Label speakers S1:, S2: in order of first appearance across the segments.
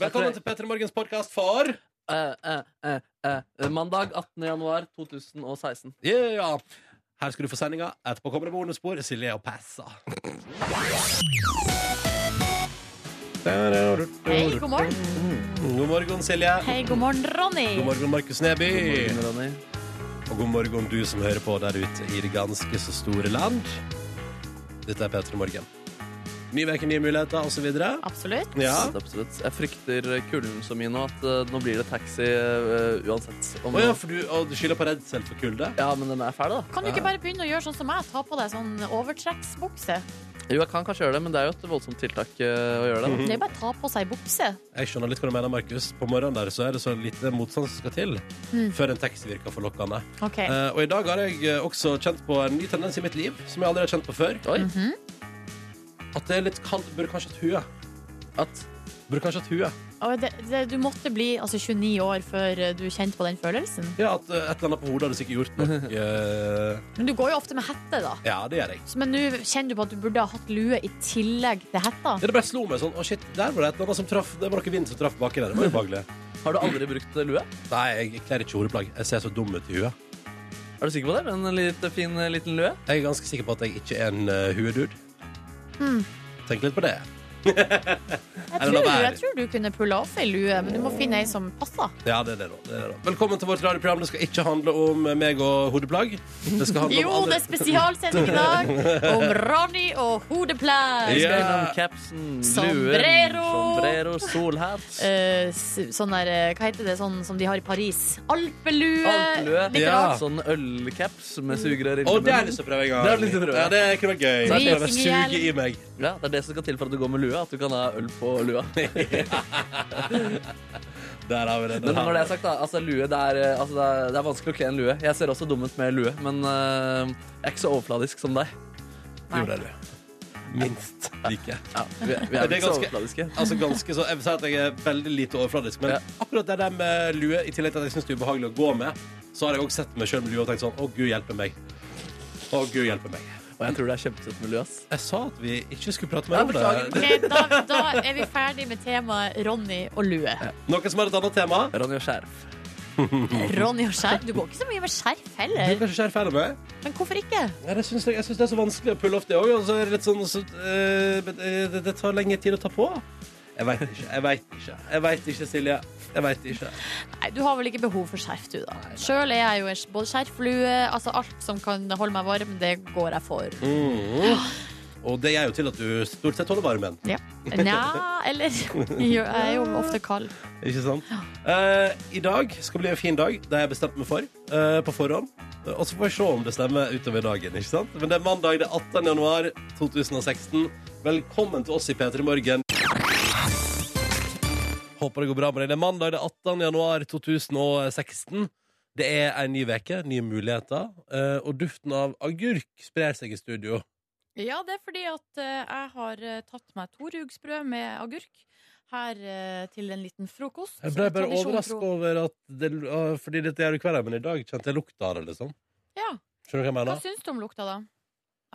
S1: Velkommen til Petter Morgens podkast for
S2: Eh, eh, eh, eh. Mandag 18. januar 2016.
S1: Ja. Her skal du få sendinga. Etterpå kommer det bonusspor. Silje og Passa.
S3: Hei, god morgen.
S1: God morgen, Silje.
S3: Hei, god morgen, Ronny.
S1: God morgen, Markus Neby.
S2: Morgen, Ronny.
S1: Og god morgen, du som hører på der ute i det ganske så store land. Dette er Petter Morgen. Ny uke, nye muligheter, osv.
S3: Absolutt.
S1: Ja.
S2: Absolutt. Jeg frykter kulden så mye nå at eh, nå blir det taxi eh, uansett. Om
S1: Å ja,
S2: nå-
S1: for du, og du skylder på redsel for kulde?
S2: ja, men den er fæl, da.
S3: Kan du ikke bare begynne å gjøre sånn som meg? Ta på deg sånn overtrekksbukse.
S2: Jo, jeg kan kanskje gjøre det, men det er jo et voldsomt tiltak eh, å gjøre det.
S3: Det er jo bare å ta på seg bukse.
S1: Jeg skjønner litt hva du mener, Markus. På morgenen der så er det så lite motstand som skal til før en taxi virker forlokkende.
S3: Ok.
S1: Eh, og i dag har jeg eh, også kjent på en ny tendens i mitt liv som jeg aldri har kjent på før.
S2: Oi,
S3: Mhm.
S1: At det er litt kaldt. Burde kanskje hatt hue.
S2: at
S1: Burde kanskje hatt hue.
S3: Og det, det, du måtte bli altså, 29 år før eh, du kjente på den følelsen.
S1: Ja, at eh, et eller annet på hodet hadde sikkert gjort nok. eh,
S3: Men du går jo ofte med hette, da.
S1: ja, det gjør jeg.
S3: Så- Men nå kjenner du på at du burde ha hatt lue i tillegg til hetta.
S1: Ja, det bare slo meg sånn. Å, shit, der var det et eller annet som traff. Det var noe vind som traff baki der. Det var ubehagelig.
S2: Har du aldri brukt lue?
S1: Nei, jeg kler ikke hodeplagg. Jeg ser så dum ut i huet.
S2: Er du sikker på det? En litt fin eh, liten lue?
S1: Jeg er ganske sikker på at jeg ikke er en uh, huedude. Tenk litt på det.
S3: Jeg
S1: det noe
S3: tror,
S1: vær?
S3: jeg tror du kunne pulla off ei lue, men du må finne ei som passer.
S1: Ja, det er det, da. Det er det da. Velkommen til vårt radioprogram. Det skal ikke handle om meg og hodeplagg. Det skal handle om
S3: Jo, det
S1: andre-
S3: er spesialsending i dag om Ronny og hodeplagg.
S1: Ja.
S2: Skal innom capsen, luen,
S3: Sombrero.
S2: sombrero, solhatt.
S3: Eh, s- sånn der, eh, hva heter det sånn som de har i Paris? Alpelue!
S2: Alpelue.
S3: Litt
S1: Ja.
S3: rart.
S2: Sånn ølcaps med sugerør inni
S1: Å, det har jeg lyst til å prøve en gang.
S2: Det har jeg lyst til å prøve.
S1: Ja, det kunne vært gøy. Jeg
S3: Vi
S1: prøver å
S3: gikk i
S1: suge i meg.
S2: Ja, det er det som skal til for at du går med lue. At du kan ha øl på lua.
S1: Der har vi det. der
S2: Men
S1: har
S2: når
S1: vi
S2: det er sagt, da. Altså, lue, det er, eh, altså, det er, det er vanskelig å kle en lue. Jeg ser også dum ut med lue, men eh, jeg er ikke så overfladisk som deg.
S3: Nei.
S1: Jo, det er det. Minst like.
S2: Ja, vi, er- vi
S1: Ja,
S2: er
S1: det er
S2: ikke så
S1: ganske-
S2: overfladiske.
S1: Altså ganske så, Jeg vil si at jeg er veldig lite overfladisk, men
S2: Ja.
S1: akkurat det der med lue, i tillegg til at jeg syns det er ubehagelig å gå med, så har jeg også sett meg sjøl med lue og tenkt sånn Å, gud hjelpe meg. Å, gud hjelpe meg.
S2: Og jeg tror det er kjempesøtt med lue, ass.
S1: Jeg sa at vi ikke skulle prate mer
S2: Ja,
S1: om
S2: beklager.
S1: det.
S3: Ok, da, da er vi ferdig med temaet Ronny og lue.
S1: Noen som har et annet tema?
S2: Ronny og skjerf.
S3: Ronny og skjerf? Du går ikke så mye med skjerf
S1: Du
S3: heller.
S1: kan ikke skjerpe deg med?
S3: Men hvorfor ikke?
S1: Nei, det syns jeg, jeg syns det er så vanskelig å pulle off det òg. Og så er det litt sånn så, eh, men, eh, det, det tar lenge tid å ta på. Jeg veit ikke. Jeg veit ikke. Jeg veit ikke, Silje. Jeg veit ikke.
S3: Nei, Du har vel ikke behov for skjerf, du, da. Sjøl er jeg jo en s- både skjerflue, altså alt som kan holde meg varm, det går jeg for.
S1: Mm. Og det gjør jo til at du stort sett holder varmen.
S3: Ja. Nja, eller Jeg er jo ofte kald.
S1: Ikke sant? Eh, I dag skal bli en fin dag. Det har jeg bestemt meg for eh, på forhånd. Eh, Og så får vi se om det stemmer utover dagen. ikke sant? Men det er mandag det er 18. januar 2016. Velkommen til oss i P3 Morgen. Håper det går bra med deg. Det er mandag det er 18. januar 2016. Det er ei ny uke, nye muligheter, eh, og duften av agurk sprer seg i studio.
S3: Ja, det er fordi at eh, jeg har eh, tatt meg to rugsprø med agurk her eh, til en liten frokost.
S1: Jeg ble bare
S3: Tradisjon tro.
S1: overrasket over at det, ah, Fordi dette gjør du hver dag, men i dag kjente jeg lukta av det, liksom.
S3: Ja.
S1: Skjønner du hva jeg mener?
S3: Hva syns du om lukta, da?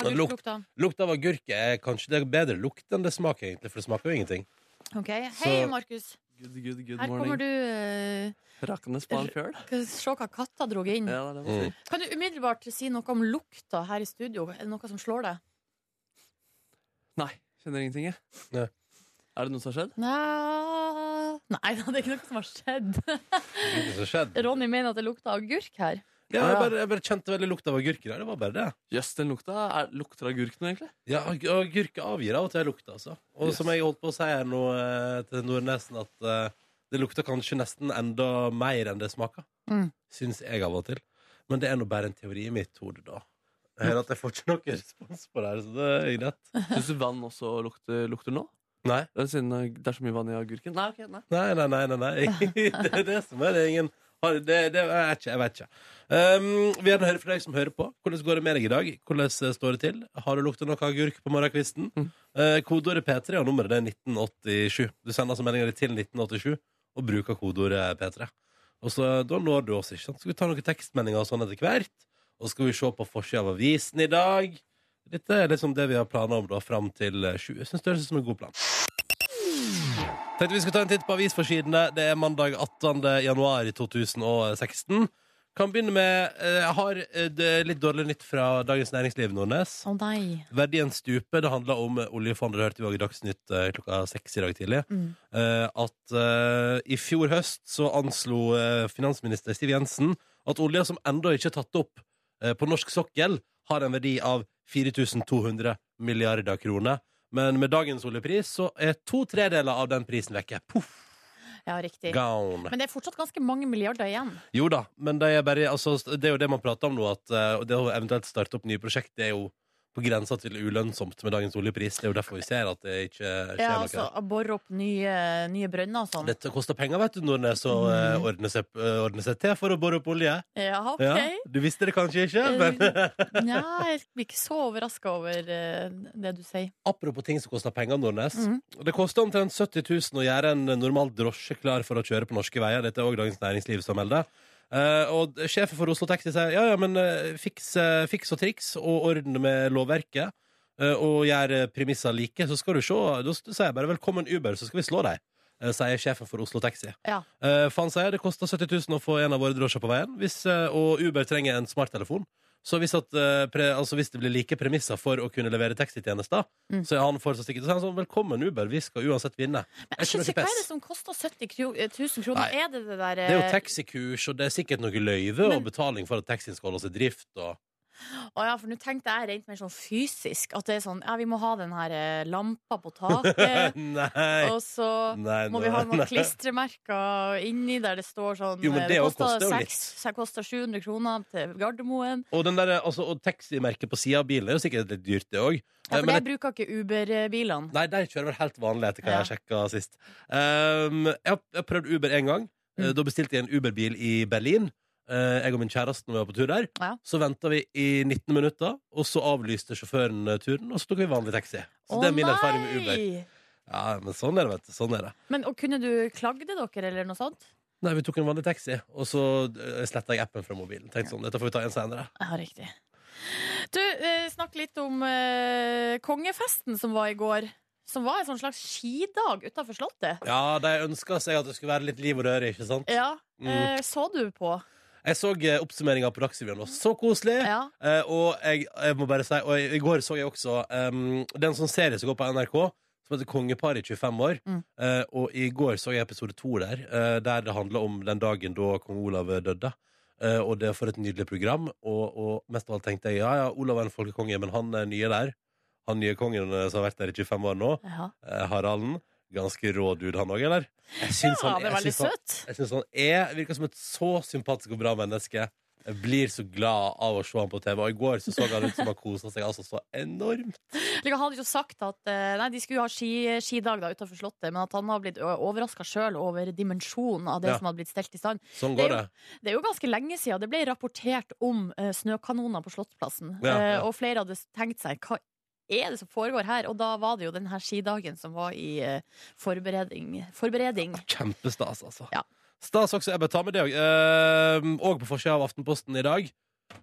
S1: Ja, lukt.
S3: Agurklukta.
S1: Lukt av agurk er kanskje det er bedre lukt enn det smaker, egentlig, for det smaker jo ingenting.
S3: Ok, Hei, Markus.
S2: Good, good, good
S3: Her kommer
S2: morning.
S3: du. eh,
S2: Rakkende span fjøl.
S3: skal vi Se hva katta drog inn.
S2: Ja, det er det man
S1: Mm.
S2: sier.
S3: Kan du umiddelbart si noe om lukta her i studio? Er det noe som slår deg?
S2: Nei, kjenner ingenting, jeg.
S1: Nei.
S2: Er det noe som har skjedd?
S3: Nei, Nei det er ikke noe som har skjedd.
S1: Ingenting som skjedde.
S3: Ronny mener at det lukter agurk her.
S1: Ja, jeg, bare, jeg bare kjente veldig lukt av agurk i dag. Det var bare det.
S2: Jøss, den lukta. Er, lukter agurk noe, egentlig?
S1: Ja, ag- agurk avgir av og til lukt, altså. Og
S2: Yes.
S1: som jeg holdt på å si her nå eh, til Nordnesen, at eh, det lukter kanskje nesten enda mer enn det smaker.
S3: Mm.
S1: Syns jeg av og til. Men det er nå bare en teori i mitt hode, da. Jeg hører at jeg får ikke noen respons på det her, så det er greit.
S2: Syns du vann også lukter, lukter nå?
S1: Nei.
S2: Det er Siden eh, det er så mye vann i agurken? Nei, ok, nei.
S1: Nei, nei, nei, nei, nei. Det er det som er det ingen har det, det er ikke, Jeg vet ikke. Um, vi gjerne hører fra deg som hører på. Hvordan går det med deg i dag? Hvordan eh, står det til? Har du lukta noe agurk på morgenkvisten?
S2: Mm.
S1: Eh, kodeordet P3 og nummeret det er 1987. Du sender altså meldinga di til 1987 og bruker kodeordet P3. Og så, Da når du oss, ikke sant? Så skal vi ta noen tekstmeldinger og sånn etter hvert. Og så skal vi se på forsida av avisen i dag. Dette er liksom det vi har planer om da fram til eh, 20. Jeg syns det høres ut som en god plan. Tenkte vi skulle ta en titt på avisforsidene. Det er mandag 18. januar i 2016. Kan begynne med eh, Jeg har eh, det litt dårlig nytt fra Dagens Næringsliv, Nordnes.
S3: Å nei.
S1: Verdien stuper. Det handler om eh, oljefondet. Det hørte vi også i Dagsnytt eh, klokka seks i dag tidlig.
S3: Mm.
S1: Eh, at eh, i fjor høst så anslo eh, finansminister Siv Jensen at olja som ennå ikke er tatt opp eh, på norsk sokkel, har en verdi av 4200 milliarder kroner. Men med dagens oljepris så er to tredeler av den prisen vekke. Poff!
S3: Ja, riktig.
S1: Gone.
S3: Men det er fortsatt ganske mange milliarder igjen.
S1: Jo da, men det er, bare, altså, det er jo det man prater om nå, at eh, det å eventuelt starte opp nye prosjekt, det er jo på grensa til ulønnsomt med dagens oljepris. Det er jo derfor vi ser at det ikke skjer
S3: Ja,
S1: noe.
S3: altså, å Bore opp nye, nye brønner og sånn.
S1: Dette koster penger, vet du, Nordnes, å eh,
S3: Mm.
S1: ordne seg, eh, ordne seg til for å bore opp olje.
S3: Ja, OK. Eh,
S1: Ja, du visste det kanskje ikke, men
S3: Nja, jeg blir ikke så overraska over eh, det du sier.
S1: Apropos ting som koster penger, Nordnes.
S3: Mhm.
S1: Det koster omtrent 70 000 å gjøre en normal drosje klar for å kjøre på norske veier. Dette er òg Dagens Næringsliv som melder. Eh, og sjefen for Oslo Taxi sier ja, ja, men eh, fiks, eh, fiks og triks og ordne med lovverket. eh, og gjør eh, premisser like, så skal du se. Da s- sier jeg bare velkommen Uber, så skal vi slå deg. eh, sier sjefen for Oslo Taxi.
S3: Ja.
S1: Eh, for han sier det koster 70 000 å få en av våre drosjer på veien, hvis, eh, og Uber trenger en smarttelefon. Så hvis, at, eh, pre, altså hvis det blir like premisser for å kunne levere taxitjenester,
S3: Mm.
S1: så er han fortsatt ikke så er han sånn, Velkommen, Uber, vi skal uansett vinne.
S3: Men jeg
S1: Ikke noe
S3: skjønner ikke hva er
S1: pes.
S3: det som koster 70 kro- eh, 000 kroner?
S1: Nei.
S3: Er det det der
S1: Det er jo
S3: eh,
S1: taxikurs, og det er sikkert noe løyve og
S3: Men-
S1: betaling for at taxien skal holde seg i drift. Og...
S3: Å ja, for nå tenkte jeg rent mer sånn fysisk. At det er sånn ja, vi må ha den her eh, lampa på taket,
S1: Nei.
S3: og så
S1: Nei,
S3: må vi ha
S1: nei.
S3: noen klistremerker inni der det står sånn
S1: Jo, men
S3: eh,
S1: det også
S3: koster
S1: koster jo
S3: seks- så det koster 700 kroner til Gardermoen.
S1: Og, den der, altså, og taximerket på sida av bilen er jo sikkert litt dyrt, det òg.
S3: Ja, for det bruker ikke Uber-bilene.
S1: Nei, der kjører vel helt vanlig etter hva
S3: Ja.
S1: jeg har sjekka sist. Um, jeg, har, jeg har prøvd Uber én gang. Eh,
S3: Mm.
S1: Da bestilte jeg en Uber-bil i Berlin. Eh, jeg og min kjæreste når vi var på tur der.
S3: Ja.
S1: Så venta vi i 19 minutter, og så avlyste sjåføren eh, turen, og så tok vi vanlig taxi. Så det er min erfaring med Uber. Ja, men sånn er det, vet du. Sånn er det.
S3: Men og kunne du klagde dere, eller noe sånt?
S1: Nei, vi tok en vanlig taxi, og så sletta jeg appen fra mobilen. Tenkte sånn, dette får vi ta en senere.
S3: Ja, riktig. Du, eh, snakk litt om eh, kongefesten som var i går. Som var en sånn slags skidag utafor Slottet.
S1: Ja, de ønska seg at det skulle være litt liv og røre, ikke sant?
S3: Ja,
S1: Mm.
S3: eh, så du på?
S1: Jeg så oppsummeringa på Dagsrevyen, og så koselig!
S3: Ja.
S1: Eh, og jeg, jeg må bare si Og i, i går så jeg også um, Den sånn serie som går på NRK Som heter Kongepar i 25 år
S3: Mm.
S1: Eh, Og i går så jeg episode 2 der eh, Der det handler om den dagen da Kong Olav dødde Eh, Og det er for et nydelig program og, og mest av alt tenkte jeg Ja, ja, Olav er en folkekonge Men han er nye der Han nye kongen eh, som har vært der i 25 år nå
S3: ja.
S1: eh, Haralden Ganske rå dude han også, eller? Jeg synes
S3: ja
S1: han
S3: det er
S1: Sånn, jeg
S3: veldig
S1: synes han-
S3: søt.
S1: jeg synes han er, virker som et så sympatisk og bra menneske. Jeg blir så glad av å se ham på TV. Og i går så, så han ut som han kosa seg altså så enormt.
S3: Like, han hadde jo sagt at eh, nei, de skulle jo ha ski, skidag da utafor Slottet, men at han har blitt overraska sjøl over dimensjonen av det
S1: Ja.
S3: som hadde blitt stelt i stand.
S1: Sånn
S3: Det er
S1: går det.
S3: Det er jo ganske lenge siden det ble rapportert om eh, snøkanoner på Slottsplassen.
S1: Ja, ja.
S3: Eh, og flere hadde tenkt seg hva er det som foregår her? Og da var det jo den her skidagen som var i eh, forbereding. forbereding.
S1: Kjempestas, altså.
S3: Ja.
S1: Stas også. Jeg bør ta med det òg. Eh, og på forsida av Aftenposten i dag.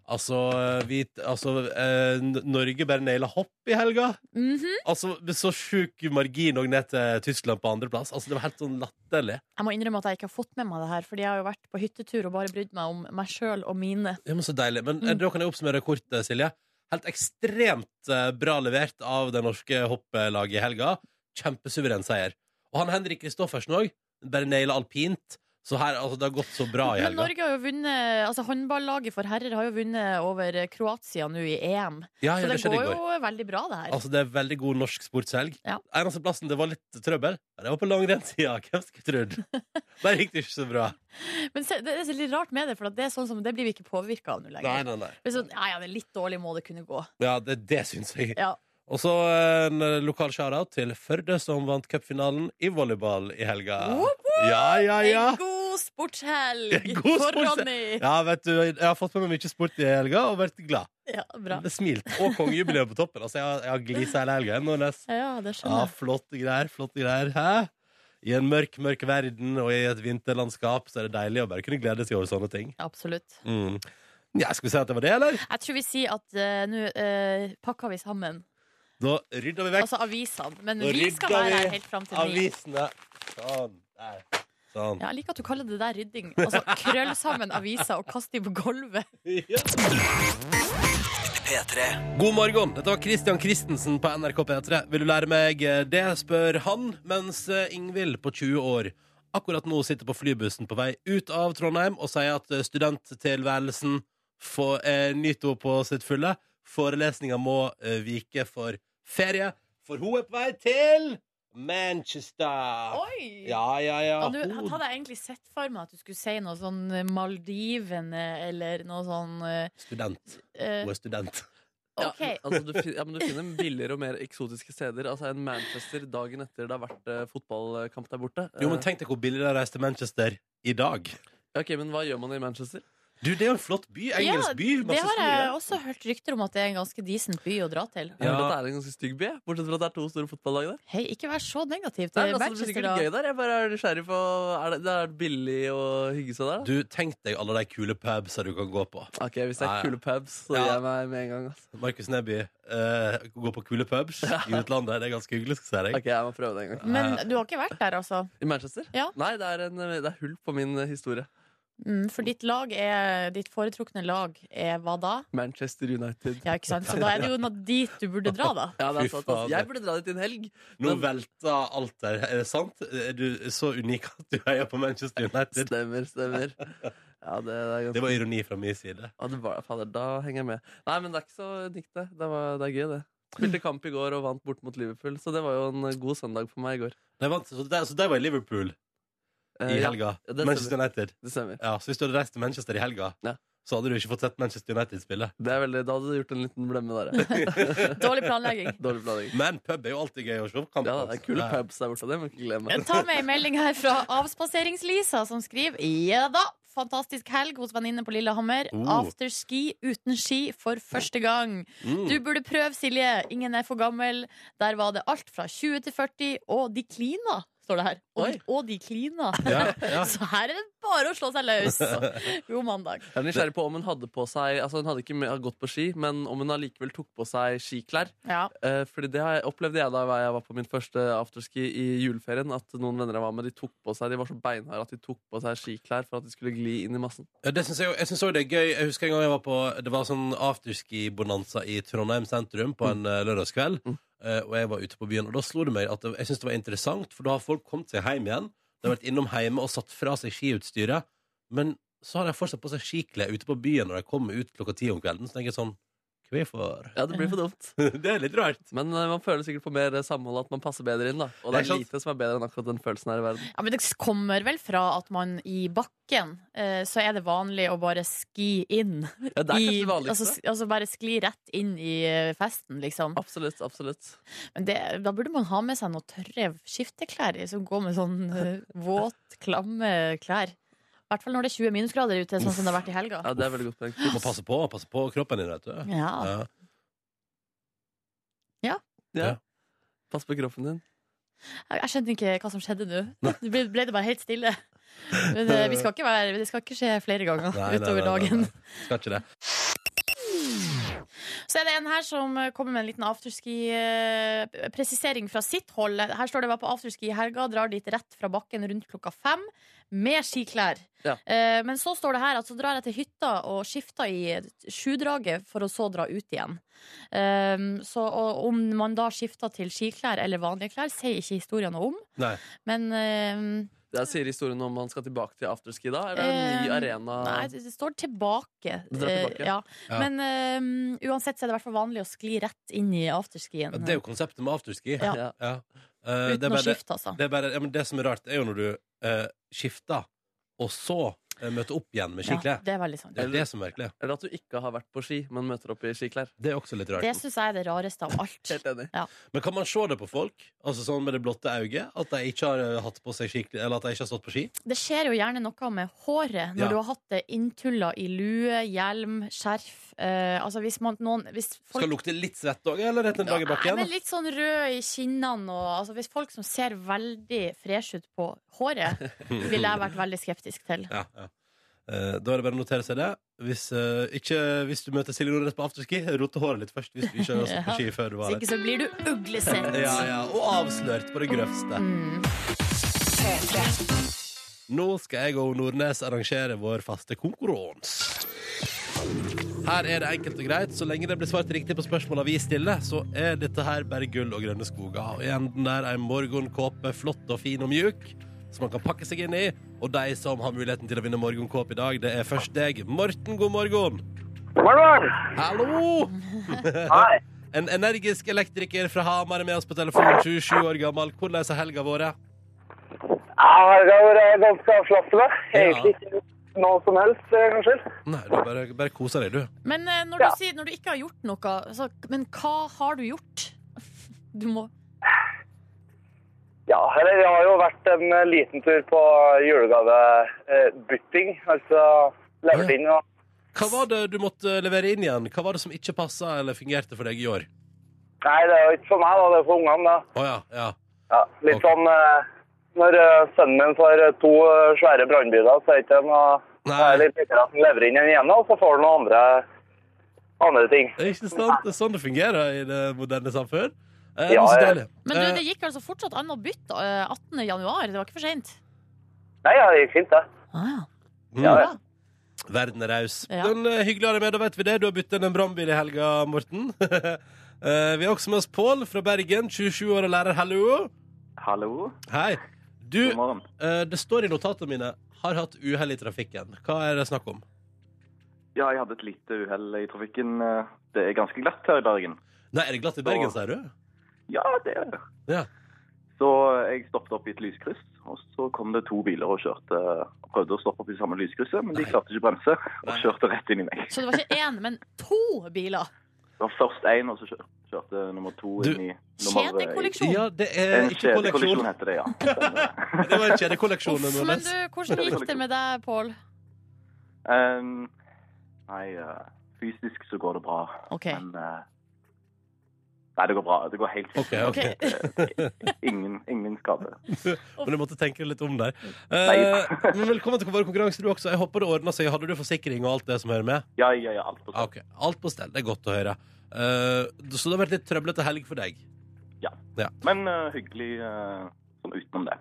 S1: Altså, vi, altså eh, N- Norge bare naila hopp i helga.
S3: Mhm.
S1: Altså, med Så sjuk margin òg ned til Tyskland på andreplass. Altså, det var helt sånn latterlig.
S3: Jeg må innrømme at jeg ikke har fått med meg det her, fordi jeg har jo vært på hyttetur og bare brydd meg om meg sjøl og mine.
S1: Ja, men så deilig. Men eh,
S3: Mm.
S1: da kan jeg oppsummere kort, eh, Silje. Helt ekstremt eh, bra levert av det norske hopplaget i helga. Kjempesuveren seier. Og han Henrik Kristoffersen òg. Bare naila alpint. Så her, altså, det har gått så bra i
S3: Men
S1: helga.
S3: Norge har jo vunnet, altså håndballaget for herrer har jo vunnet over Kroatia nå i EM.
S1: Ja, ja,
S3: Så
S1: det
S3: det
S1: skjedde
S3: går
S1: i går.
S3: jo veldig bra, det her.
S1: Altså, det er veldig god norsk sportshelg.
S3: Ja.
S1: Eneste plassen det var litt trøbbel, ja, det var på langrennssida. Hvem skulle trodd? Der gikk det ikke så bra.
S3: Men se, det er så litt rart med det, for at det er sånn som det blir vi ikke påvirka av nå lenger.
S1: Nei, nei, nei.
S3: Det er sånn, ja, ja, det er litt dårlig må det kunne gå.
S1: Ja, det, det syns jeg.
S3: Ja.
S1: Og så en eh, lokal shout-out til Førde, som vant cupfinalen i volleyball i helga.
S3: Woop,
S1: Ja, ja, ja.
S3: En god sportshelg
S1: En god
S3: for
S1: sportshelg.
S3: Ronny!
S1: Ja, vet du, jeg har fått med meg mye sport i helga og vært glad.
S3: Ja, bra.
S1: Det smilt. Og kongejubileet på toppen. Altså, jeg har, jeg har glisa hele helga. jeg, Nordnes.
S3: Ja, det
S1: Ja,
S3: skjønner jeg.
S1: flotte greier, flotte greier. Hæ? I en mørk, mørk verden og i et vinterlandskap så er det deilig å bare kunne glede seg over sånne ting.
S3: Absolutt.
S1: Mm. Ja, skal vi si at det var det, eller?
S3: Jeg tror vi sier at eh, nå eh, pakker vi sammen.
S1: Da rydder vi vekk
S3: Altså avisene. Men
S1: Nå
S3: vi skal
S1: rydder
S3: være
S1: vi
S3: her helt fram til ni.
S1: avisene. Sånn. Der. Sånn.
S3: Ja, jeg liker at du kaller det der rydding. Altså krøll sammen aviser og kast de på gulvet.
S1: Ja. God morgen. Dette var Christian Christensen på NRK P3. Vil du lære meg eh, det, spør han, mens eh, Ingvild på 20 år akkurat nå sitter på flybussen på vei ut av Trondheim og sier at eh, studenttilværelsen får eh, nyte henne på sitt fulle. Forelesninga må eh, vike for ferie, for hun er på vei til Manchester.
S3: Oi!
S1: Ja, ja, ja.
S3: Ja, du,
S1: Hun-
S3: hadde jeg egentlig sett for meg at du skulle si noe sånn eh, Maldivene eller noe sånn eh,
S1: Student.
S3: eh,
S1: Hun er student.
S2: Ja,
S3: Ok.
S2: altså, du, fin- ja, men du finner billigere og mer eksotiske steder. Altså En Manchester dagen etter det har vært eh, fotballkamp der borte.
S1: Jo, men
S2: Eh,
S1: tenk deg hvor billig det er å reise til Manchester i dag.
S2: ok, men hva gjør man i Manchester?
S1: Du, det er jo en flott by. Engelsk by.
S3: Det
S1: Masse
S3: har
S1: store.
S3: jeg også hørt rykter om at det er en ganske decent by å dra til.
S2: Jeg
S1: Ja.
S2: hører at det er en ganske stygg by, jeg, bortsett fra at det er to store fotballag der.
S3: Hei, ikke vær så negativ
S2: Nei,
S3: til
S2: men altså, det blir
S3: Manchester,
S2: sikkert
S3: da.
S2: gøy der. Jeg bare er nysgjerrig på Er det, det er billig å hygge seg der? da?
S1: Du, tenk deg alle de kule pubsa du kan gå på.
S2: Ok, Hvis det
S1: Ja,
S2: er
S1: ja.
S2: kule pubs, så
S1: Ja.
S2: gir jeg meg med en gang. Altså.
S1: Markus Neby eh, gå på kule pubs i utlandet. Det er ganske hyggelig, skal jeg si deg.
S2: Ok, jeg må prøve det en gang
S3: Men du har ikke vært der, altså?
S2: I Manchester?
S3: Ja.
S2: Nei, det er, en, det er hull på min eh, historie.
S3: Mm, for ditt lag er Ditt foretrukne lag er hva da?
S2: Manchester United.
S3: Ja, ikke sant? Så da er det jo noe dit du burde dra, da.
S2: Ja, det
S1: Fy
S2: er sant, altså.
S1: faen.
S2: Jeg burde dra dit en helg.
S1: Nå
S2: Men-
S1: velta alt der. Er det sant? Er du så unik at du heier på Manchester United?
S2: Stemmer, stemmer. Ja, det, det er ganske
S1: Det var ironi fra min side.
S2: Ja, det var, fader, da henger jeg med. Nei, men det er ikke så dikt, det. Det, var, det er gøy, det. Spilte kamp i går og vant bort mot Liverpool, så det var jo en eh, god søndag for meg i går.
S1: Nei, vent, så, der, så der var jeg i Liverpool
S2: Eh,
S1: i
S2: ja,
S1: helga.
S2: ja, det
S1: Manchester United.
S2: det stemmer.
S1: Ja, Så hvis du hadde reist til Manchester i helga,
S2: Ja.
S1: så hadde du ikke fått sett Manchester United spille.
S2: Det er veldig, da hadde du gjort en liten blemme der. ja.
S3: Dårlig planlegging.
S2: Dårlig planlegging.
S1: Men pub er jo alltid gøy å se på kamp.
S2: Ja, det er kule
S1: Ja.
S2: pubs der borte, det må jeg ikke glemme.
S3: Ta med en melding her fra Avspasserings-Lisa, som skriver Ja da, fantastisk helg hos venninne på Lillehammer.
S1: Oh.
S3: Afterski uten ski for første gang.
S1: Mm.
S3: Du burde prøve, Silje. Ingen er for gammel. Der var det alt fra 20 til 40, og de klina, står det her. Og,
S2: Oi.
S3: og de klina.
S1: Ja, ja.
S3: Så her er det bare å slå seg løs. God mandag.
S2: Jeg er nysgjerrig på om hun hadde på seg Altså hun hadde ikke med- gått på ski, men om hun allikevel tok på seg skiklær.
S3: Ja.
S2: Eh, fordi det har jeg, opplevde jeg da jeg var på min første afterski i juleferien. At noen venner jeg var med, de tok på seg De var så beinharde at de tok på seg skiklær for at de skulle gli inn i massen.
S1: Ja, det synes jeg, jo- jeg synes også det er gøy. Jeg husker en gang jeg var på Det var sånn afterski-bonanza i Trondheim sentrum på en eh, lørdagskveld.
S2: Mm.
S1: Eh, og jeg var ute på byen, og da slo det meg at det, jeg synes det var interessant, for da har folk kommet seg hjem igjen. De har vært innom hjemme og satt fra seg skiutstyret. Men så har de fortsatt på seg skiklær ute på byen når de kommer ut klokka ti om kvelden. Så tenker jeg sånn Hvorfor?
S2: Ja, det blir for dumt.
S1: det er litt rart.
S2: Men eh, man føler sikkert på mer eh, samhold at man passer bedre inn. da Og
S1: Det
S2: det er
S1: er sant.
S2: lite som er bedre enn akkurat den følelsen her i verden.
S3: Ja, men det kommer vel fra at man i bakken eh, så er det vanlig å bare ski inn.
S2: Ja, det er kanskje
S3: I-
S2: det vanligste.
S3: altså, s- altså bare skli rett inn i eh, festen, liksom.
S2: Absolutt. absolutt
S3: Men det, da burde man ha med seg noen tørre skifteklær i, som går med sånn eh, våt, klamme klær. I hvert fall når det er 20 minusgrader ute, sånn som det har vært i helga.
S2: Ja, det er veldig godt poeng.
S1: Må passe på passe på kroppen din, vet du.
S3: Ja.
S1: Ja.
S2: Ja.
S1: Ja.
S2: Pass på kroppen din.
S3: Jeg jeg skjønte ikke hva som skjedde nå. Det ble, ble det bare helt stille. Men eh, vi skal ikke være, det skal ikke skje flere ganger
S1: Nei, nei, nei,
S3: utover
S1: nei,
S3: dagen.
S1: nei. Skal ikke det.
S3: Så er det en her som eh, kommer med en liten afterski-presisering fra sitt hold. Her står det var på afterski i helga, drar dit rett fra bakken rundt klokka fem med skiklær.
S2: Ja.
S3: Eh, Men så står det her at så drar jeg til hytta og skifter i sjudraget for å så dra ut igjen. Eh, Så og om man da skifter til skiklær eller vanlige klær, sier ikke historien noe om.
S1: Nei.
S3: Men eh,
S2: Der sier historien om man skal tilbake til afterski da? Eller er det en ny
S3: Eh,
S2: arena?
S3: Nei, det det står tilbake.
S2: Det står tilbake.
S3: Eh, Ja.
S1: Ja.
S3: Men eh, uansett så er det i hvert fall vanlig å skli rett inn i afterskien.
S1: Ja, Det er jo konseptet med afterski.
S3: Ja.
S2: Ja.
S1: Ja. Eh, det er
S3: Uten å
S1: bare det-
S3: skifte, altså.
S1: Det, er bare, ja, men det som er rart, er jo når du eh, skifter, og så eh, møter opp igjen med
S3: Ja,
S1: skiklær.
S3: det er veldig sant.
S1: Det er det som virkelig er.
S2: Eller at du ikke har vært på ski, men møter opp i skiklær.
S1: Det er også litt
S3: Det
S1: rart.
S3: syns jeg er det rareste av alt.
S2: Helt enig.
S1: Men kan man se det på folk, altså sånn med det blotte øyet, at de ikke har eh, hatt på seg skiklær, eller at de ikke har stått på ski?
S3: Det skjer jo gjerne noe med håret når
S1: Ja.
S3: du har hatt det inntulla i lue, hjelm, skjerf. Eh, altså hvis man noen hvis folk,
S1: Skal lukte litt svett òg, eller rett en dag i
S3: Nei,
S1: bakken?
S3: men litt sånn rød i kinnene og altså Hvis folk som ser veldig fresh ut på håret, ville jeg vært veldig skeptisk til.
S1: Ja, ja. Eh, da er det bare å notere seg det. Hvis, eh, ikke, hvis du møter Silje Nordnes på afterski, rote håret litt først hvis du ikke har stått på ski før du
S3: Hvis
S1: var der.
S3: ikke så blir du uglesett.
S1: Ja, ja. Og avslørt på det grøvste.
S3: Mm.
S1: Nå skal jeg og Nordnes arrangere vår faste konkurranse. Her er det enkelt og greit. Så lenge det blir svart riktig på spørsmåla vi stiller, så er dette her bare gull og grønne skoger. Og i enden der ei morgenkåpe, flott og fin og mjuk, som man kan pakke seg inn i. Og de som har muligheten til å vinne morgenkåpe i dag, det er først deg, Morten. God morgen.
S4: Morgen!
S1: Hallo!
S4: Hei.
S1: En energisk elektriker fra Hamar er med oss på telefon, 27 år gammel. Hvordan har helga vært?
S4: Ja, det har vært ganske avslappende. Egentlig ikke noe som helst, eh, kanskje.
S1: Nei, du bare, bare koser deg, du.
S3: Men eh, når,
S4: Ja.
S3: du sier, når du ikke har gjort noe, så, men hva har du gjort? Du må
S4: Ja, eller det har jo vært en eh, liten tur på julegavebutting. Altså levert inn og
S1: Hva var det du måtte levere inn igjen? Hva var det som ikke passa eller fungerte for deg i år?
S4: Nei, det er jo ikke for meg, da. Det er for ungene, da.
S1: Å ja, ja.
S4: Ja, litt
S1: Ok.
S4: sånn eh, Når eh, sønnen min får eh, to eh, svære brannbiler, så er ikke det noe Det
S1: Nei.
S4: er litt lettere at han leverer inn den ene, og så får han noen andre, andre ting.
S1: Det er ikke sant? Det er sånn det fungerer i det moderne samfunn. Eh,
S4: Ja,
S1: men så
S4: ja.
S1: deilig.
S3: Men du,
S1: Eh,
S3: det gikk altså fortsatt an å bytte eh, 18. januar. Det var ikke for seint.
S4: Nei, ja, det gikk fint, det.
S3: Ah,
S1: mm,
S4: Ja,
S3: ja.
S1: Verden er raus.
S3: Ja.
S1: Men eh, hyggelig å ha deg med, da vet vi det. Du har byttet inn en brannbil i helga, Morten. eh, vi har også med oss Pål fra Bergen, 27 år og lærer. Hallo.
S5: Hallo,
S1: Hei. Du,
S5: god morgen.
S1: eh, det står i notatene mine 'har hatt uhell i trafikken'. Hva er det snakk om?
S5: Ja, jeg hadde et lite uhell i trafikken. Eh, Det er ganske glatt her i Bergen.
S1: Nei, er det glatt i Bergen,
S5: Å.
S1: sier du?
S5: Ja, det er det.
S1: Ja.
S5: Så jeg stoppet opp i et lyskryss, og så kom det to biler og kjørte og prøvde å stoppe opp i det samme lyskrysset, men de
S1: Nei.
S5: klarte ikke å bremse og
S1: Nei.
S5: kjørte rett inn i meg.
S3: Så det var ikke én, men to biler.
S5: Det var først én, og så kjør- kjørte nummer to
S1: Du-
S5: inn i nummer
S3: Kjedekolleksjon.
S1: Ja, det er
S5: En
S1: ikke
S5: kjedekolleksjon
S1: kolleksjon.
S5: heter det, ja. Stemmer det.
S1: Det var en kjedekolleksjon.
S3: Uff, men
S1: Nordnes.
S3: du, hvordan gikk det med deg, Pål?
S5: Em, Um, nei, eh, fysisk så går det bra,
S3: OK.
S5: men eh, Nei, det går bra. Det går helt fint.
S1: Ok, ok.
S3: Ok.
S5: Ingen, ingen skade.
S1: Men du måtte tenke litt om der.
S5: Nei.
S1: Eh, men velkommen til vår konkurranse, du også. Jeg håper det ordner seg. Hadde du forsikring og alt det som hører med?
S5: Ja, ja, ja, alt på
S1: Ah, ok. Alt på stell. Det er godt å høre. Eh, så det har vært litt trøblete helg for deg?
S5: Men eh, hyggelig eh, sånn utenom det.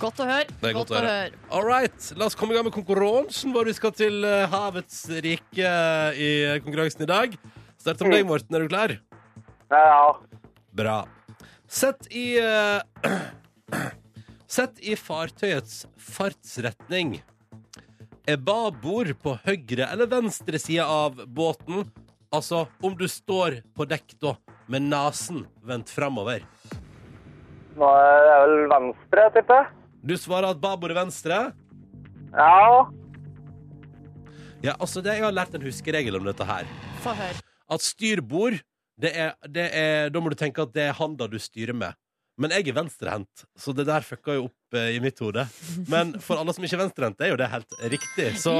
S3: Godt å høre.
S1: er godt
S3: Godt
S1: å
S3: å høre.
S1: All right, la oss komme i gang med konkurransen hvor vi skal til eh, havets rike eh, i konkurransen i dag. Start med deg,
S5: Mm.
S1: Morten. Er du klar?
S4: Nei, ja.
S1: Bra. Sett i eh, Sett i fartøyets fartsretning. Er babord på høyre eller venstre side av båten? Altså om du står på dekk da, med nesen vendt framover.
S4: Nå er det vel venstre, tipper jeg.
S1: Du svarer at babord er venstre.
S4: Ja.
S1: Ja, altså det, Jeg har lært en huskeregel om dette her.
S3: Få høre.
S1: At styrbord, det er, det er Da må du tenke at det er handa du styrer med. Men jeg er venstrehendt, så det der fucka jo opp eh, i mitt hode. Men for alle som ikke er venstrehendte, er jo det helt riktig, så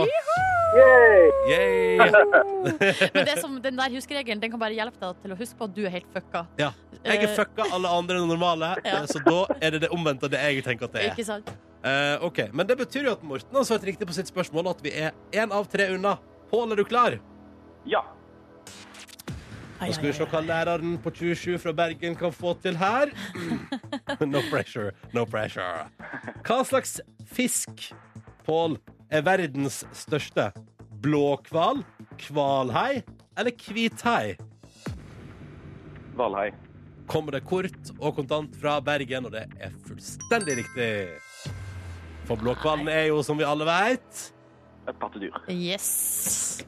S4: Yay.
S1: yay!
S3: Men det som, den der huskeregelen den kan bare hjelpe deg til å huske på at du er helt fucka.
S1: Ja. Jeg er
S3: Eh,
S1: fucka alle andre enn normale,
S3: Ja.
S1: eh, så da er det det omvendte av det jeg tenker at det er.
S3: Ikke sant?
S1: Eh, ok, Men det betyr jo at Morten har svart riktig på sitt spørsmål, og at vi er én av tre unna. Pål, er du klar?
S5: Ja.
S3: Ai,
S1: Nå skal vi
S3: ai,
S1: se
S3: ai.
S1: hva læreren på 27 fra Bergen kan få til her. Mm. No pressure, no pressure. Hva slags fisk, Pål, er verdens største? Blåhval, hvalhai eller hvithai?
S5: Valhei.
S1: Kommer det kort og kontant fra Bergen, og det er fullstendig riktig. For blåhvalen er jo, som vi alle veit
S5: Et pattedyr.
S3: Yes.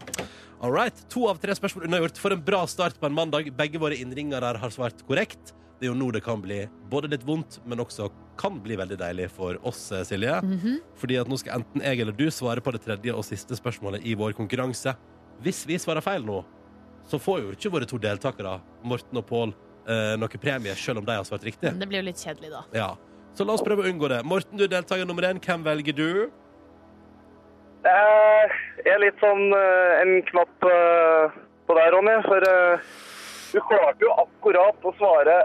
S1: All right. To av tre spørsmål unnagjort. For en bra start på en mandag. Begge våre innringere har svart korrekt. Det er jo nå det kan bli både litt vondt, men også kan bli veldig deilig for oss, eh, Silje.
S3: Mhm.
S1: Fordi at nå skal enten jeg eller du svare på det tredje og siste spørsmålet i vår konkurranse. Hvis vi svarer feil nå, så får jo ikke våre to deltakere, Morten og Pål, eh, noe premie, selv om de har svart riktig.
S3: Men det blir jo litt kjedelig, da.
S1: Ja. Så la oss prøve å unngå det. Morten, du er deltaker nummer én. Hvem velger du?
S4: Eh, Jeg er litt sånn eh, en knapp eh, på deg, Ronny, for eh, du klarte jo akkurat å svare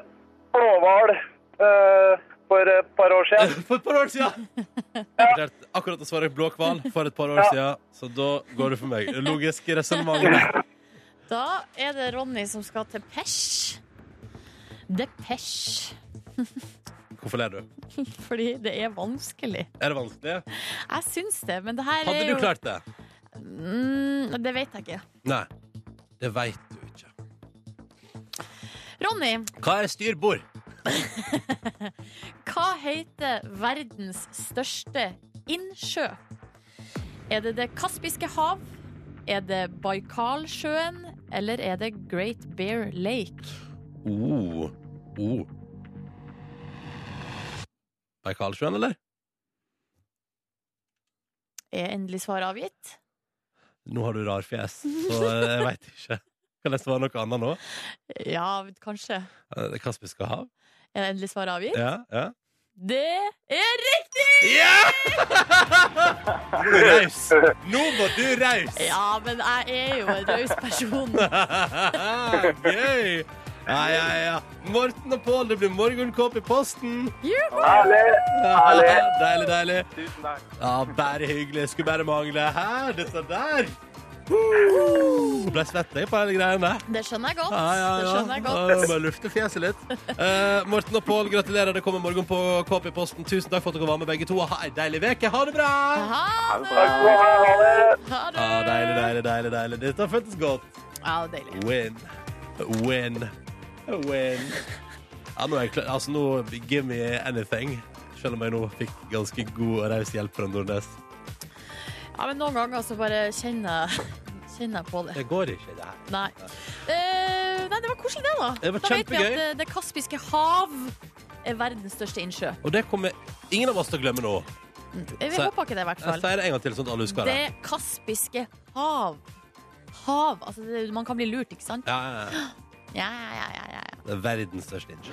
S4: blåhval eh, for et par år siden.
S1: For et par år siden! Jeg vurderte akkurat å svare blåhval for et par år siden, så da går det for meg. Logisk resonnement. der.
S3: Da er det Ronny som skal til Pesh. Depeche.
S1: Hvorfor ler du?
S3: Fordi det er vanskelig.
S1: Er det vanskelig?
S3: Jeg syns det, men det her
S1: Hadde
S3: er
S1: du
S3: jo
S1: klart det?
S3: Mm, det vet jeg ikke.
S1: Nei. Det veit du ikke.
S3: Ronny,
S1: Hva er styrbord?
S3: hva heter verdens største innsjø? Er det Det kaspiske hav? Er det Baikalsjøen? Eller er det Great Bear Lake?
S1: Oh. Oh. Baikalsjøen, eller?
S3: Er endelig svar avgitt?
S1: Nå har du rar fjes, så jeg veit ikke. Kan det være noe annet nå?
S3: Ja, kanskje.
S1: Eh, Det kaspiske hav?
S3: Er endelig svar avgitt?
S1: Ja, ja.
S3: Det er riktig!
S1: Nå må du raus! Nå må du raus!
S3: Ja, men jeg er jo en raus person.
S1: Gøy! Ja, ja, ja. Morten og Pål, det blir morgenkåp i posten.
S4: Herlig! Herlig.
S1: deilig, deilig.
S5: Tusen takk.
S1: Ja, bare hyggelig. Skulle bare mangle her, dette der. Uh, ble svett jeg på hele greia der.
S3: Det skjønner jeg godt.
S1: Ja, ja,
S3: Det
S1: ja.
S3: skjønner jeg godt.
S1: Ja, Bare lufte fjeset litt. Eh, Morten og Pål, gratulerer. Det kommer morgen på Kåp i posten. Tusen takk for at dere var med, begge to. Og Ha ei deilig uke. Ha det bra!
S3: Ha det!
S4: Takk skal du ha. Ha det!
S3: Ha
S1: Ja,
S3: det!
S1: deilig, deilig, deilig. deilig. Dette føltes godt.
S3: Ja, det er deilig.
S1: Win. Win. Win. Ja, nå er jeg klar. Altså, nå give me anything. Selv om jeg nå fikk ganske god og raus hjelp fra Nordnes.
S3: Ja, men noen ganger så bare kjenner jeg Kjenner jeg på det.
S1: Det går ikke, det her.
S3: Nei. Eh, nei, det var koselig, det, da.
S1: Det var
S3: da vet vi
S1: kjempegøy.
S3: at det, det kaspiske hav er verdens største innsjø.
S1: Og det kommer ingen av oss til å glemme nå.
S3: Eh, Vi
S1: Så-
S3: håper ikke det, i hvert
S1: Jeg
S3: fall.
S1: sier det en gang til, sånn at alle husker det.
S3: Det kaspiske hav. Hav. Altså, det, man kan bli lurt, ikke sant?
S1: Ja, ja, ja.
S3: Ja, ja, ja. ja, ja.
S1: Det er verdens største innsjø.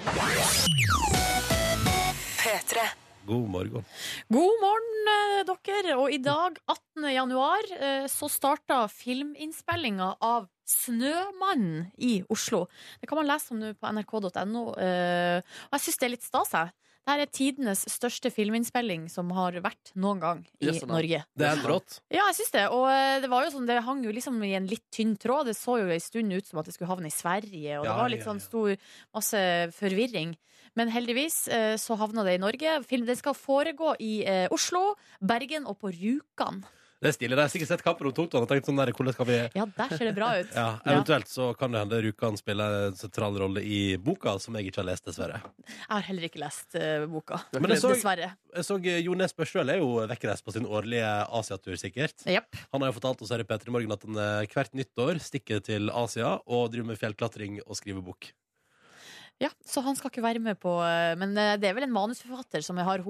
S1: God morgen.
S3: God morgen, eh, dere. Og i dag, 18. januar, eh, så starta filminnspillinga av Snømannen i Oslo. Det kan man lese om nå på nrk.no. eh, Og jeg syns det er litt stas, jeg. Dette er tidenes største filminnspilling som har vært noen gang i
S2: Jøsse navn.
S3: Norge.
S1: Det er helt rått.
S3: Ja, jeg syns det. Og eh, det var jo sånn, det hang jo liksom i en litt tynn tråd. Det så jo en stund ut som at det skulle havne i Sverige,
S1: Ja,
S3: og det var litt
S1: ja,
S3: sånn
S1: ja.
S3: stor masse forvirring. Men heldigvis eh, så havna det i Norge. Film, den skal foregå i eh, Oslo, Bergen og på Rjukan.
S1: Det er stilig. De har sikkert sett kampen om Totland og tenkt sånn der, hvordan skal vi
S3: Ja, der ser det bra ut.
S1: ja, Eventuelt så kan det hende Rjukan spiller en sentral rolle i boka, som jeg ikke har lest, dessverre.
S3: Jeg har heller ikke lest eh, boka.
S1: Men det så-
S3: Dessverre.
S1: Jeg så eh, Jo Nesbø sjøl er jo vekkreist på sin årlige Asiatur, sikkert.
S3: Jepp.
S1: Han har jo fortalt oss her i Peter i morgen at han eh, hvert nyttår stikker til Asia og driver med fjellklatring og skriver bok.
S3: Ja, så han skal ikke være med på eh, Men eh, det er vel en manusforfatter som har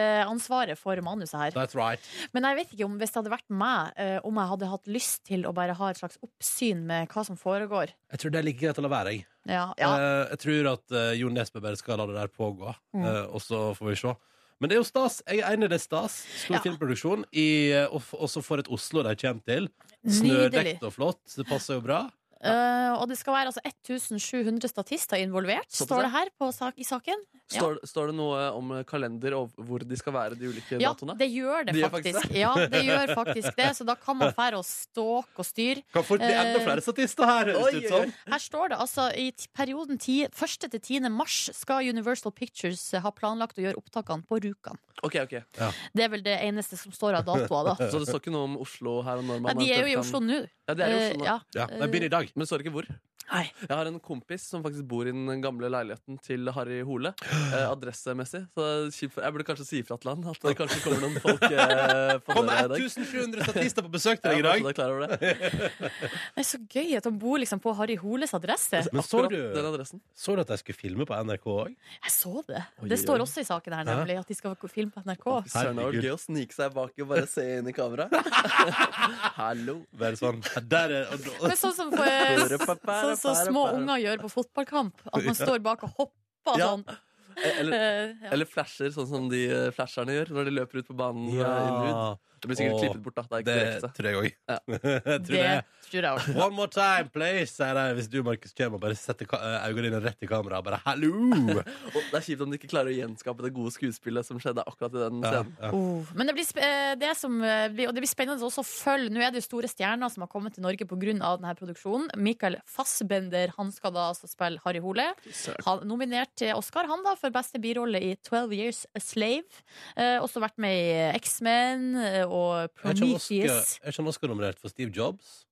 S3: hovedansvaret for manuset her.
S1: That's right.
S3: Men jeg vet ikke om hvis det hadde vært meg, eh, om jeg hadde hatt lyst til å bare ha et slags oppsyn med hva som foregår.
S1: Jeg tror det er like greit å la være, jeg.
S3: Ja, ja.
S1: Eh, Jeg tror at eh, Jo Nesbø bare skal la det der pågå,
S3: Mm.
S1: eh, og så får vi se. Men det er jo stas. Jeg er enig i det er stas. Stor
S3: Ja.
S1: filmproduksjon. I, eh, og, f- også for et Oslo de kommer til.
S3: Nydelig.
S1: Snødekt og flott. Det passer jo bra.
S3: Eh, og det skal være altså 1700 statister involvert,
S2: Såpass,
S3: står det
S2: ja.
S3: her på sak i saken. Ja.
S2: Står, står det noe om kalender og hvor de skal være, de ulike
S3: Ja,
S2: datoene?
S3: det gjør det
S2: De gjør
S3: faktisk.
S2: faktisk
S3: Ja, det gjør faktisk det, så da kan man fære og ståke og styre.
S1: Kan fort bli enda
S3: Eh,
S1: flere statister her, høres det ut som.
S3: Her står det altså i t- perioden 10, 1. til 10. mars skal Universal Pictures eh, ha planlagt å gjøre opptakene på Rjukan.
S2: Ok, ok.
S1: Eh.
S3: Det er vel det eneste som står av datoer, da.
S2: Så det står ikke noe om Oslo her og når
S3: Nei,
S2: man
S3: de er jo i
S2: eventuelt
S3: Oslo
S2: kan-
S3: nå.
S2: Ja, de er i Oslo
S3: Eh,
S2: nå.
S3: ja.
S1: Ja, det begynner i dag.
S2: Men det står ikke hvor.
S3: Nei.
S2: Jeg har en kompis som faktisk bor i den gamle leiligheten til Harry Hole. Eh, adressemessig. Så det er kjipt for- jeg burde kanskje si ifra til han at det kanskje kommer noen folk eh, på
S1: Kom
S2: døra i dag.
S1: 1700 statister på besøk til
S2: Ja,
S1: deg i
S2: bare
S1: dag.
S2: så du er klar over det.
S3: Det er så gøy at han bor liksom på Harry Holes adresse.
S1: Men så
S2: Akkurat
S1: du,
S2: Den adressen.
S1: så du at de skulle filme på NRK òg?
S3: Jeg så det.
S1: Oi,
S3: Det
S1: oi,
S3: står
S1: oi.
S3: også i saken her,
S1: Ja.
S3: nemlig, at de skal filme på NRK.
S2: Søren, det var gøy å snike seg bak og bare se inn i kamera. Hallo.
S1: Bare sånn Der er og, og,
S3: Men sånn som, eh, sånn som små unger gjør på fotballkamp, at man står bak og hopper
S2: Ja.
S3: sånn.
S2: Eller,
S3: Eh, ja.
S2: eller flasher, sånn som de eh, flasherne gjør når de løper ut på banen. eh, inn og ut.
S1: ja.
S2: Det blir sikkert
S1: Åh,
S2: klippet bort, da. Det er ikke
S1: Det
S2: direkte.
S1: tror jeg òg.
S2: Ja.
S3: Det tror jeg også.
S1: One more time, please, sier de hvis du, Markus, kommer og bare setter ka- eh, øynene dine rett i kameraet. Bare hallo!
S2: Og det er kjipt om de ikke klarer å gjenskape det gode skuespillet som skjedde akkurat i den
S1: Ja,
S2: scenen.
S1: ja.
S3: Oh, men det blir, sp- eh, det som eh, blir, og det blir spennende også å følge Nå er det jo store stjerner som har kommet til Norge pga. denne produksjonen. Michael Fassbender han skal da altså spille Harry Hole. Han, nominert til Oscar han da for beste birolle i 12 Years a Slave. Eh, også vært med i X-Men eh, og
S1: Er ikke han Oscar-
S3: Prometheus.
S1: er ikke han Oscar-nominert for Steve Jobs?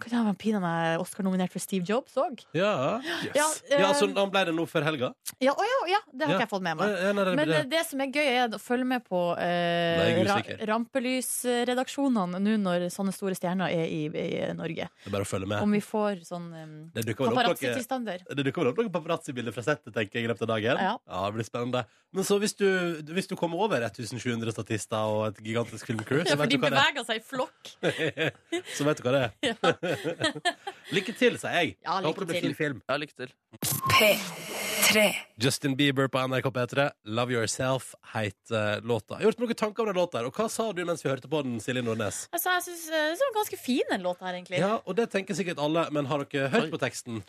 S3: Kan jeg ha pinadø meg Oscar-nominert for Steve Jobs òg?
S1: Ja.
S3: Ja, eh,
S1: ja, så han ble det nå før helga?
S3: Ja, å ja, ja, det har
S1: Ja.
S3: ikke jeg fått med meg.
S1: Eh, eh, nei, det
S3: Men
S1: blir
S3: eh,
S1: det.
S3: det som er gøy, er å følge med på eh,
S1: Nei, jeg er
S3: ra
S1: usikker.
S3: rampelysredaksjonene nå når sånne store stjerner er i, i Norge.
S1: Det er bare å følge med.
S3: Om vi får sånn um,
S1: Det dukker vel opp noen
S3: paparazzi-tilstander.
S1: det dukker vel opp noen paparazzi-bilder fra settet tenker jeg, i løpet av dagen.
S3: Ja.
S1: det blir spennende. Men så hvis du, hvis du kommer over 1700 statister og et gigantisk filmcrew,
S3: Ja,
S1: så, vet
S3: for de
S1: du hva det
S3: beveger seg i flokk.
S1: er. så vet du hva det er. lykke til, sier jeg.
S3: Ja,
S1: Jeg Håper det blir
S3: lykke
S1: fin
S3: til.
S1: film.
S2: Ja, lykke til.
S1: Justin Bieber på NRK P3, 'Love Yourself' heter låta. Jeg har gjort meg noen tanker om den låta, her, og hva sa du mens vi hørte på den, Silje Nordnes?
S3: Altså, jeg syns det var ganske fin den låta her, egentlig.
S1: Ja, og det tenker sikkert alle, men har dere hørt
S2: Oi.
S1: på teksten?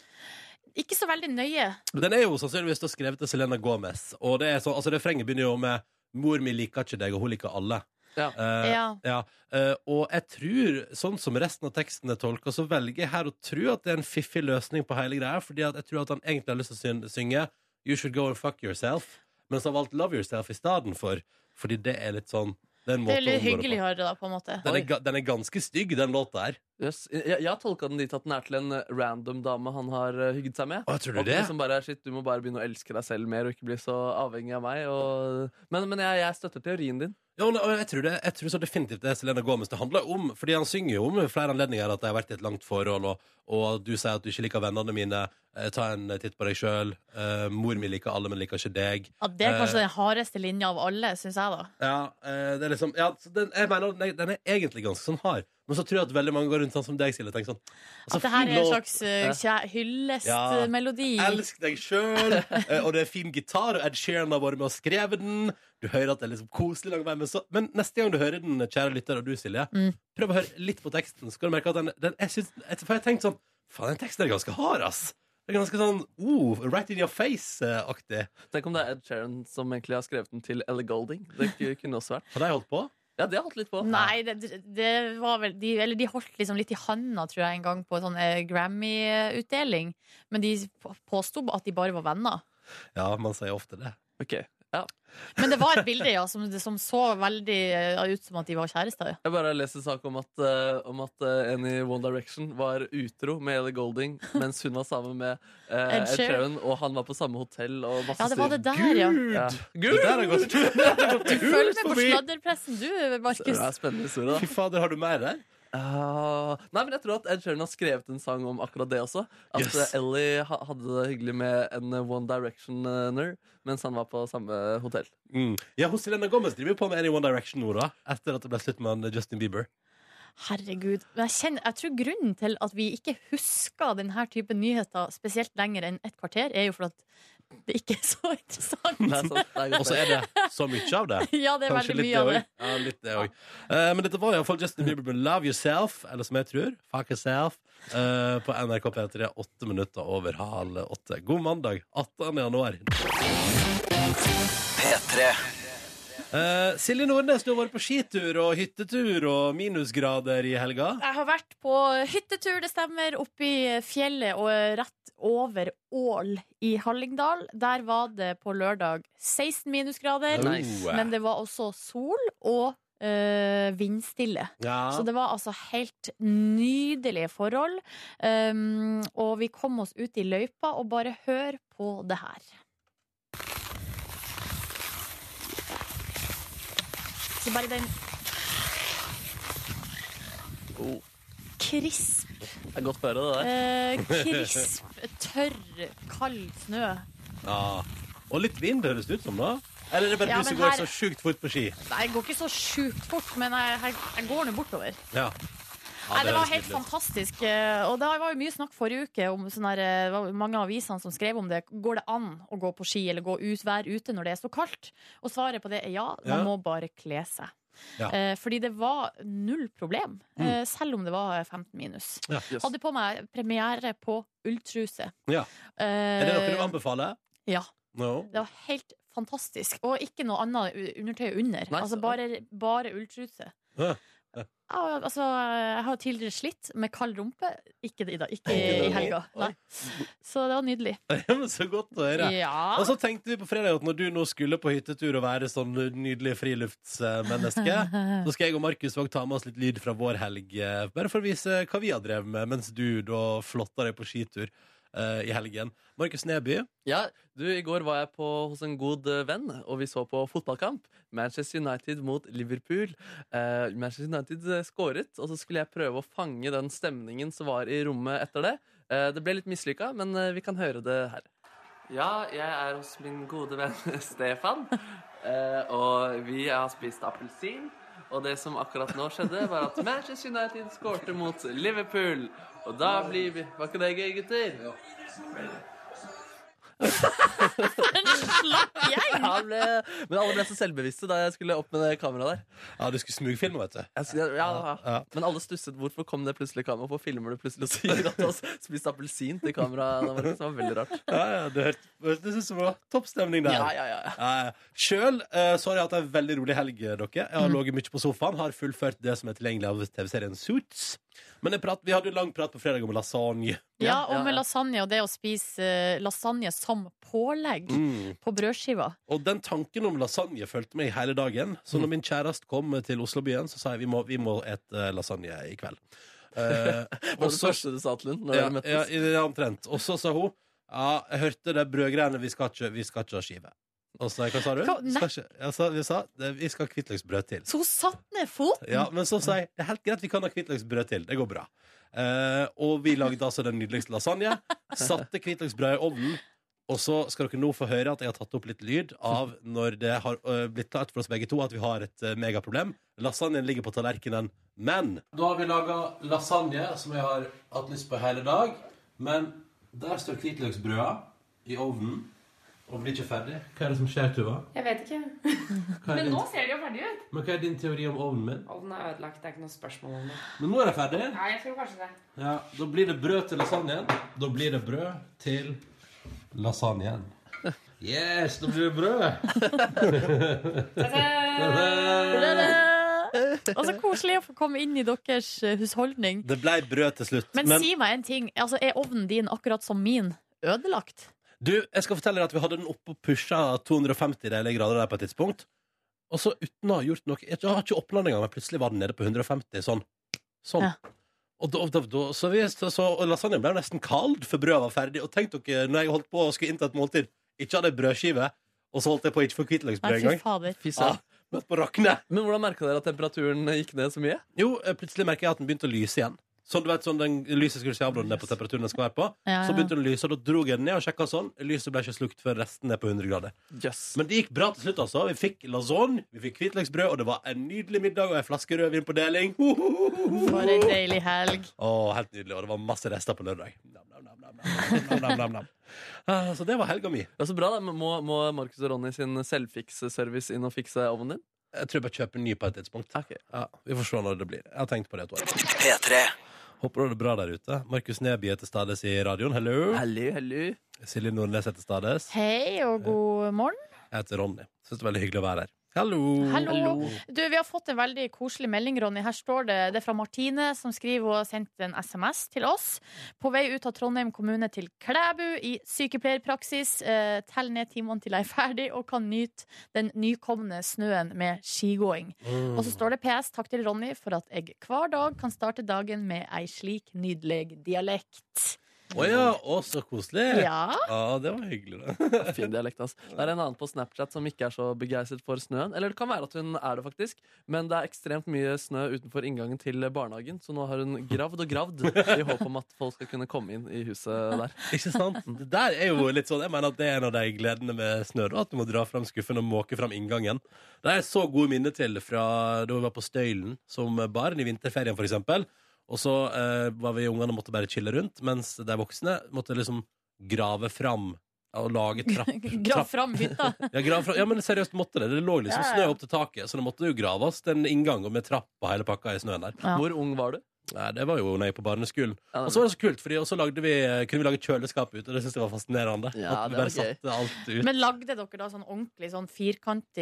S3: Ikke så veldig nøye.
S1: Den er jo sannsynligvis da skrevet til Selena Gomez, og det er sånn, altså refrenget begynner jo med 'Mor mi liker ikke deg, og hun liker alle'.
S2: Ja.
S1: Eh,
S3: Ja.
S1: ja. Eh, og jeg tror, sånn som resten av teksten er tolka, så velger jeg her å tro at det er en fiffig løsning på hele greia, fordi at jeg tror at han egentlig har lyst til å syn- synge 'You should go and fuck yourself', men så har valgt 'Love yourself' i stedet for, fordi det er litt sånn Det er en
S3: Det
S1: måte
S3: er litt
S1: å omgå det
S3: hyggelig å
S1: på.
S3: høre, da, på en måte.
S1: Den er, ga- den er ganske stygg, den låta her.
S2: Yes. Jeg, jeg har tolka den dit at den er til en eh, random dame han har eh, hygget seg med.
S1: Å, tror du
S2: Og at den
S1: det?
S2: liksom bare er, Shit, du må bare begynne å elske deg selv mer og ikke bli så avhengig av meg. Og... Men, men jeg, jeg støtter teorien din.
S1: Ja, og og jeg tror, det, jeg tror så definitivt det er Selena Gomez det handler om. Fordi han synger jo om flere anledninger at de har vært i et langt forhold, og, og du sier at du ikke liker vennene mine. eh, Ta en titt på deg sjøl. mor mi liker alle, men liker ikke deg.
S3: Ja, det er
S1: Eh.
S3: kanskje den hardeste linja av alle, syns jeg, da.
S1: Ja, eh, det er liksom ja, så den, Jeg mener, den er- den er egentlig ganske sånn hard, men så tror jeg at veldig mange går rundt sånn som deg, Silje. og Tenker sånn altså,
S3: At det her
S1: fin
S3: er en
S1: låt.
S3: slags eh, kjæ- eh,
S1: Ja.
S3: hyllestmelodi.
S1: Elsk deg sjøl! Og det er fin gitar, og Ed Sheeran har vært med og skrevet den. Du hører at det er liksom koselig lang vei, men, så, men neste gang du hører den, kjære lytter, og du, Silje,
S3: Mm.
S1: prøv å høre litt på teksten, så skal du merke at den, den jeg synes, jeg, For jeg tenkte sånn Faen, den teksten er ganske hard, ass! Det er ganske sånn oh, right in your face-aktig.
S2: Tenk om det er Ed Sheeran som egentlig har skrevet den til Ellie Golding. Det ku- kunne også vært
S1: Har de holdt på?
S2: Ja, det har jeg holdt litt på.
S3: Nei, det, det var vel de, Eller de holdt liksom litt i handa, tror jeg, en gang på en sånn eh, Grammy-utdeling. Men de på- påsto at de bare var venner.
S1: Ja, man sier ofte det.
S2: Ok,
S3: Men det var et bilde ja, som, som så veldig eh, ut som at de var kjærester.
S2: Jeg bare leste en sak om at, eh, om at eh, en i One Direction var utro med Ellie Golding mens hun var sammen med eh,
S3: Ed
S2: Ed
S3: Sheeran.
S2: Sheeran, og han var på samme hotell og masse
S3: Ja, det var
S2: styr.
S3: det der, ja.
S2: Ja.
S1: Det der har gått
S3: Følg med på
S1: forbi.
S3: sladderpressen, du,
S2: Så Det
S3: Markus.
S2: er en spennende historie, da.
S1: Fy fader, har du mer der?
S2: Ah, nei, men jeg tror at Ed Sheeran har skrevet en sang om akkurat det også. At
S1: Yes.
S2: eh, Ellie ha hadde det hyggelig med en eh, One Directioner mens han var på samme hotell.
S1: Mm. Ja, hos Selena Gomez driver jo på med Any One Direction nå, da. Etter at det ble slutt med han eh, Justin Bieber.
S3: Herregud. Men jeg, kjenner, jeg tror grunnen til at vi ikke husker denne typen nyheter spesielt lenger enn et kvarter, er jo for at det ikke er så
S2: Det er
S3: interessant.
S2: sant, det er
S1: Og
S2: godt
S1: så
S2: det.
S1: er det så mye av det.
S3: Ja, det er
S1: Kanskje
S3: veldig
S1: litt
S3: mye av det.
S1: også. Ja, litt det også. Eh, men dette var iallfall Justin Bieber med 'Love Yourself', eller som jeg tror, 'Fuck Yourself', eh, på NRK P3 åtte minutter over halv åtte. God mandag 18. januar. Eh, Silje Nordnes, du har vært på skitur og hyttetur og minusgrader i helga.
S3: Jeg har vært på hyttetur, det stemmer, oppe i fjellet og rett over Ål i Hallingdal. Der var det på lørdag 16 minusgrader,
S2: Nice.
S1: Oh.
S3: men det var også sol og øh, vindstille.
S1: ja.
S3: Så det var altså helt nydelige forhold. Um, og vi kom oss ut i løypa, og bare hør på det her. Så bare den
S2: Oh.
S3: Krisp,
S2: Det er godt å høre det der.
S3: eh, krisp, tørr, kald snø.
S1: ja. Og litt vind, høres det ut som, da. Eller er det bare
S3: Ja,
S1: du som
S3: men
S1: går
S3: her-
S1: så sjukt fort på ski?
S3: Nei, det går ikke så sjukt fort, men jeg, jeg, jeg går nå bortover.
S1: Ja. Ja,
S3: Nei, det
S1: høres
S3: var helt
S1: nydelig ut.
S3: fantastisk. eh, Og det var jo mye snakk forrige uke om sånn her, eh, det var mange av avisene som skrev om det. Går det an å gå på ski eller gå ut, være ute når det er så kaldt? Og svaret på det er ja, man
S1: Ja.
S3: må bare kle seg.
S1: Ja. Mm.
S3: Eh, fordi det var null problem, eh, selv om det var 15 minus.
S1: Ja.
S2: Yes.
S3: Hadde på meg premiere på ulltruse.
S1: Ja.
S3: Eh,
S1: Er det noe du anbefaler?
S3: ja.
S1: No.
S3: Det var helt fantastisk. Og ikke noe annet u- undertøy under.
S2: Nei,
S3: altså
S2: så-
S3: bare, bare ulltruse.
S1: Ja.
S3: Ja, altså, jeg har tidligere slitt med kald rumpe. Ikke i dag, ikke i helga. Nei. Så det var nydelig.
S1: Ja, men så godt å høre.
S3: Ja.
S1: Og så tenkte vi på fredag at når du nå skulle på hyttetur og være sånn nydelig friluftsmenneske, så skal jeg og Markus også ta med oss litt lyd fra vår helg, eh, bare for å vise hva vi har drevet med, mens du da flotta deg på skitur eh, i helgen. Markus Neby.
S2: Ja, du, I går var jeg på, hos en god eh, venn, og vi så på fotballkamp. Manchester United mot Liverpool. Eh, Manchester United eh, skåret, og så skulle jeg prøve å fange den stemningen som var i rommet etter det. Eh, det ble litt mislykka, men eh, vi kan høre det her. Ja, jeg er hos min gode venn Stefan, eh, og vi har spist appelsin. Og det som akkurat nå skjedde, var at Manchester United skårte mot Liverpool. Og da blir vi Var ikke det gøy, gutter?
S3: En slapp gjeng!
S2: Ja, han ble, men alle ble så selvbevisste da jeg skulle opp med det kameraet der.
S1: Ja, du skulle smugfilme, vet du.
S2: Jeg, s- ja, ja, ja.
S1: Ja.
S2: Men alle stusset. Hvorfor kom det plutselig kamera? Hvorfor filmer du plutselig og sier at du har spist appelsin til kameraet? Det var, det var veldig rart.
S1: Ja, ja, det hørtes det synes jeg var toppstemning der.
S2: Ja, ja, ja. ja.
S1: Eh, Sjøl eh, så har jeg hatt en veldig rolig helg. eh, dere Jeg har ligget mye på sofaen, har fullført det som er tilgjengelig av TV-serien Suits. Men jeg prat, vi hadde jo lang prat på fredag om lasagne.
S3: Ja, og
S2: ja,
S3: med
S2: ja.
S3: lasagne og det å spise eh, lasagne som pålegg på brødskiva.
S1: Og den tanken om lasagne fulgte meg hele dagen. Så når min kjæreste kom eh, til Oslobyen, så sa jeg vi må, vi må et eh, lasagne i kveld. Eh,
S2: Det var det første du sa til henne når
S1: ja,
S2: dere
S1: ja,
S2: møttes.
S1: i det omtrent. Og så sa hun ja, jeg hørte det brødgreiene, vi skal ikke, vi skal ikke ha skive. Og så sa jeg hva sa du?
S3: Hva? Nei.
S1: Skal ikke, jeg sa, vi sa "Det- vi skal ha hvitløksbrød til.
S3: Så hun satte ned foten!
S1: Ja, men så sa jeg det er helt greit, vi kan ha hvitløksbrød til. Det går bra. Eh, og vi lagde altså den nydeligste lasagne. Satte hvitløksbrødet i ovnen. Og så skal dere nå få høre at jeg har tatt opp litt lyd av når det har eh, blitt klart for oss begge to at vi har et eh, megaproblem. Lasagnen ligger på tallerkenen, men Da har vi laga lasagne, som jeg har hatt lyst på hele dag. Men der står hvitløksbrøda i ovnen og blir ikke ferdig. Hva er det som skjer, Tuva?
S6: Jeg vet ikke. Men nå ser det jo ferdig ut.
S1: Men hva er din teori om ovnen min?
S6: Ovnen er ødelagt. Det er ikke noe spørsmål om det.
S1: Men nå er den ferdig.
S6: Nei, jeg tror kanskje det.
S1: Ja, da blir det brød til lasagnen. Da blir det brød til lasagnen. Yes, da blir det brød!
S6: Eh,
S3: Og så koselig å få komme inn i deres eh, husholdning.
S1: Det ble brød til slutt.
S3: Men, si meg en ting. Altså, er ovnen din akkurat som min ødelagt?
S1: du, jeg skal fortelle deg at vi hadde den oppe og pusha 250 deilige grader der på et tidspunkt. Og så uten å ha gjort noe Jeg har ikke åpna den engang, men plutselig var den nede på 150. Sånn. sånn.
S3: Ja.
S1: Og, da, da, da, så vi, så, så, og lasagnen ble jo nesten kald før brødet var ferdig. Og tenk dere, når jeg holdt på og skulle innta et måltid, ikke hadde jeg brødskive, og så holdt jeg på å ikke få
S3: Nei,
S1: hvitløksbrød
S3: fy
S1: engang.
S3: fader.
S2: Fy
S1: Ja,
S2: søren.
S1: måtte på å rakne.
S2: Men hvordan merka dere at temperaturen gikk ned så mye?
S1: Jo, eh, plutselig merker jeg at den begynte å lyse igjen. Sånn, du vet, sånn den lyset skulle skje ned på temperaturen den skal være på.
S3: Ja,
S1: Så
S3: ja.
S1: begynte den å lyse, og da dro jeg den ned og sjekka sånn. Lyset ble ikke slukt før resten er på 100 grader.
S2: Jøss.
S1: Men det gikk bra til slutt, altså. Vi fikk lasagne, vi fikk hvitløksbrød, og det var en nydelig middag og ei flaske rødvin på deling. Ho, ho, ho, ho, ho.
S3: For ei deilig helg.
S1: Å, helt nydelig. Og det var masse rester på lørdag. Nam, nam, nam, nam, nam, nam, nam, nam, nam. Ah, Så det var helga mi.
S2: Det er så bra, da. Men Må, må Markus og Ronny sin selvfiksservice inn og fikse ovnen din?
S1: Jeg tror jeg bare kjøper en ny på et tidspunkt.
S2: Ok.
S1: Ja, Vi får se når det blir. Jeg har tenkt på det et år. P3. Håper du har det bra der ute. Markus Neby er til stades i radioen. Hello.
S2: Hello, hello.
S1: Silje Nordnes heter Stades.
S3: Hei og god morgen.
S1: Jeg heter Ronny. Syns det er veldig hyggelig å være her. Hallo!
S3: Hallo. Du, Vi har fått en veldig koselig melding, Ronny. Her står det det er fra Martine, som skriver hun har sendt en SMS til oss. På vei ut av Trondheim kommune til Klæbu i sykepleierpraksis. Eh, Tell ned timene til jeg er ferdig og kan nyte den nykomne snøen med skigåing.
S1: Mm.
S3: Og så står det PS. Takk til Ronny for at jeg hver dag kan starte dagen med ei slik nydelig dialekt.
S1: Å ja, å, så koselig!
S3: Ja.
S1: Ja, det var hyggelig, da.
S2: Fin dialekt, ass. Det er en annen på Snapchat som ikke er så begeistret for snøen. Eller det kan være at hun er det, faktisk. Men det er ekstremt mye snø utenfor inngangen til barnehagen, så nå har hun gravd og gravd i håp om at folk skal kunne komme inn i huset der.
S1: Ikke sant? Det der er jo litt sånn Jeg mener at det er en av de gledene med snø, da. At du må dra fram skuffen og måke fram inngangen. Det er så gode minner til fra da vi var på Støylen som barn, i vinterferien for eksempel. Og så eh, var vi ungene og måtte bare chille rundt, mens de voksne måtte liksom grave fram Ja, Å lage trapp.
S3: Grav fram hytta.
S1: Ja, grav fra, ja, men seriøst måtte det. Det lå liksom
S3: Ja, ja.
S1: snø opp til taket, så det måtte jo graves. Den inngang og med trapp og hele pakka i snøen der.
S3: Ja.
S2: Hvor ung var du?
S1: Nei, det var jo når jeg gikk på barneskolen.
S2: Ja,
S1: Og så var det så kult, fordi også lagde vi, eh, kunne vi lage kjøleskap ute. og Det synes jeg var fascinerende.
S2: Ja,
S1: At vi
S2: det var
S1: bare
S2: gøy.
S1: satte alt ut.
S3: Men lagde dere da sånn ordentlig sånn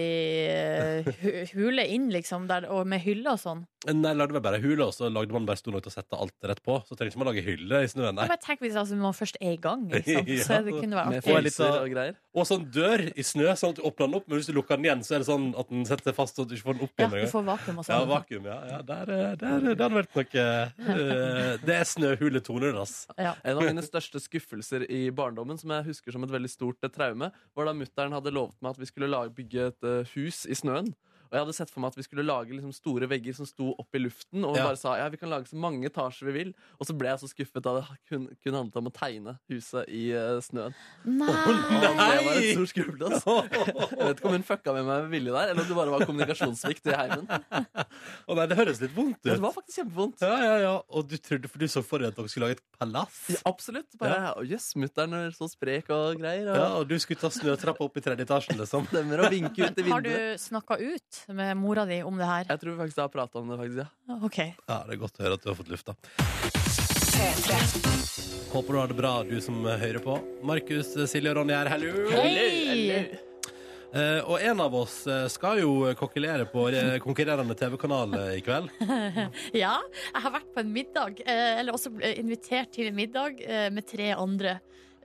S3: firkantig eh, hu- hule inn, liksom, der, og med hylle og sånn?
S1: Nei, lagde vi bare hule, og så lagde man bare stor nok til å sette alt rett på. Så trengte man lage hylle i snøen
S3: Jeg
S1: der.
S3: bare tenk hvis altså, man først er i gang, liksom.
S1: Ja.
S3: Så det kunne være
S2: Med
S1: Og en
S3: artig.
S1: litt
S2: fliser
S1: av-
S2: og greier.
S1: Og sånn dør i snø, sånn at du åpner den opp, men hvis du lukker den igjen, så er det sånn at den setter seg fast, og at du ikke får den opp
S3: Ja,
S1: igjen.
S3: du
S1: engang.
S3: får vakuum og
S1: ja,
S3: sånn.
S1: vakuum, ja. ja der, eh, der, eh, det hadde vært noe eh, Det er snøhuletoner, ass.
S3: Ja.
S2: En av mine største skuffelser i barndommen, som jeg husker som et veldig stort eh, traume, var da mutter'n hadde lovet meg at vi skulle lage, bygge et eh, hus i snøen. Og jeg hadde sett for meg at vi skulle lage liksom, store vegger som sto opp i luften. Og hun
S1: Ja.
S2: bare sa ja, vi kan lage så mange etasjer vi vil. Og så ble jeg så skuffet da det kun, kun handlet om å tegne huset i eh, snøen.
S3: Nei!
S2: Og det var
S1: Nei!
S2: en stor skuffelse. ass. Jeg vet ikke om hun fucka med meg med vilje der, eller om det bare var kommunikasjonssvikt i heimen. Men
S1: Å nei, det høres litt vondt
S2: Det
S1: ut.
S2: var faktisk kjempevondt.
S1: Ja, ja, ja. Og du trodde, for du så for deg at dere skulle lage et palass.
S2: Ja, absolutt. Bare jøss, mutter'n er så sprek og greier. Og
S1: Ja, og du skulle ta snøtrappa opp i tredje etasjen, liksom.
S2: stemmer og vinke ut i
S3: Har
S2: vinduet.
S3: du snakka ut med mora di om det her?
S2: Jeg tror faktisk jeg har prata om det, faktisk. ja
S3: OK.
S1: Ja, det er godt å høre at du har fått lufta. Håper du har det bra, du som hører på. Markus, Silje og Ronny her, hallo!
S3: Hei!
S1: Eh, og en av oss eh, skal jo kokkelere på eh, konkurrerende TV-kanal eh, i kveld.
S3: Ja, jeg har vært på en middag, eh, eller også ble invitert til en middag eh, med tre andre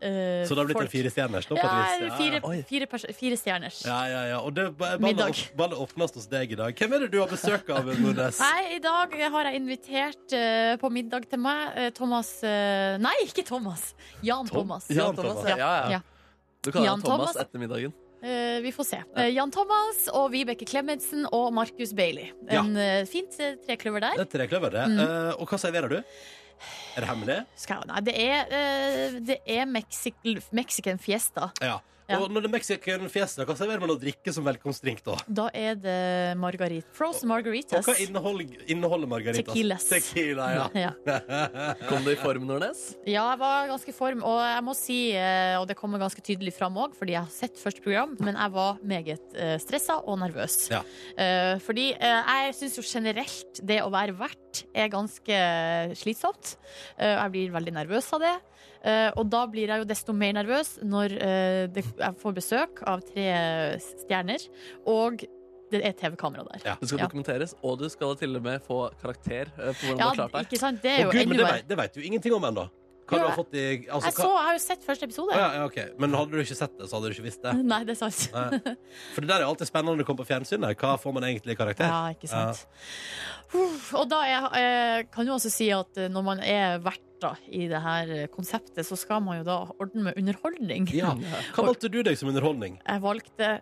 S3: eh,
S1: Så det har blitt
S3: folk.
S1: en firestjerners nå, på et
S3: Ja,
S1: vis.
S3: fire,
S2: Oi.
S3: fire, pers- fire stjerners.
S1: Ja, ja, ja. Og det, ba- ballet,
S3: Middag.
S1: opp- ballet åpnes hos deg i dag. Hvem er det du har besøk av, Nordnes?
S3: Nei, i dag har jeg invitert eh, på middag til meg eh, Thomas eh, Nei, ikke Thomas. Jan
S1: Tom-
S3: Thomas.
S1: Ja.
S2: Jan Thomas, ja. ja,
S3: Ja.
S2: ja. Du kaller
S3: Jan
S2: han Thomas
S3: Thomas.
S2: etter middagen.
S3: Eh, vi får se. Eh, Jan Thomas og Vibeke Klemetsen og Markus Bailey. En eh, fint eh, trekløver der.
S1: Det er trekløver, det.
S3: Mm.
S1: Eh, og hva serverer du? Er det hemmelig?
S3: Skal, jeg- nei, det er, eh, det er Mexi Mexican fiesta.
S1: Ja.
S3: Ja.
S1: Og når det er Mexican fiesta, hva serverer man å drikke som velkomstdrink da?
S3: Da er det margarit. Frozen
S1: Og
S3: margaritas.
S1: hva inneholder, inneholder margaritas?
S3: Tequilas.
S1: Tequila, ja.
S3: Ja.
S2: Kom du i form, Nordnes?
S3: ja, jeg var ganske form, og jeg må si, eh, og det kommer ganske tydelig fram òg, fordi jeg har sett første program, men jeg var meget eh, stressa og nervøs.
S1: Ja.
S3: Eh, Fordi eh, jeg syns jo generelt det å være vert er ganske slitsomt. Eh, Jeg blir veldig nervøs av det. Eh, Og da blir jeg jo desto mer nervøs når eh, det- jeg får besøk av tre eh, stjerner, og det er TV-kamera der.
S1: Ja.
S2: Du skal
S3: Ja.
S2: dokumenteres, og du skal til og med få karakter eh, for hvordan
S3: Ja,
S2: du har klart deg.
S3: ikke sant? Det er
S1: Å,
S3: jo
S1: Gud, men
S3: enda
S1: det,
S3: verre.
S1: vet, det vet du ingenting om ennå. Hva du
S3: Jo,
S1: har
S3: jeg-
S1: fått i altså,
S3: Jeg, så,
S1: hva-
S3: jeg har jo sett første episode.
S1: Å, ja, ja, ok. Men hadde du ikke sett det, så hadde du ikke visst det.
S3: Nei, det er sant.
S1: Nei. For det der er alltid spennende når det kommer på fjernsynet. Hva får man egentlig i karakter?
S3: Ja, ikke sant. Uff, og da er, eh, kan jo også si at eh, når man er verter i det her eh, konseptet, så skal man jo da ordne med underholdning.
S1: Ja. Hva valgte du deg som underholdning?
S3: Jeg valgte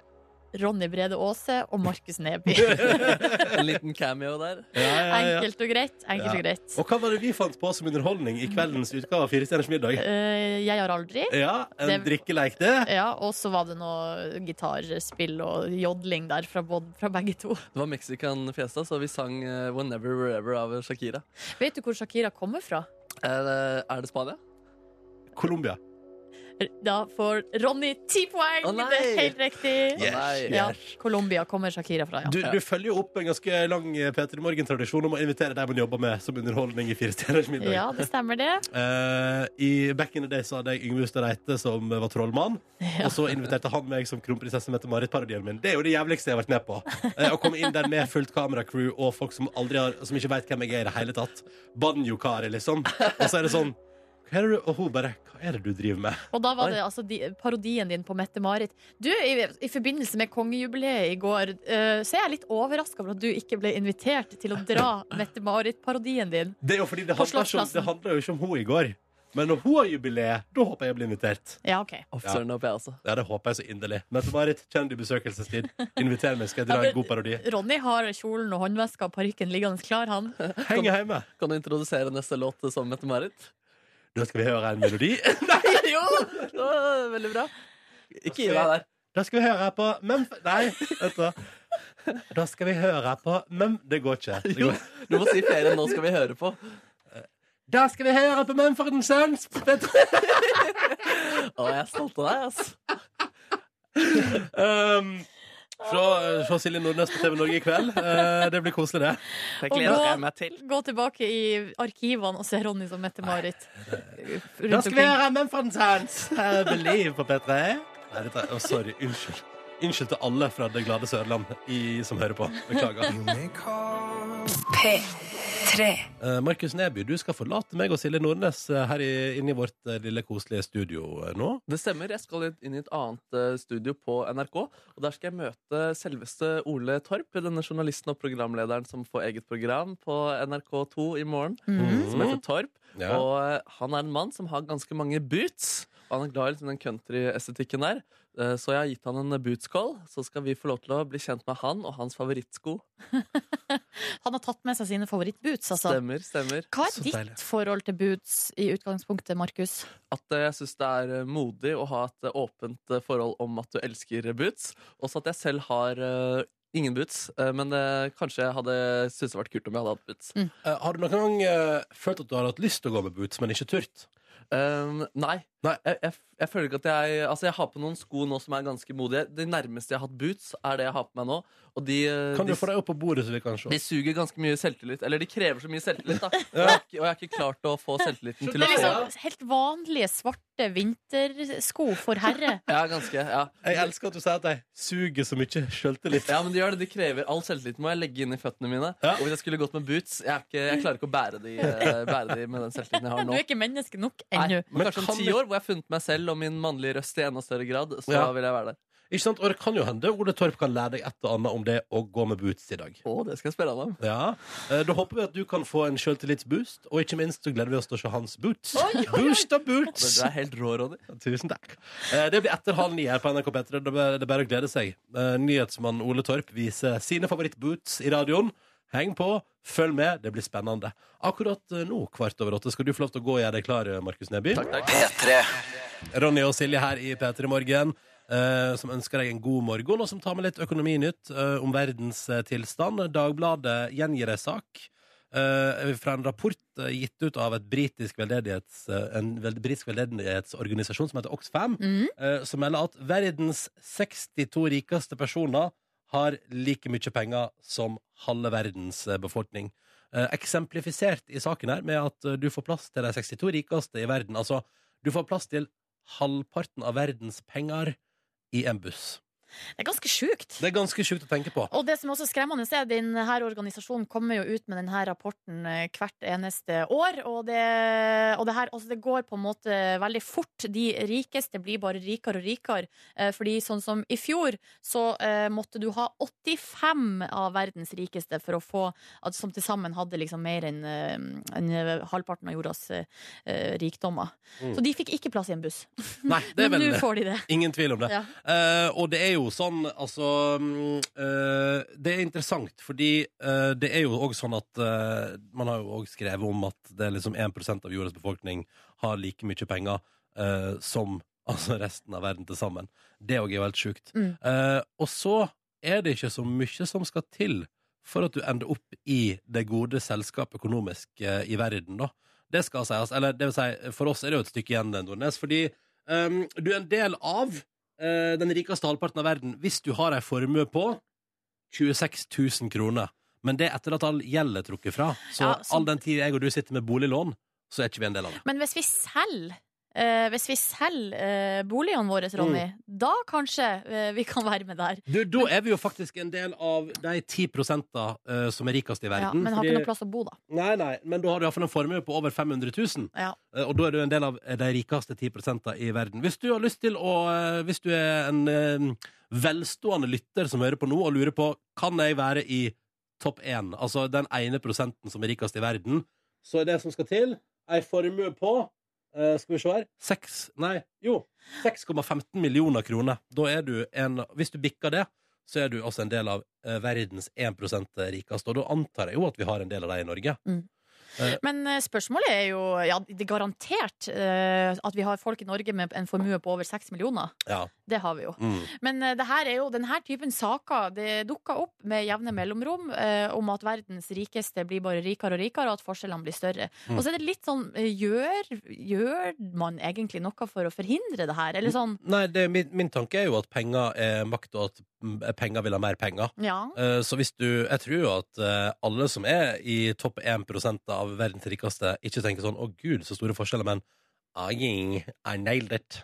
S3: Ronny Brede Aase og Markus Neby.
S2: En liten cameo der.
S1: Ja, ja, ja.
S3: Enkelt og greit. Enkelt og greit.
S1: Og hva var det vi fant på som underholdning i kveldens utgave av Fire stjerners middag?
S3: Eh, jeg har aldri.
S1: Ja, en
S3: Det-
S1: drikkeleik, det.
S3: Ja, og så var det noe gitarspill og jodling der fra, bod- fra begge to.
S2: Det var Mexican fiesta, så vi sang eh, Whenever Wherever av Shakira.
S3: Vet du hvor Shakira kommer fra?
S2: Er det, er det Spania?
S1: Colombia.
S3: Da får Ronny ti poeng!
S2: Å, nei!
S3: det er helt riktig.
S2: Yes,
S3: Ja, Colombia kommer Shakira fra, ja.
S1: Du, du følger jo opp en ganske lang Peter i Morgen-tradisjon om å invitere deg man jobber med, som underholdning i Fire stjerners middag.
S3: Ja, det stemmer det.
S1: Eh, I Back in the Day så hadde jeg Yngve Hustad Reite, som var trollmann. Og så inviterte han meg som kronprinsesse Mette-Marit-parodien min. Det er jo det jævligste jeg har vært med på. Eh, å komme inn der med fullt kameracrew og folk som, aldri har, som ikke veit hvem jeg er i det hele tatt. Banjo-Kari, liksom. Og så er det sånn hva er det du, Og hun bare Hva er det du driver med?
S3: Og da var
S2: Oi.
S3: det altså de, parodien din på Mette-Marit. Du, i, i forbindelse med kongejubileet i går, eh, så er jeg litt overraska over at du ikke ble invitert til å dra Mette-Marit-parodien din.
S1: Det er jo fordi det
S3: På
S1: handler, ikke om,
S3: Slottsplassen.
S1: det handler jo ikke om hun i går. Men når hun har jubileet, da håper jeg jeg blir invitert.
S3: Ja, OK.
S2: Å, søren opp, jeg også.
S1: Ja, Det håper jeg så inderlig. Mette-Marit, kjenn din besøkelsestid. Inviter meg, skal jeg dra
S3: Ja, men-
S1: en god parodi.
S3: Ronny har kjolen og håndveska og parykken liggende klar, han.
S1: Henger hjemme.
S2: Kan du introdusere neste låt eh, som Mette-Marit?
S1: Da skal vi høre en melodi.
S2: jo! Det var Veldig bra. Ikke gi deg der.
S1: Da skal vi høre på Memf... Nei, vet du hva. Da skal vi høre på Mem... Det går ikke. Det
S2: Jo,
S1: går.
S2: du må si flere enn nå skal vi høre på.
S1: Da skal vi høre på Mumford Sons! på P3.
S2: Å, jeg er stolt av deg, ass.
S1: um, fra, eh, fra Silje Nordnes på TV Norge i kveld. Eh, det blir koselig, det.
S2: Det
S3: Og
S2: gleder
S3: da-
S2: jeg meg til.
S3: Gå tilbake i arkivene og se Ronny som Mette-Marit.
S1: Da
S3: rundt
S1: skal vi
S3: omkring.
S1: høre Mumford Sons! eh, Believe på P3. Nei, dette er, å, sorry. Unnskyld. Unnskyld til alle fra det glade Sørland i, som hører på. Beklager.
S7: P3.
S1: Eh, Markus Neby, du skal forlate meg og Silje Nordnes eh, her i, inne i vårt eh, lille koselige studio eh, nå.
S2: Det stemmer. Jeg skal inn i et annet eh, studio på NRK. Og der skal jeg møte selveste Ole Torp, denne journalisten og programlederen som får eget program på NRK2 i morgen,
S3: Mhm.
S2: som heter Torp.
S1: Ja.
S2: Og eh, han er en mann som har ganske mange boots. Og han er glad i liksom den countryestetikken der. Eh, Så jeg har gitt han en bootskål. Så skal vi få lov til å bli kjent med han og hans favorittsko.
S3: Han har tatt med seg sine favorittboots, altså.
S2: Stemmer, stemmer.
S3: Hva er
S1: Så
S3: ditt
S1: deilig.
S3: forhold til boots i utgangspunktet, Markus?
S2: At eh, jeg syns det er eh, modig å ha et eh, åpent eh, forhold om at du elsker eh, boots. Også at jeg selv har eh, ingen boots, eh, men eh, kanskje jeg hadde syntes det vært kult om jeg hadde hatt boots.
S1: Eh, har du noen gang eh, følt at du har hatt lyst til å gå med boots, men ikke turt?
S2: Um, nei.
S1: Nei.
S2: Jeg, jeg, jeg føler ikke at jeg Altså, jeg har på noen sko nå som er ganske modige. Det nærmeste jeg har hatt boots, er det jeg har på meg nå. Og de, eh,
S1: Kan du
S2: de,
S1: få deg opp på bordet, så vi kan se?
S2: de suger ganske mye selvtillit. Eller de krever så mye selvtillit, da. Og jeg, har ikke- og jeg har ikke klart å få selvtilliten til
S3: Det
S2: å
S3: er
S2: se.
S3: liksom helt vanlige svarte vintersko for herre.
S2: Ja, ganske. Ja.
S1: Jeg elsker at du sier at de suger så mye sjøltillit.
S2: Ja, men de gjør det. De krever all selvtillit må jeg legge inn i føttene mine.
S1: Ja.
S2: Og hvis jeg skulle gått med boots Jeg, er ikke, jeg klarer ikke å bære de, eh, bære de med den selvtilliten jeg har
S3: Du
S2: nå.
S3: er ikke menneske nok
S2: Nei,
S3: ennå.
S2: men
S1: Men
S2: kanskje
S1: kan
S2: om ti
S1: vi-
S2: år, hvor jeg har funnet meg selv og min mannlige røst i enda større grad, så
S1: Ja.
S2: vil jeg være der.
S1: Ikke sant? Og det kan jo hende Ole Torp kan lære deg et og annet om det å gå med boots i dag.
S2: Å, det skal jeg spørre han om.
S1: Ja, eh, Da håper vi at du kan få en sjøltillitsboost, og ikke minst så gleder vi oss til å se hans boots. Boost og
S2: Det,
S1: boots!
S2: det er helt rå, Ronny.
S1: Tusen takk. Eh, Det blir etter halv ni her på NRK P3. Det er bare- det er bare å glede seg. Eh, Nyhetsmann Ole Torp viser sine favorittboots i radioen. Heng på, følg med, det blir spennende. Akkurat eh, nå, kvart over åtte, skal du få lov til å gå og gjøre deg klar, eh, Markus Neby.
S2: Takk, takk.
S1: Ronny og Silje her i P3 Morgen, eh, som ønsker deg en god morgen, og som tar med litt økonominytt eh, om verdens eh, tilstand. Dagbladet gjengir en sak eh, fra en rapport eh, gitt ut av et britisk veldedighets, eh, en veld, britisk veldedighetsorganisasjon som heter Oxfam,
S3: Mm.
S1: eh, som melder at verdens 62 rikeste personer har like mye penger som halve verdens eh, befolkning. Eh, eksemplifisert i saken her med at eh, du får plass til de 62 rikeste i verden. Altså, du får plass til halvparten av verdens penger i en buss.
S3: Det er ganske sjukt.
S1: Det er ganske sjukt å tenke på.
S3: Og det som også er skremmende, er at denne organisasjonen kommer jo ut med denne rapporten eh, hvert eneste år. Og det, og det, her, altså det går på en måte veldig fort. De rikeste blir bare rikere og rikere. Eh, Fordi sånn som i fjor, så eh, måtte du ha 85 av verdens rikeste for å få at Som til sammen hadde liksom mer enn eh, enn halvparten av jordas eh, eh, rikdommer.
S1: Mm.
S3: Så de fikk ikke plass i en buss.
S1: Nei, det er
S3: Men
S1: vel
S3: nå får de det.
S1: Ingen tvil om det.
S3: Ja.
S1: Eh, og det er jo sånn, altså mm, eh, Det er interessant, fordi eh, det er jo òg sånn at eh, Man har jo òg skrevet om at det er liksom 1 av jordas befolkning har like mye penger eh, som altså resten av verden til sammen. Det òg er jo helt sjukt.
S3: Mm.
S1: Eh, og så er det ikke så mye som skal til for at du ender opp i det gode selskap økonomisk eh, i verden, da. Det skal sies. Eller det vil si, for oss er det jo et stykke igjen, Nordnes, fordi eh, du er en del av eh, den rikeste halvparten av verden hvis du har ei formue på 26 000 kroner. Men det er etter at all gjeld er trukket fra. Så
S3: Ja, så-
S1: all den tid jeg og du sitter med boliglån, så er ikke vi en del av det.
S3: Men hvis vi selger eh, hvis vi selger eh, boligene våre, Ronny,
S1: Mm.
S3: da kanskje eh, vi kan være med der.
S1: Du, da er vi jo faktisk en del av de 10 uh, som er rikest i
S3: Ja,
S1: verden.
S3: men har
S1: fordi-
S3: ikke noe plass å bo, da.
S1: Nei, nei, men da har du iallfall en formue på over 500 000.
S3: Ja.
S1: Eh, Og da er du en del av de rikeste 10 i verden. Hvis du har lyst til å eh, Hvis du er en eh, velstående lytter som hører på nå og lurer på Kan jeg være i topp 1, altså den ene prosenten som er rikest i verden, så er det som skal til, ei formue på eh, Skal vi se her 6 Nei, jo. 6,15 millioner kroner. Da er du en Hvis du bikker det, så er du altså en del av eh, verdens 1 rikeste. Og da antar jeg jo at vi har en del av det i Norge. Eh.
S3: Men eh, spørsmålet er jo Ja, det er garantert eh, at vi har folk i Norge med en formue på over seks millioner.
S1: Ja.
S3: Det har vi jo.
S1: Mm.
S3: Men eh, det her er jo, denne typen saker Det dukker opp med jevne mellomrom eh, om at verdens rikeste blir bare rikere og rikere, og at forskjellene blir større.
S1: Mm.
S3: Og så er det litt sånn eh, gjør, gjør man egentlig noe for å forhindre det her? Eller sånn
S1: Nei, det, min, min tanke er jo at penger er makt, og at mm, penger vil ha mer penger.
S3: Ja.
S1: Eh, Så hvis du Jeg tror jo at eh, alle som er i topp 1 av verdens rikeste, ikke tenker sånn 'Å, gud, så store forskjeller', men Aying, I nailed it.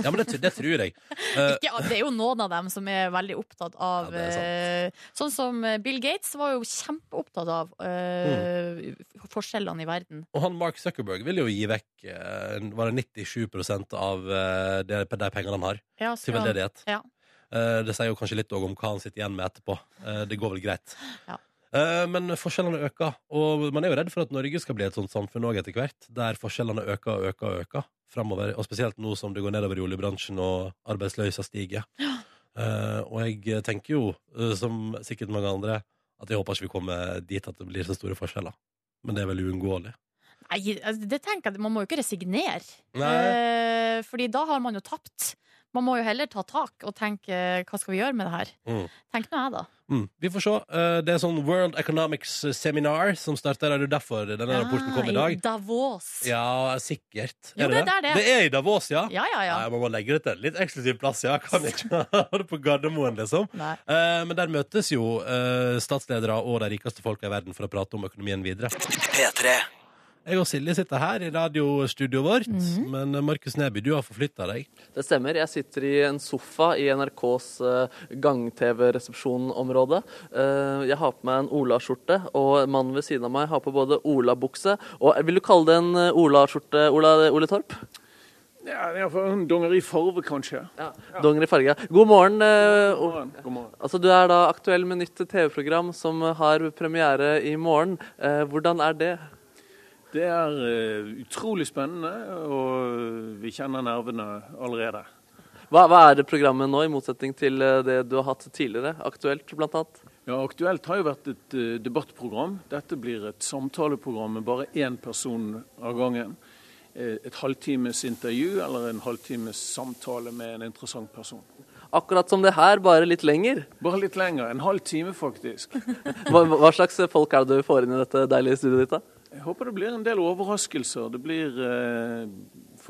S1: Ja, men det, tr- det tror jeg. Eh,
S3: Ikke, det er jo noen av dem som er veldig opptatt av
S1: Ja, det er
S3: eh, Sånn som eh, Bill Gates var jo kjempeopptatt av eh, forskjellene i verden.
S1: Og han Mark Zuckerberg vil jo gi vekk eh, Var det 97 av eh, det- de pengene han har,
S3: Ja,
S1: til
S3: skal-
S1: veldedighet.
S3: Ja.
S1: Eh, Det sier jo kanskje litt også om hva han sitter igjen med etterpå. Eh, Det går vel greit.
S3: Ja.
S1: Eh, Men forskjellene øker, og man er jo redd for at Norge skal bli et sånt samfunn òg etter hvert, der forskjellene øker og øker og øker framover, og spesielt nå som det går nedover i oljebransjen og arbeidsløysa stiger. Eh, Og jeg tenker jo, eh, som sikkert mange andre, at jeg håper ikke vi kommer dit at det blir så store forskjeller. Men det er vel uunngåelig.
S3: Nei, altså, det tenker jeg, man må jo ikke resignere.
S1: Nei.
S3: Eh, fordi da har man jo tapt. Man må jo heller ta tak og tenke eh, hva skal vi gjøre med det her.
S1: Mm.
S3: Tenk nå jeg, da.
S1: Mm. Vi får se. Eh, Det er sånn World Economics Seminar som starter. Det er jo derfor denne rapporten kom i
S3: Ah,
S1: dag.
S3: Davos.
S1: Ja, sikkert.
S3: Jo, det er der det er.
S1: Det er i Davos, ja.
S3: ja, ja. ja.
S1: Nei, man må legge det til en litt eksklusiv plass, ja. Kan ikke ha det på Gardermoen, liksom.
S3: Nei.
S1: Eh, men der møtes jo eh, statsledere og de rikeste folka i verden for å prate om økonomien videre. Jeg og Silje sitter her i radiostudioet vårt,
S3: Mhm.
S1: men eh, Markus Neby, du har forflytta deg.
S2: Det stemmer. Jeg sitter i en sofa i NRKs eh, gang-TV-resepsjonområde. Eh, Jeg har på meg en Ola-skjorte, og mannen ved siden av meg har på både Ola-bukse og Vil du kalle det en eh, Ola-skjorte, Ola, Ole Torp?
S7: Ja, det er for en dongerifarve, kanskje.
S2: Ja. Donger i farge. God morgen. eh,
S7: God
S2: Ola.
S7: morgen. God morgen.
S2: Altså, Du er da aktuell med nytt TV-program som har premiere i morgen. Eh, Hvordan er det?
S7: Det er eh, utrolig spennende, og eh, vi kjenner nervene allerede.
S2: Hva, hva er det programmet nå, i motsetning til eh, det du har hatt tidligere? Aktuelt, blant annet?
S7: Ja, Aktuelt har jo vært et eh, debattprogram. Dette blir et samtaleprogram med bare én person av gangen. Eh, Et halvtimes intervju eller en halvtimes samtale med en interessant person.
S2: Akkurat som det her, bare litt lenger.
S7: Bare litt lenger. En halv time, faktisk.
S2: Hva, hva slags folk er det du får inn i dette deilige studioet ditt? da?
S7: Jeg håper det blir en del overraskelser. Det blir eh,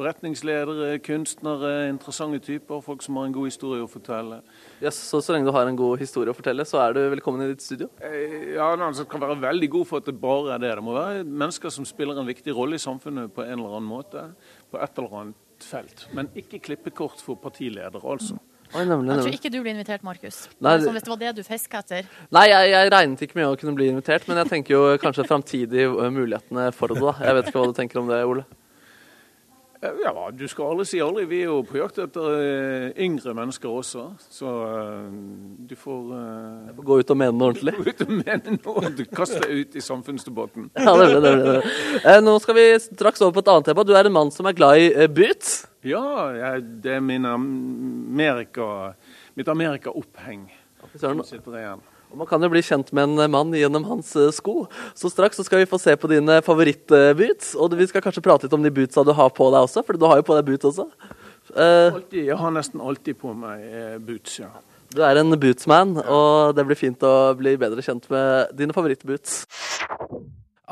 S7: forretningsledere, kunstnere, interessante typer, folk som har en god historie å fortelle.
S2: Ja, så, så lenge du har en god historie å fortelle, så er du velkommen i ditt studio.
S7: Eh, Ja, nei, altså, Det kan være veldig god for at det bare er det. Det må være mennesker som spiller en viktig rolle i samfunnet på en eller annen måte. På et eller annet felt. Men ikke klippekort for partiledere, altså.
S2: Oi, nemlig,
S3: Jeg tror
S2: nemlig.
S3: ikke du blir invitert, Markus.
S2: Nei,
S3: Bare
S2: det-
S3: sånn Hvis det var det du fiska etter.
S2: Nei, jeg, jeg regnet ikke med å kunne bli invitert, men jeg tenker jo kanskje framtidig eh, mulighetene for det. da. Jeg vet ikke hva du tenker om det, Ole.
S7: Eh, Ja, du skal aldri si aldri. Vi er jo på jakt etter eh, yngre mennesker også. Så eh, du får eh,
S2: Gå ut og mene noe ordentlig.
S7: ut og mene noe. Du kaster deg ut i samfunnsdebatten.
S2: Ja, det blir det. Blir, det blir. Eh, Nå skal vi straks over på et annet tema. Du er en mann som er glad i eh, boots.
S7: Ja, jeg, det er min Amerika, mitt Amerika-oppheng
S2: Søren,
S7: som sitter igjen.
S2: og Man kan jo bli kjent med en eh, mann gjennom hans eh, sko. Så straks så skal vi få se på dine favorittboots. eh, Og vi skal kanskje prate litt om de bootsa du har på deg også, for du har jo på deg boots også. Eh,
S7: Alltid, jeg har nesten alltid på meg eh, boots, ja.
S2: Du er en bootsman, og det blir fint å bli bedre kjent med dine favorittboots.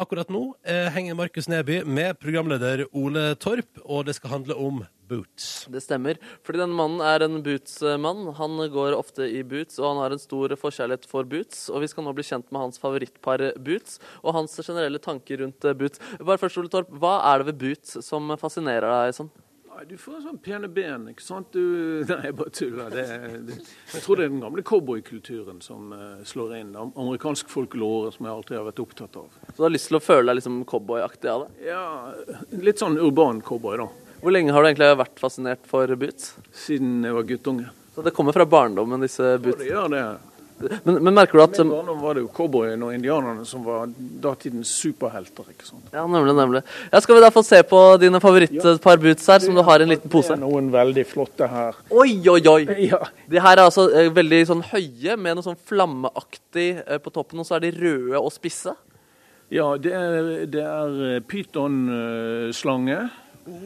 S1: Akkurat nå eh, henger Markus Neby med programleder Ole Torp, og det skal handle om boots.
S2: Det stemmer, fordi denne mannen er en bootsmann. Han går ofte i boots, og han har en stor forkjærlighet for boots. Og vi skal nå bli kjent med hans favorittpar boots, og hans generelle tanker rundt eh, boots. Bare først, Ole Torp, hva er det ved boots som fascinerer deg sånn?
S7: Nei, du får sånn pene ben, ikke sant? Du... Nei, jeg bare tuller. Det, det... Jeg tror det er den gamle cowboykulturen som eh, slår inn. Am- Amerikansk folklore som jeg alltid har vært opptatt av.
S2: Så du har lyst til å føle deg liksom cowboyaktig av det?
S7: Ja, litt sånn urban cowboy, da.
S2: Hvor lenge har du egentlig vært fascinert for boots?
S7: Siden jeg var guttunge.
S2: Så det kommer fra barndommen, disse
S7: Og
S2: boots.
S7: det gjør det.
S2: Men, men merker du
S7: I
S2: at
S7: min barndom var det jo cowboyen og indianerne som var datidens superhelter, ikke sant?
S2: Ja, nemlig, nemlig. Ja, skal vi da få se på dine favorittpar boots her, som du har i en liten pose?
S7: Det er noen veldig flotte her.
S2: Oi, oi, oi!
S7: Ja,
S2: De her er altså eh, veldig sånn høye, med noe sånn flammeaktig eh, på toppen, og så er de røde og spisse.
S7: Ja, det er, det er eh, pytonslange.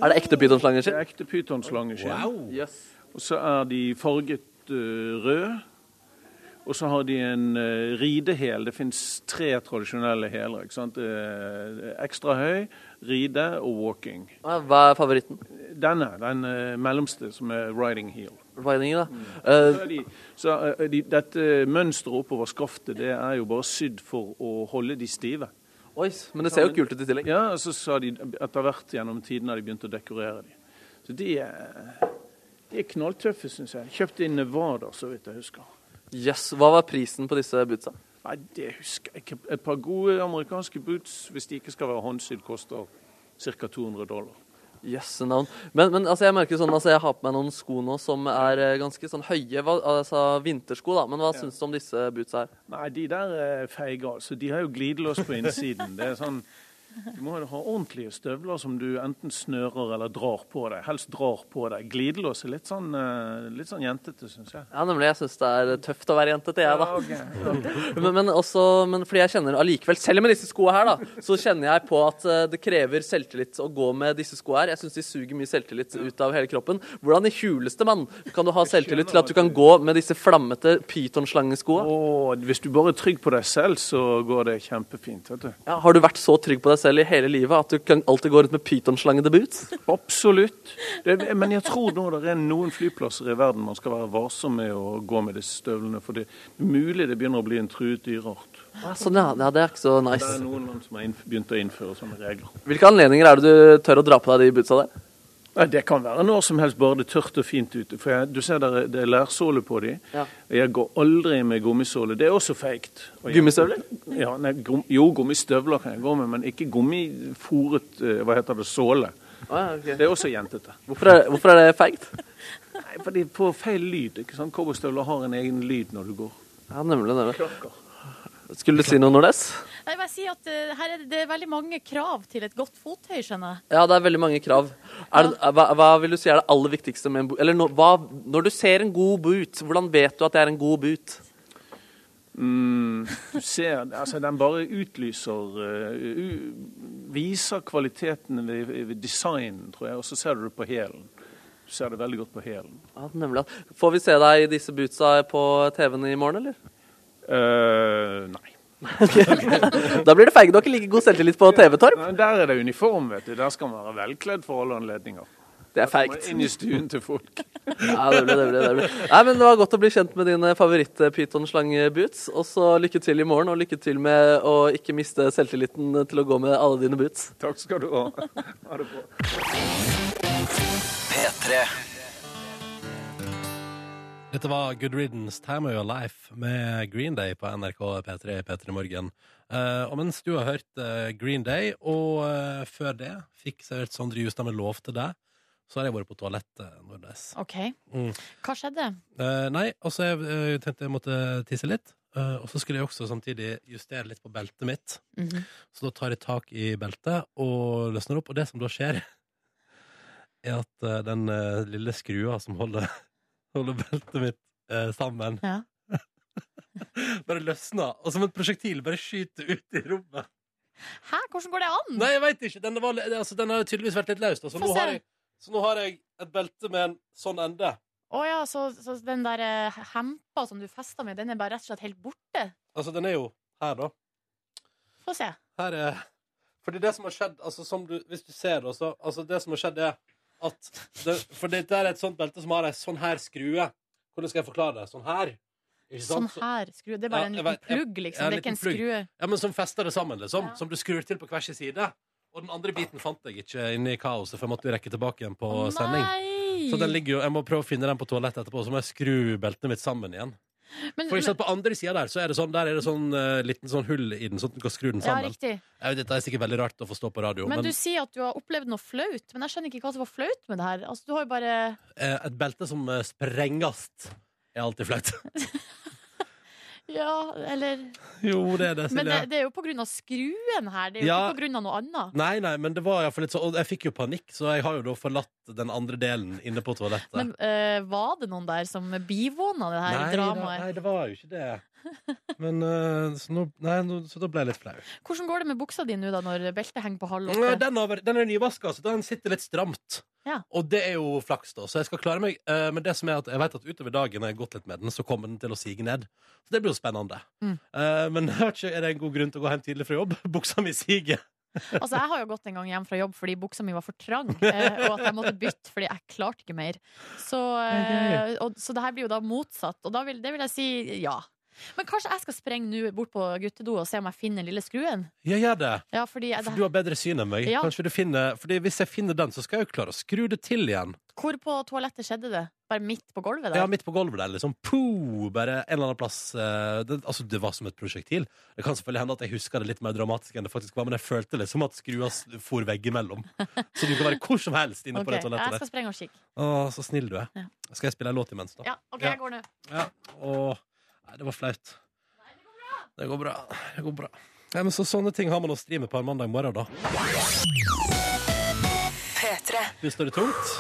S2: Er det ekte pytonslangen
S7: Det
S2: sin?
S7: er ekte pytonslangeskill.
S1: Wow!
S7: Og så er de farget eh, rød. Og så har de en eh, ridehæl. Det fins tre tradisjonelle hæler. ikke sant? Eh, ekstra høy, ride og walking.
S2: Hva er favoritten?
S7: Denne, den eh, mellomste, som er riding heel.
S2: Ridingen, da. Eh,
S7: Så er de, så er de, dette mønsteret oppover skaftet det er jo bare sydd for å holde de stive.
S2: oi, men det ser jo kult ut i tillegg.
S7: Ja, og så sa de etter hvert gjennom tiden har de begynt å dekorere de. Så de er, de er knalltøffe, syns jeg. Kjøpte i Nevada, så vidt jeg husker.
S2: Jøss, hva var prisen på disse bootsa?
S7: Nei, det husker jeg ikke. Et par gode amerikanske boots, hvis de ikke skal være håndsydd, koster ca. 200 dollar.
S2: Jøss, navn. Men, men altså, jeg merker sånn, altså, jeg har på meg noen sko nå som er eh, ganske sånn høye, hva, altså vintersko da, men hva synes du om disse bootsa her?
S7: Nei, de der er feige, altså. De har jo glidelås på innsiden. Det er sånn Du må ha ordentlige støvler som du enten snører eller drar på deg. Helst drar på deg. Glidelås er litt sånn, eh, litt sånn jentete, syns jeg.
S2: Ja, nemlig, jeg synes det er tøft å være jente til jeg da.
S7: Ja, ok.
S2: Men, men også, men fordi jeg kjenner allikevel, selv med disse skoene her da, så kjenner jeg på at eh, det krever selvtillit å gå med disse skoene her. Jeg synes de suger mye selvtillit ut av hele kroppen. Hvordan i huleste mann kan du ha selvtillit til at du kan gå med disse flammete pythonslangeskoene?
S7: Åh, hvis du bare er trygg på deg selv, så går det kjempefint. vet du.
S2: Ja, har du vært så trygg på deg selv i hele livet at du kan alltid gå rundt med pythonslangede boots?
S7: Absolutt. Det, men jeg tror nå det er noen flyplasser i verden man skal være varsom med å gå med disse støvlene, for det er mulig det begynner å bli en truet dyreart.
S2: Ja, Sånn, ja. ja. Det er ikke så
S7: Det er
S2: nice.
S7: noen land som har innf- begynt å innføre sånne regler.
S2: Hvilke anledninger er det du tør å dra på deg de bootsa der?
S7: Nei, Det kan være når som helst, bare det er tørt og fint ute. For jeg, du ser der, er- det er lærsåle på de.
S2: Ja.
S7: Og jeg går aldri med gummisåle. Det er også feigt. Og jeg-
S2: Gummistøvler?
S7: Ja, nei, gum, jo, gummistøvler kan jeg gå med, men ikke gummifòret eh, Hva heter det? Såle.
S2: Ah, ja, ok.
S7: Det er også jentete.
S2: hvorfor, er, hvorfor er det feigt?
S7: Nei, for de får feil lyd. ikke sant? Cowboystøvler har en egen lyd når du går.
S2: Ja, nemlig, nemlig. Skulle du si noe, Nordnes?
S3: Jeg vil bare si at eh, her er det, det er veldig mange krav til et godt fottøy, skjønner jeg.
S2: Ja, det er veldig mange krav. Er det, hva, hva vil du si er det aller viktigste med en boot? Eller nå- hva, når du ser en god boot, hvordan vet du at det er en god boot?
S7: Du ser, altså Den bare utlyser eh, u, Viser kvaliteten ved, ved designen, tror jeg. Og så ser du det på hælen. Du ser det veldig godt på hælen.
S2: Ja, nemlig. Får vi se deg i disse bootsa på TV-en i morgen, eller?
S7: Eh, nei.
S2: Da blir det feig. Du har ikke like god selvtillit på TV-Torp.
S7: nei. Der er det uniform, vet du. Der skal man være velkledd for alle anledninger.
S2: Det er
S7: Man
S2: feigt.
S7: er inn i stuen til folk.
S2: Ja, det blir, det blir, det blir. Nei, men det var godt å bli kjent med dine favoritt-pytonslange-boots. Og så lykke til i morgen, og lykke til med å ikke miste selvtilliten til å gå med alle dine boots.
S7: Takk skal du ha. Ha det bra.
S8: P3.
S1: Dette var Good Riddance, Time of Your Life med Green Day på NRK P3 i P3 Morgen. Eh, og mens du har hørt eh, Green Day, og eh, før det fikk servert Sondre Justad med lov til deg, så har jeg vært på toalettet. eh, Nordnes.
S3: OK.
S1: Mm.
S3: Hva skjedde?
S1: Eh, nei, og så jeg, eh, tenkte jeg måtte tisse litt. eh, og så skulle jeg også samtidig justere litt på beltet mitt.
S3: Mhm.
S1: Så da tar jeg tak i beltet og løsner opp. Og det som da skjer, er at eh, den eh, lille skrua som holder, holder beltet mitt eh, sammen,
S3: Ja.
S1: bare løsner. Og som et prosjektil bare skyter ut i rommet.
S3: Hæ, hvordan går det an?
S1: Nei, jeg veit ikke. Den, var, altså, den har tydeligvis vært litt løs. da. Så
S3: Få
S1: nå,
S3: se.
S1: har jeg, så nå har jeg et belte med en sånn ende.
S3: Å ja, så, så den der eh, hempa som du festa med, den er bare rett og slett helt borte?
S1: Altså, den er jo her, da.
S3: Få se.
S1: Her er Fordi det som har skjedd altså som du, Hvis du ser det også altså Det som har skjedd er at det, For dette er et sånt belte som har ei sånn her skrue Hvordan skal jeg forklare det? Sånn her Ikke
S3: Sånn
S1: sant? Så-
S3: her. Skru. Det er bare
S1: Ja,
S3: en
S1: jeg
S3: liten
S1: vet, jeg-
S3: plugg,
S1: ja,
S3: liksom. Det er ikke
S1: liten
S3: en skrue.
S1: Ja, men som fester det sammen liksom
S3: Ja.
S1: Som du skrur til på hver sin side Og den andre biten fant jeg ikke inne i kaoset For jeg måtte jo rekke tilbake igjen på sending Så den
S3: Nei!
S1: ligger jo Jeg må prøve å finne den på toalettet etterpå Så må jeg skru beltene mitt sammen igjen
S3: Men,
S1: For ikke sant, på andre siden der Så er det sånn Der er det sånn eh, liten sånn hull i den Sånn at du kan skru den
S3: ja,
S1: sammen
S3: riktig.
S1: Jeg vet, Dette er sikkert veldig rart å forstå på radio
S3: Men du sier at du har opplevd noe flaut, men jeg skjønner ikke hva som var flaut med det her. Altså, du har jo bare
S1: Eh, et belte som eh, sprengast er alltid flaut.
S3: Ja, eller
S1: jo, det er Altså, det,
S3: Men det,
S1: Silje.
S3: det er jo på grunn av skruen her, det er jo
S1: Ja.
S3: ikke på grunn av noe annet.
S1: Nei, nei, men det var i hvert fall litt sånn Og jeg fikk jo panikk, så jeg har jo da forlatt den andre delen inne på toalettet.
S3: Men eh, var det noen der som bivåna det her
S1: nei, da-
S3: dramaet?
S1: nei, det var jo ikke det. Men eh, så, nå, nei, nå, så da ble jeg litt flau.
S3: Hvordan går det med buksa di nå da, når beltet henger på halv
S1: Nei,
S3: åtte?
S1: Den, har vært- den er nyvaska, så den sitter litt stramt.
S3: Ja.
S1: Og det er jo flaks, da, så jeg skal klare meg. Eh, Men det som er at jeg vet at utover dagen når jeg har gått litt med den, så kommer den til å sige ned. Så det blir jo spennende.
S3: Mm.
S1: Eh, Men jeg vet ikke, er det en god grunn til å gå hjem tidlig fra jobb? Buksa mi siger.
S3: Altså, jeg har jo gått en gang hjem fra jobb fordi buksa mi var for trang, eh, og at jeg måtte bytte fordi jeg klarte ikke mer. Så, eh, og, så det her blir jo da motsatt, og da vil, det vil jeg si ja. Men kanskje jeg skal sprenge nå bort på guttedo og se om jeg finner den lille skruen?
S1: Ja, gjør det.
S3: Ja, fordi jeg,
S1: For du har bedre syn enn meg.
S3: Ja.
S1: Kanskje du finner Fordi hvis jeg finner den, så skal jeg jo klare å skru det til igjen.
S3: Hvor på toalettet skjedde det? Bare midt på gulvet der?
S1: Ja, midt på gulvet der, liksom. Po! Bare en eller annen plass. eh, Det, altså, det var som et prosjektil. Det kan selvfølgelig hende at jeg husker det litt mer dramatisk enn det faktisk var, men jeg følte det som at skrua s- for veggimellom. Så du kan være hvor som helst inne
S3: Ok,
S1: på det toalettet
S3: Jeg
S1: der.
S3: skal sprenge og kikke.
S1: Å, så snill du er.
S3: Ja.
S1: Skal jeg spille en låt imens, da?
S3: Ja, ok,
S1: Ja.
S3: jeg går nå.
S1: Ja. Å, nei, det var flaut. Det går bra. Det går bra. Nei, men så sånne ting har man å stri med på en mandag morgen, da. Hvis det er tungt.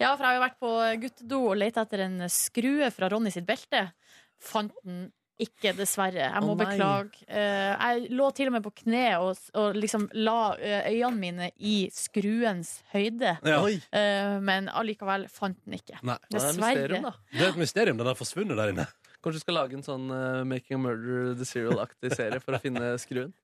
S3: Ja, for jeg har jo vært på guttedo og lette etter en skrue fra Ronny sitt belte. Fant den ikke, dessverre. Jeg
S2: Å,
S3: må
S2: nei.
S3: beklage. Eh, jeg lå til og med på kne og, og liksom la eh, øynene mine i skruens høyde.
S1: Ja.
S3: Eh, men allikevel fant den ikke.
S1: Nei.
S2: Ja, det er
S3: Dessverre.
S2: mysterium, da.
S1: Det er et mysterium. Den har forsvunnet der inne.
S2: Kanskje du skal lage en sånn eh, Making a Murder The Serial-aktig serie for å finne skruen?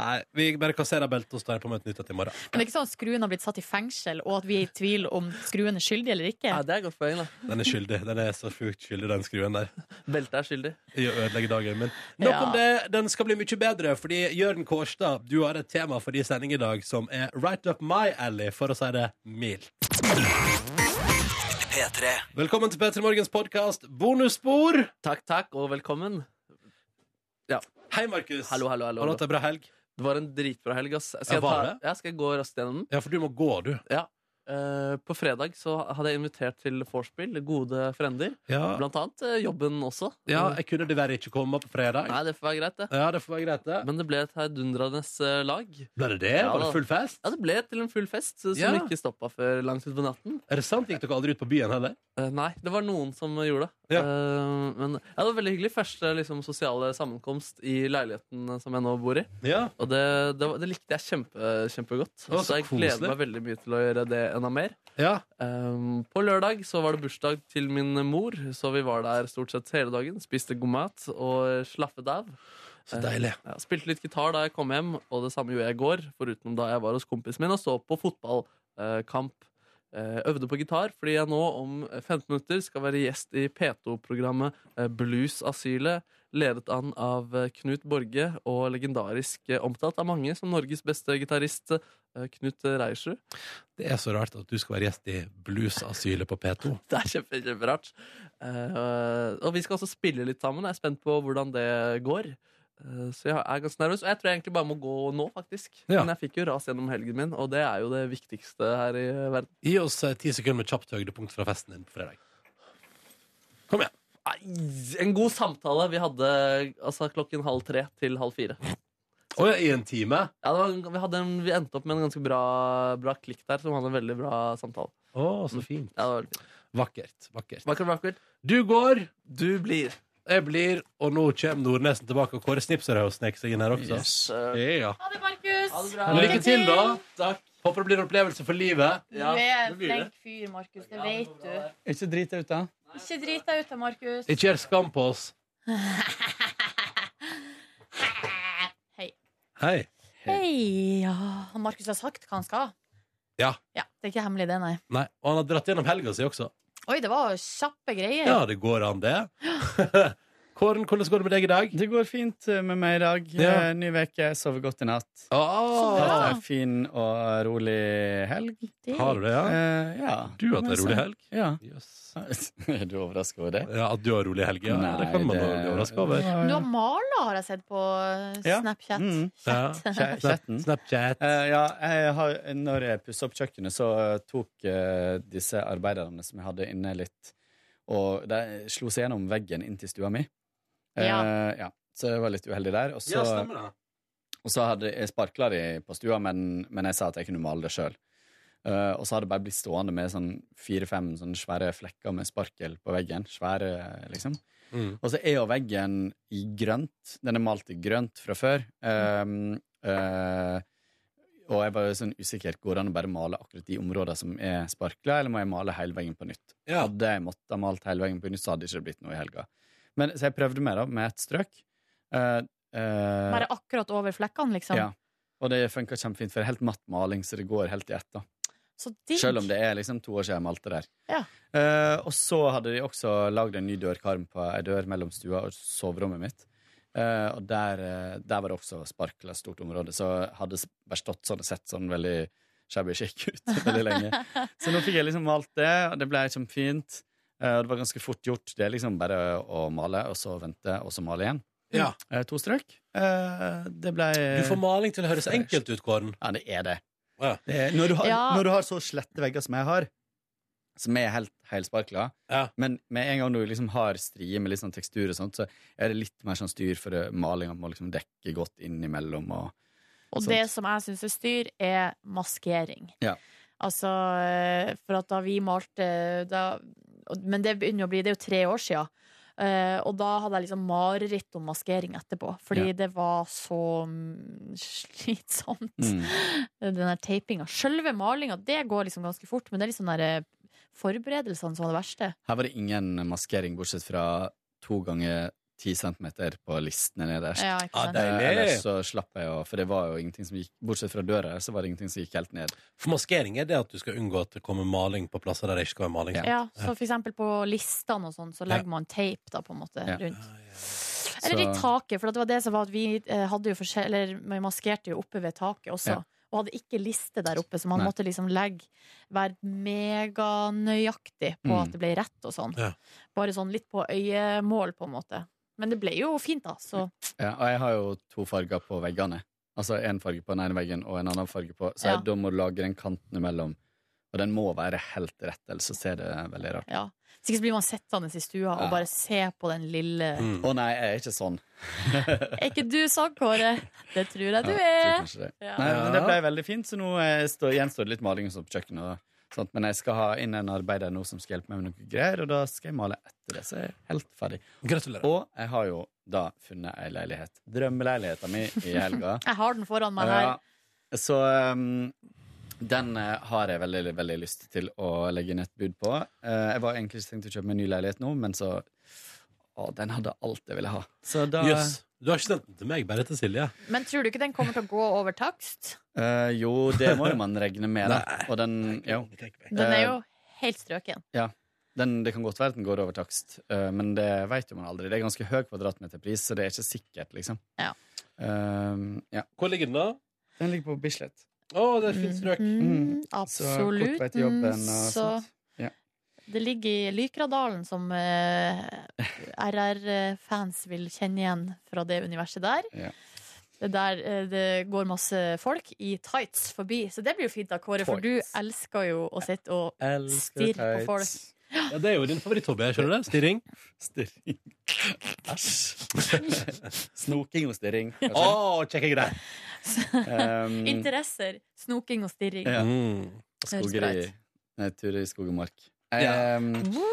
S1: Nei, vi bare kasserer beltet og står på med et nytt et i morgen.
S3: Men det er ikke sånn at skruen har blitt satt i fengsel, og at vi er i tvil om skruen er skyldig eller ikke.
S2: Ja, det er et godt poeng, da.
S1: Den er skyldig. Den er så sjukt skyldig, den skruen der.
S2: Beltet er skyldig.
S1: I å ødelegge dagen min. Nok
S3: Ja.
S1: om det. Den skal bli mye bedre, fordi Jørn Kårstad, du har et tema for din sending i dag som er right up my alley, for å si det mildt. Velkommen til P3 Morgens podkast bonusspor.
S2: Takk, takk, og velkommen.
S1: Hei, Markus.
S2: Hallo, hallo, hallo.
S1: Har du hatt ei bra helg?
S2: Det var en dritbra helg, ass.
S1: Ja,
S2: Skal jeg,
S1: var
S2: ta,
S1: det?
S2: ja, skal jeg gå raskt gjennom den?
S1: Ja, for du må gå, du.
S2: Eh, på fredag så hadde jeg invitert til vorspiel, gode frender.
S1: Ja,
S2: Blant annet eh, jobben også. Mm.
S1: ja jeg kunne dessverre ikke komme på fredag.
S2: Nei, det får være greit, det.
S1: Ja, det får være greit, det.
S2: Men det ble et heidundrende eh, lag.
S1: Ble det det?
S2: Ja,
S1: Var det
S2: da.
S1: full fest?
S2: Ja, det ble til en full fest eh, som
S1: Ja.
S2: ikke stoppa før langt utpå natten.
S1: Er det sant? Gikk dere aldri ut på byen heller?
S2: Eh, nei, det var noen som gjorde det.
S1: Ja.
S2: Eh, men ja, det var veldig hyggelig. Første liksom, sosiale sammenkomst i leiligheten eh, som jeg nå bor i.
S1: Ja.
S2: Og det, det, var- det likte jeg kjempe, kjempegodt.
S1: var
S2: Så,
S1: så
S2: jeg gleder
S1: koselig.
S2: meg veldig mye til å gjøre det enda mer.
S1: ja.
S2: Eh, på lørdag så var det bursdag til min mor, så vi var der stort sett hele dagen. Spiste god mat og slappet av.
S1: Så deilig.
S2: Ja, spilte litt gitar da jeg kom hjem, og det samme gjorde jeg i går. Foruten da jeg var hos kompisen min og så på fotballkamp. Eh, Øvde på gitar fordi jeg nå om 15 minutter skal være gjest i P2-programmet eh, Bluesasylet, ledet an av eh, Knut Borge og legendarisk eh, omtalt av mange som Norges beste gitarist, eh, Knut Reiersrud.
S1: Det er så rart at du skal være gjest i Bluesasylet på P2.
S2: Det er kjempe, kjemperart. Eh, og vi skal også spille litt sammen. Jeg er spent på hvordan det går. Eh, så jeg er ganske nervøs. Og jeg tror jeg egentlig bare må gå nå, faktisk.
S1: Ja.
S2: Men jeg fikk jo ras gjennom helgen min, og det er jo det viktigste her i verden.
S1: Gi oss eh, ti sekunder med kjapt høydepunkt fra festen din på fredag. Kom igjen.
S2: Nei, En god samtale vi hadde altså, klokken halv tre til halv fire.
S1: Å ja, i en time?
S2: Ja, det var, vi, hadde en, vi endte opp med en ganske bra, bra klikk der, som hadde en veldig bra samtale.
S1: Å, så fint.
S2: Ja, det var veldig fint.
S1: Vakkert. Vakkert.
S2: Vakkert, vakkert.
S1: Du går,
S2: Du blir
S1: jeg blir, og nå kommer Nordnesen tilbake. Og Kåre Snipser har jo sneket seg inn her også.
S7: Yes.
S2: eh,
S1: Ja.
S3: Ha det, Markus!
S2: Ha det bra.
S1: Men lykke til, da.
S2: Takk.
S1: Håper det blir en opplevelse for livet.
S3: Du
S2: Ja,
S3: er
S2: det
S3: en
S2: blir det.
S3: flink fyr, Markus. Det vet du.
S8: Ikke drit deg ut, da.
S3: Ikke drit deg ut da, Markus.
S1: Ikke gjør skam på oss.
S3: Hei.
S1: Hei.
S3: Hei, ja. Han Markus har sagt hva han skal.
S1: Ja.
S3: Det er ikke hemmelig, det, nei.
S1: Nei, Og han har dratt gjennom helga si også.
S3: Oi, det var kjappe greier.
S1: Ja, det går an, det. Kåren, hvordan går det med deg i dag?
S8: Det går fint eh, med meg i dag.
S1: Ja.
S8: Eh, Ny uke, sover godt i natt.
S1: Ah,
S8: Hatt
S3: bra.
S8: ei en fin og rolig helg.
S3: Det-
S1: har du det, ja?
S8: Eh, ja.
S1: Du har hatt en rolig helg?
S8: Ja.
S1: Yes.
S8: Er du overraska over det?
S1: Ja, at du har rolig helg, ja. det kan man jo bli overraska over.
S3: Du har mala, har jeg sett på eh,
S8: Ja.
S3: Snapchat.
S8: Mm.
S1: Ja.
S8: Kjæ-
S1: Snap-
S8: Chatten.
S1: Snapchat.
S8: Eh, ja, jeg har, når jeg pussa opp kjøkkenet, så eh, tok eh, disse arbeiderne som jeg hadde inne, litt Og de slo seg gjennom veggen inn til stua mi. Eh,
S3: Ja.
S8: ja. Så jeg var litt uheldig der. Og så,
S1: Ja, stemmer det.
S8: Og så hadde jeg sparkla de på stua, men, men jeg sa at jeg kunne male det sjøl. og så hadde jeg bare blitt stående med sånn fire-fem sånne svære flekker med sparkel på veggen. Svære, liksom.
S1: Mm.
S8: Og så er jo veggen i grønt. Den er malt i grønt fra før. Um, eh, og jeg var jo sånn usikker. Går det an å bare male akkurat de områdene som er sparkla, eller må jeg male hele veggen på nytt?
S1: Ja.
S8: Hadde jeg måttet ha malt hele veggen på nytt, så hadde det ikke blitt noe i helga. Men, så jeg prøvde meg da, med et strøk. Eh, eh,
S3: Bare akkurat over flekkene, liksom.
S8: ja. Og det funka kjempefint, for det er helt matt maling, så det går helt i ett. da
S3: Så digg.
S8: Selv om det er liksom to år siden jeg malte der.
S3: Ja.
S8: Eh, og så hadde de også lagd en ny dørkarm på ei dør mellom stua og soverommet mitt. Eh, og der, eh, der var det også sparkla stort område, så hadde s- bare stått sånn og sett sånn veldig shabby chic ut veldig lenge. Så nå fikk jeg liksom malt det, og det ble kjempefint. Eh, og det var ganske fort gjort. Det er liksom bare å male, og så vente, og så male igjen.
S1: Ja.
S8: Eh, to strøk. Eh, det ble
S1: Du får maling til å høres enkelt ut, Kåren.
S8: ja, det er det.
S1: Ja.
S8: det er, når, du har,
S3: Ja.
S8: når du har så slette vegger som jeg har, som er helt heilsparkla,
S1: Ja.
S8: men med en gang du liksom har strier med litt sånn tekstur og sånt, så er det litt mer sånn styr for det- malinga må liksom dekke godt innimellom og
S3: Og
S8: Sånt.
S3: det som jeg syns er styr, er maskering.
S8: sånn Ja.
S3: Altså, eh, for at da vi malte eh, da, og- Men det begynner jo å bli Det er jo tre år sia. og da hadde jeg liksom mareritt om maskering etterpå, fordi
S8: Ja.
S3: det var så mm, slitsomt.
S8: mm.
S3: Den der tapinga. Sjølve malinga, det går liksom ganske fort, men det er liksom der eh, forberedelsene som var det verste.
S8: Her var det ingen maskering, bortsett fra to ganger ti centimeter på listene nederst.
S3: Ja, ikke
S1: Ja,
S3: sant?
S1: det-
S8: Eh,
S1: Deilig.
S8: Ellers så slapp jeg jo, for det var jo ingenting som gikk Bortsett fra døra, her, så var det ingenting som gikk helt ned.
S1: For maskering er det at du skal unngå at det kommer maling på plasser der det ikke skal være maling.
S3: Ja, så for eksempel på listene og sånn, så legger
S1: Ja.
S3: man teip da, på en måte,
S8: Ja.
S3: rundt.
S8: Så-
S3: Eller i taket, for at det var det som var at vi eh, hadde jo forskjell... Eller man maskerte jo oppe ved taket også.
S8: Ja.
S3: Og hadde ikke liste der oppe, så man
S8: Nei.
S3: måtte liksom legge Være meganøyaktig på
S8: Mm.
S3: at det ble rett og sånn.
S1: Ja.
S3: Bare sånn litt på øyemål, på en måte. Men det ble jo fint, da. Så
S8: Ja, og jeg har jo to farger på veggene. Altså en farge på den ene veggen og en annen farge på Så
S3: Ja.
S8: jeg, da må du lage den kanten imellom. Og den må være helt rett, ellers så ser det veldig rart ut.
S3: ja. Hvis ikke så blir man sittende i stua og
S8: Ja.
S3: bare se på den lille
S1: Mm.
S8: Å nei, jeg er ikke sånn.
S3: Er ikke du sånn, Kåre? Det tror jeg du
S8: Ja, tror
S3: er.
S8: kanskje det.
S3: Ja.
S8: Nei, men det ble veldig fint, så nå eh, står- gjenstår det litt maling og sånt på kjøkkenet. Og sånt. Men jeg skal ha inn en arbeider nå som skal hjelpe meg med noe greier, og da skal jeg male etter det. Så jeg er helt ferdig.
S1: Gratulerer.
S8: Og jeg har jo da funnet ei leilighet. Drømmeleiligheta mi i helga.
S3: Jeg har den foran meg her.
S8: Ja. Så um, den eh, har jeg veldig, veldig lyst til å legge inn et bud på. Eh, jeg var egentlig ikke tenkt å kjøpe meg en ny leilighet nå, men så Å, den hadde alt jeg ville ha. Så da
S1: Jøss. Du har ikke sendt den til meg, bare til Silje.
S3: Men tror du ikke den kommer til å gå over takst?
S8: Eh, Jo, det må jo man regne med, da.
S1: Nei.
S8: Og den Jo.
S3: Den
S8: Eh,
S3: er jo helt strøken.
S8: Den, det kan godt være at den går over takst, eh, men det vet jo man aldri. Det er ganske høy kvadratmeterpris, så det er ikke sikkert, liksom.
S3: Ja.
S8: Eh, ja.
S1: Hvor ligger den, da?
S8: Den ligger på Bislett.
S1: Å, det er et fint strøk.
S3: Mm,
S8: Så kort vei
S3: absolutt.
S8: til jobben og
S3: Mm, så
S8: sånt. Ja.
S3: det ligger i Lykradalen, som RR-fans vil kjenne igjen fra det universet der.
S8: Ja.
S3: Det der eh, det går masse folk i tights forbi, så det blir jo fint da, Kåre, for du
S8: Tights.
S3: elsker jo å sitte og
S8: Elsker
S3: Stirr på folk.
S8: tights.
S1: Ja, det er jo din favoritthobby. jeg Skjønner det? Stirring.
S8: Stirring. Æsj. Snoking og stirring. kanskje.
S1: Å, kjekke greier.
S8: Um,
S3: Interesser, snoking og stirring.
S8: Ja.
S1: Mm.
S3: Høres bra
S8: skogeri.
S3: ut.
S8: Nei, turer i skog og mark.
S1: Ja.
S8: Um,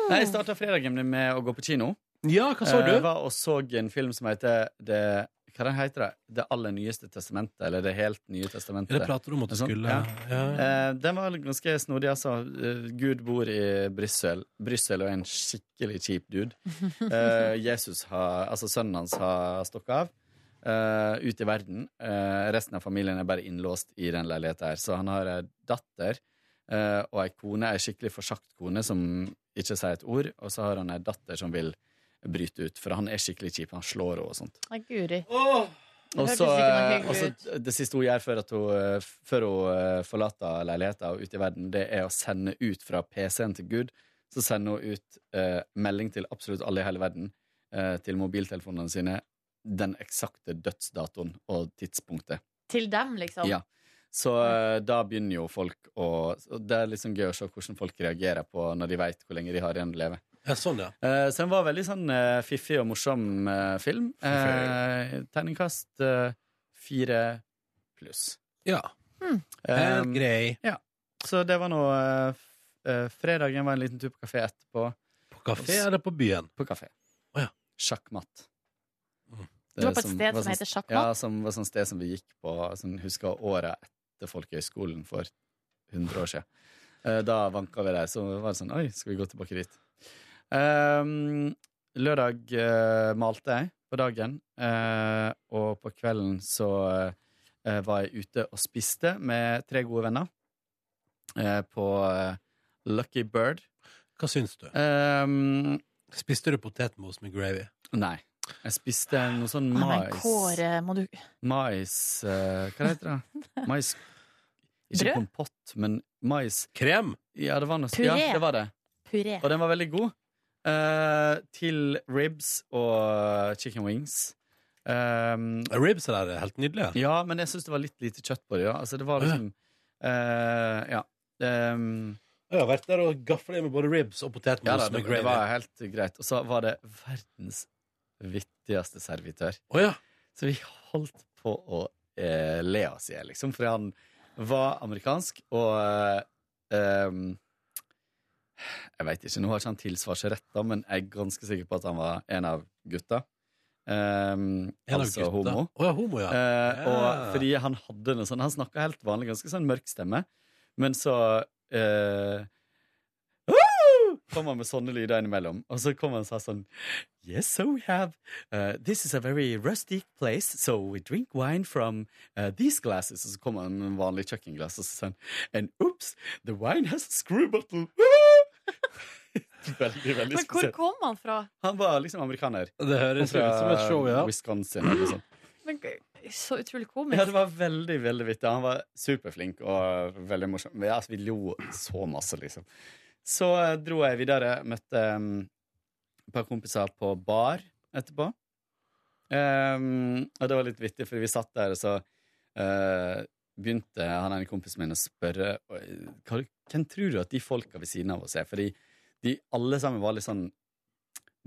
S8: nei, jeg starta fredagen min med å gå på kino.
S1: Ja, hva så
S8: Jeg
S1: du?
S8: var og så en film som heter det, Hva den heter det? Det aller nyeste testamentet. Eller Det helt nye
S1: Ja, det
S8: testamentet.
S1: prater du om at du
S8: Sånn,
S1: skulle
S8: ja.
S1: ja.
S8: Eh, den var ganske snodig, altså. Eh, Gud bor i Brussel. Brussel er en skikkelig kjip dude. Eh, Jesus har, altså sønnen hans har stukket av. eh, ut i verden. Eh, resten av familien er bare innlåst i den leiligheten her. Så han har ei datter eh, og ei kone, ei skikkelig forsagt kone som ikke sier et ord. Og så har han ei datter som vil bryte ut, for han er skikkelig kjip. Han slår henne og sånt.
S3: Nei, guri.
S8: Og
S3: Hørtes
S8: så,
S3: ikke noe hyggelig
S8: og så det siste hun gjør før, at hun, eh, f- før hun eh, forlater leiligheten og ute i verden, det er å sende ut fra PC-en til Gud. Så sender hun ut eh, melding til absolutt alle i hele verden, eh, til mobiltelefonene sine, den eksakte dødsdatoen og tidspunktet.
S3: Til dem, liksom.
S8: Ja. Så eh, da begynner jo folk å og Det er liksom gøy å se hvordan folk reagerer på når de vet hvor lenge de har igjen å leve.
S1: ja, sånn, ja.
S8: Eh, Så den var veldig sånn eh, fiffig og morsom eh, film. Eh, Terningkast eh, fire pluss.
S1: ja.
S8: Eh,
S1: Helt grei.
S8: så det var nå eh, f- eh, Fredagen var en liten tur på kafé etterpå.
S1: På kafé eller på byen?
S8: På kafé.
S1: Å ja.
S8: sjakkmatt.
S1: Mm.
S3: Du var på et sted
S8: var
S3: som
S8: sånn-
S3: heter sjakkmatt?
S8: Ja, som var sånn sted som vi gikk på sånn, Husker året etter folkehøyskolen for 100 år siden. Eh, Da vanka vi der, så var det sånn Oi, skal vi gå tilbake dit? Ehm, lørdag eh, malte jeg på dagen, eh, og på kvelden så eh, var jeg ute og spiste med tre gode venner eh, på eh, Lucky Bird.
S1: Hva syns du?
S8: Ehm,
S1: Spiste du potetmos med gravy?
S8: nei. Jeg spiste noe sånn
S3: Ah, men
S8: mais.
S3: Kåre, må du
S8: Mais eh, Hva heter det? Mais Ikke
S3: Brød?
S8: kompott, men mais
S1: Krem?
S8: Ja, det var noe
S3: Puré.
S8: Ja, det var det.
S3: Puré.
S8: Og den var veldig god. Eh, til ribs og eh, chicken wings. Um,
S1: Ribs er der, helt nydelig.
S8: ja, men jeg syns det var litt lite kjøtt på det. Ja. Altså, det var liksom eh, Ja. Um,
S1: Jeg har vært der og gafla i meg både ribs og potetmos
S8: ja da, det,
S1: med
S8: det
S1: gravy.
S8: var helt greit. Og så var det verdens vittigste servitør.
S1: Å ja.
S8: Så vi holdt på å eh, le oss i hjel, liksom. For han var amerikansk, og eh, ehm, Jeg veit ikke, nå har ikke han tilsvarsrett, da, men jeg er ganske sikker på at han var en av gutta. Ehm,
S1: En av
S8: altså
S1: gutta.
S8: homo.
S1: Å ja, homo, ja.
S8: Eh,
S1: Ja.
S8: og fordi han hadde noe sånn Han snakka helt vanlig, ganske sånn mørk stemme, men så eh, «Woo!» Kom han med sånne lyder innimellom. Og så kom han og sa sånn Yes, so we have eh, This is a very rustic place, so we drink wine from eh, these glasses. Og så kom han med en vanlig kjøkkenglass og så sa han And oops, the wine has a screw bottle. veldig, veldig
S3: Men hvor
S8: spesielt.
S3: kom han fra?
S8: Han var liksom amerikaner.
S1: Det høres
S8: altså,
S1: ut som et show, ja.
S8: Fra Wisconsin eller noe sånt.
S3: Men, g- så utrolig komisk.
S8: Ja, det var veldig, veldig vittig. Han var superflink og veldig morsom. Men, altså, vi lo så masse, liksom. Så eh, dro jeg videre, møtte em, et par kompiser på bar etterpå. Em, og det var litt vittig, for vi satt der, og så eh, begynte han ene kompisen min å spørre «Oi, hva, Hvem tror du at de folka ved siden av oss er? Fordi de alle sammen var litt sånn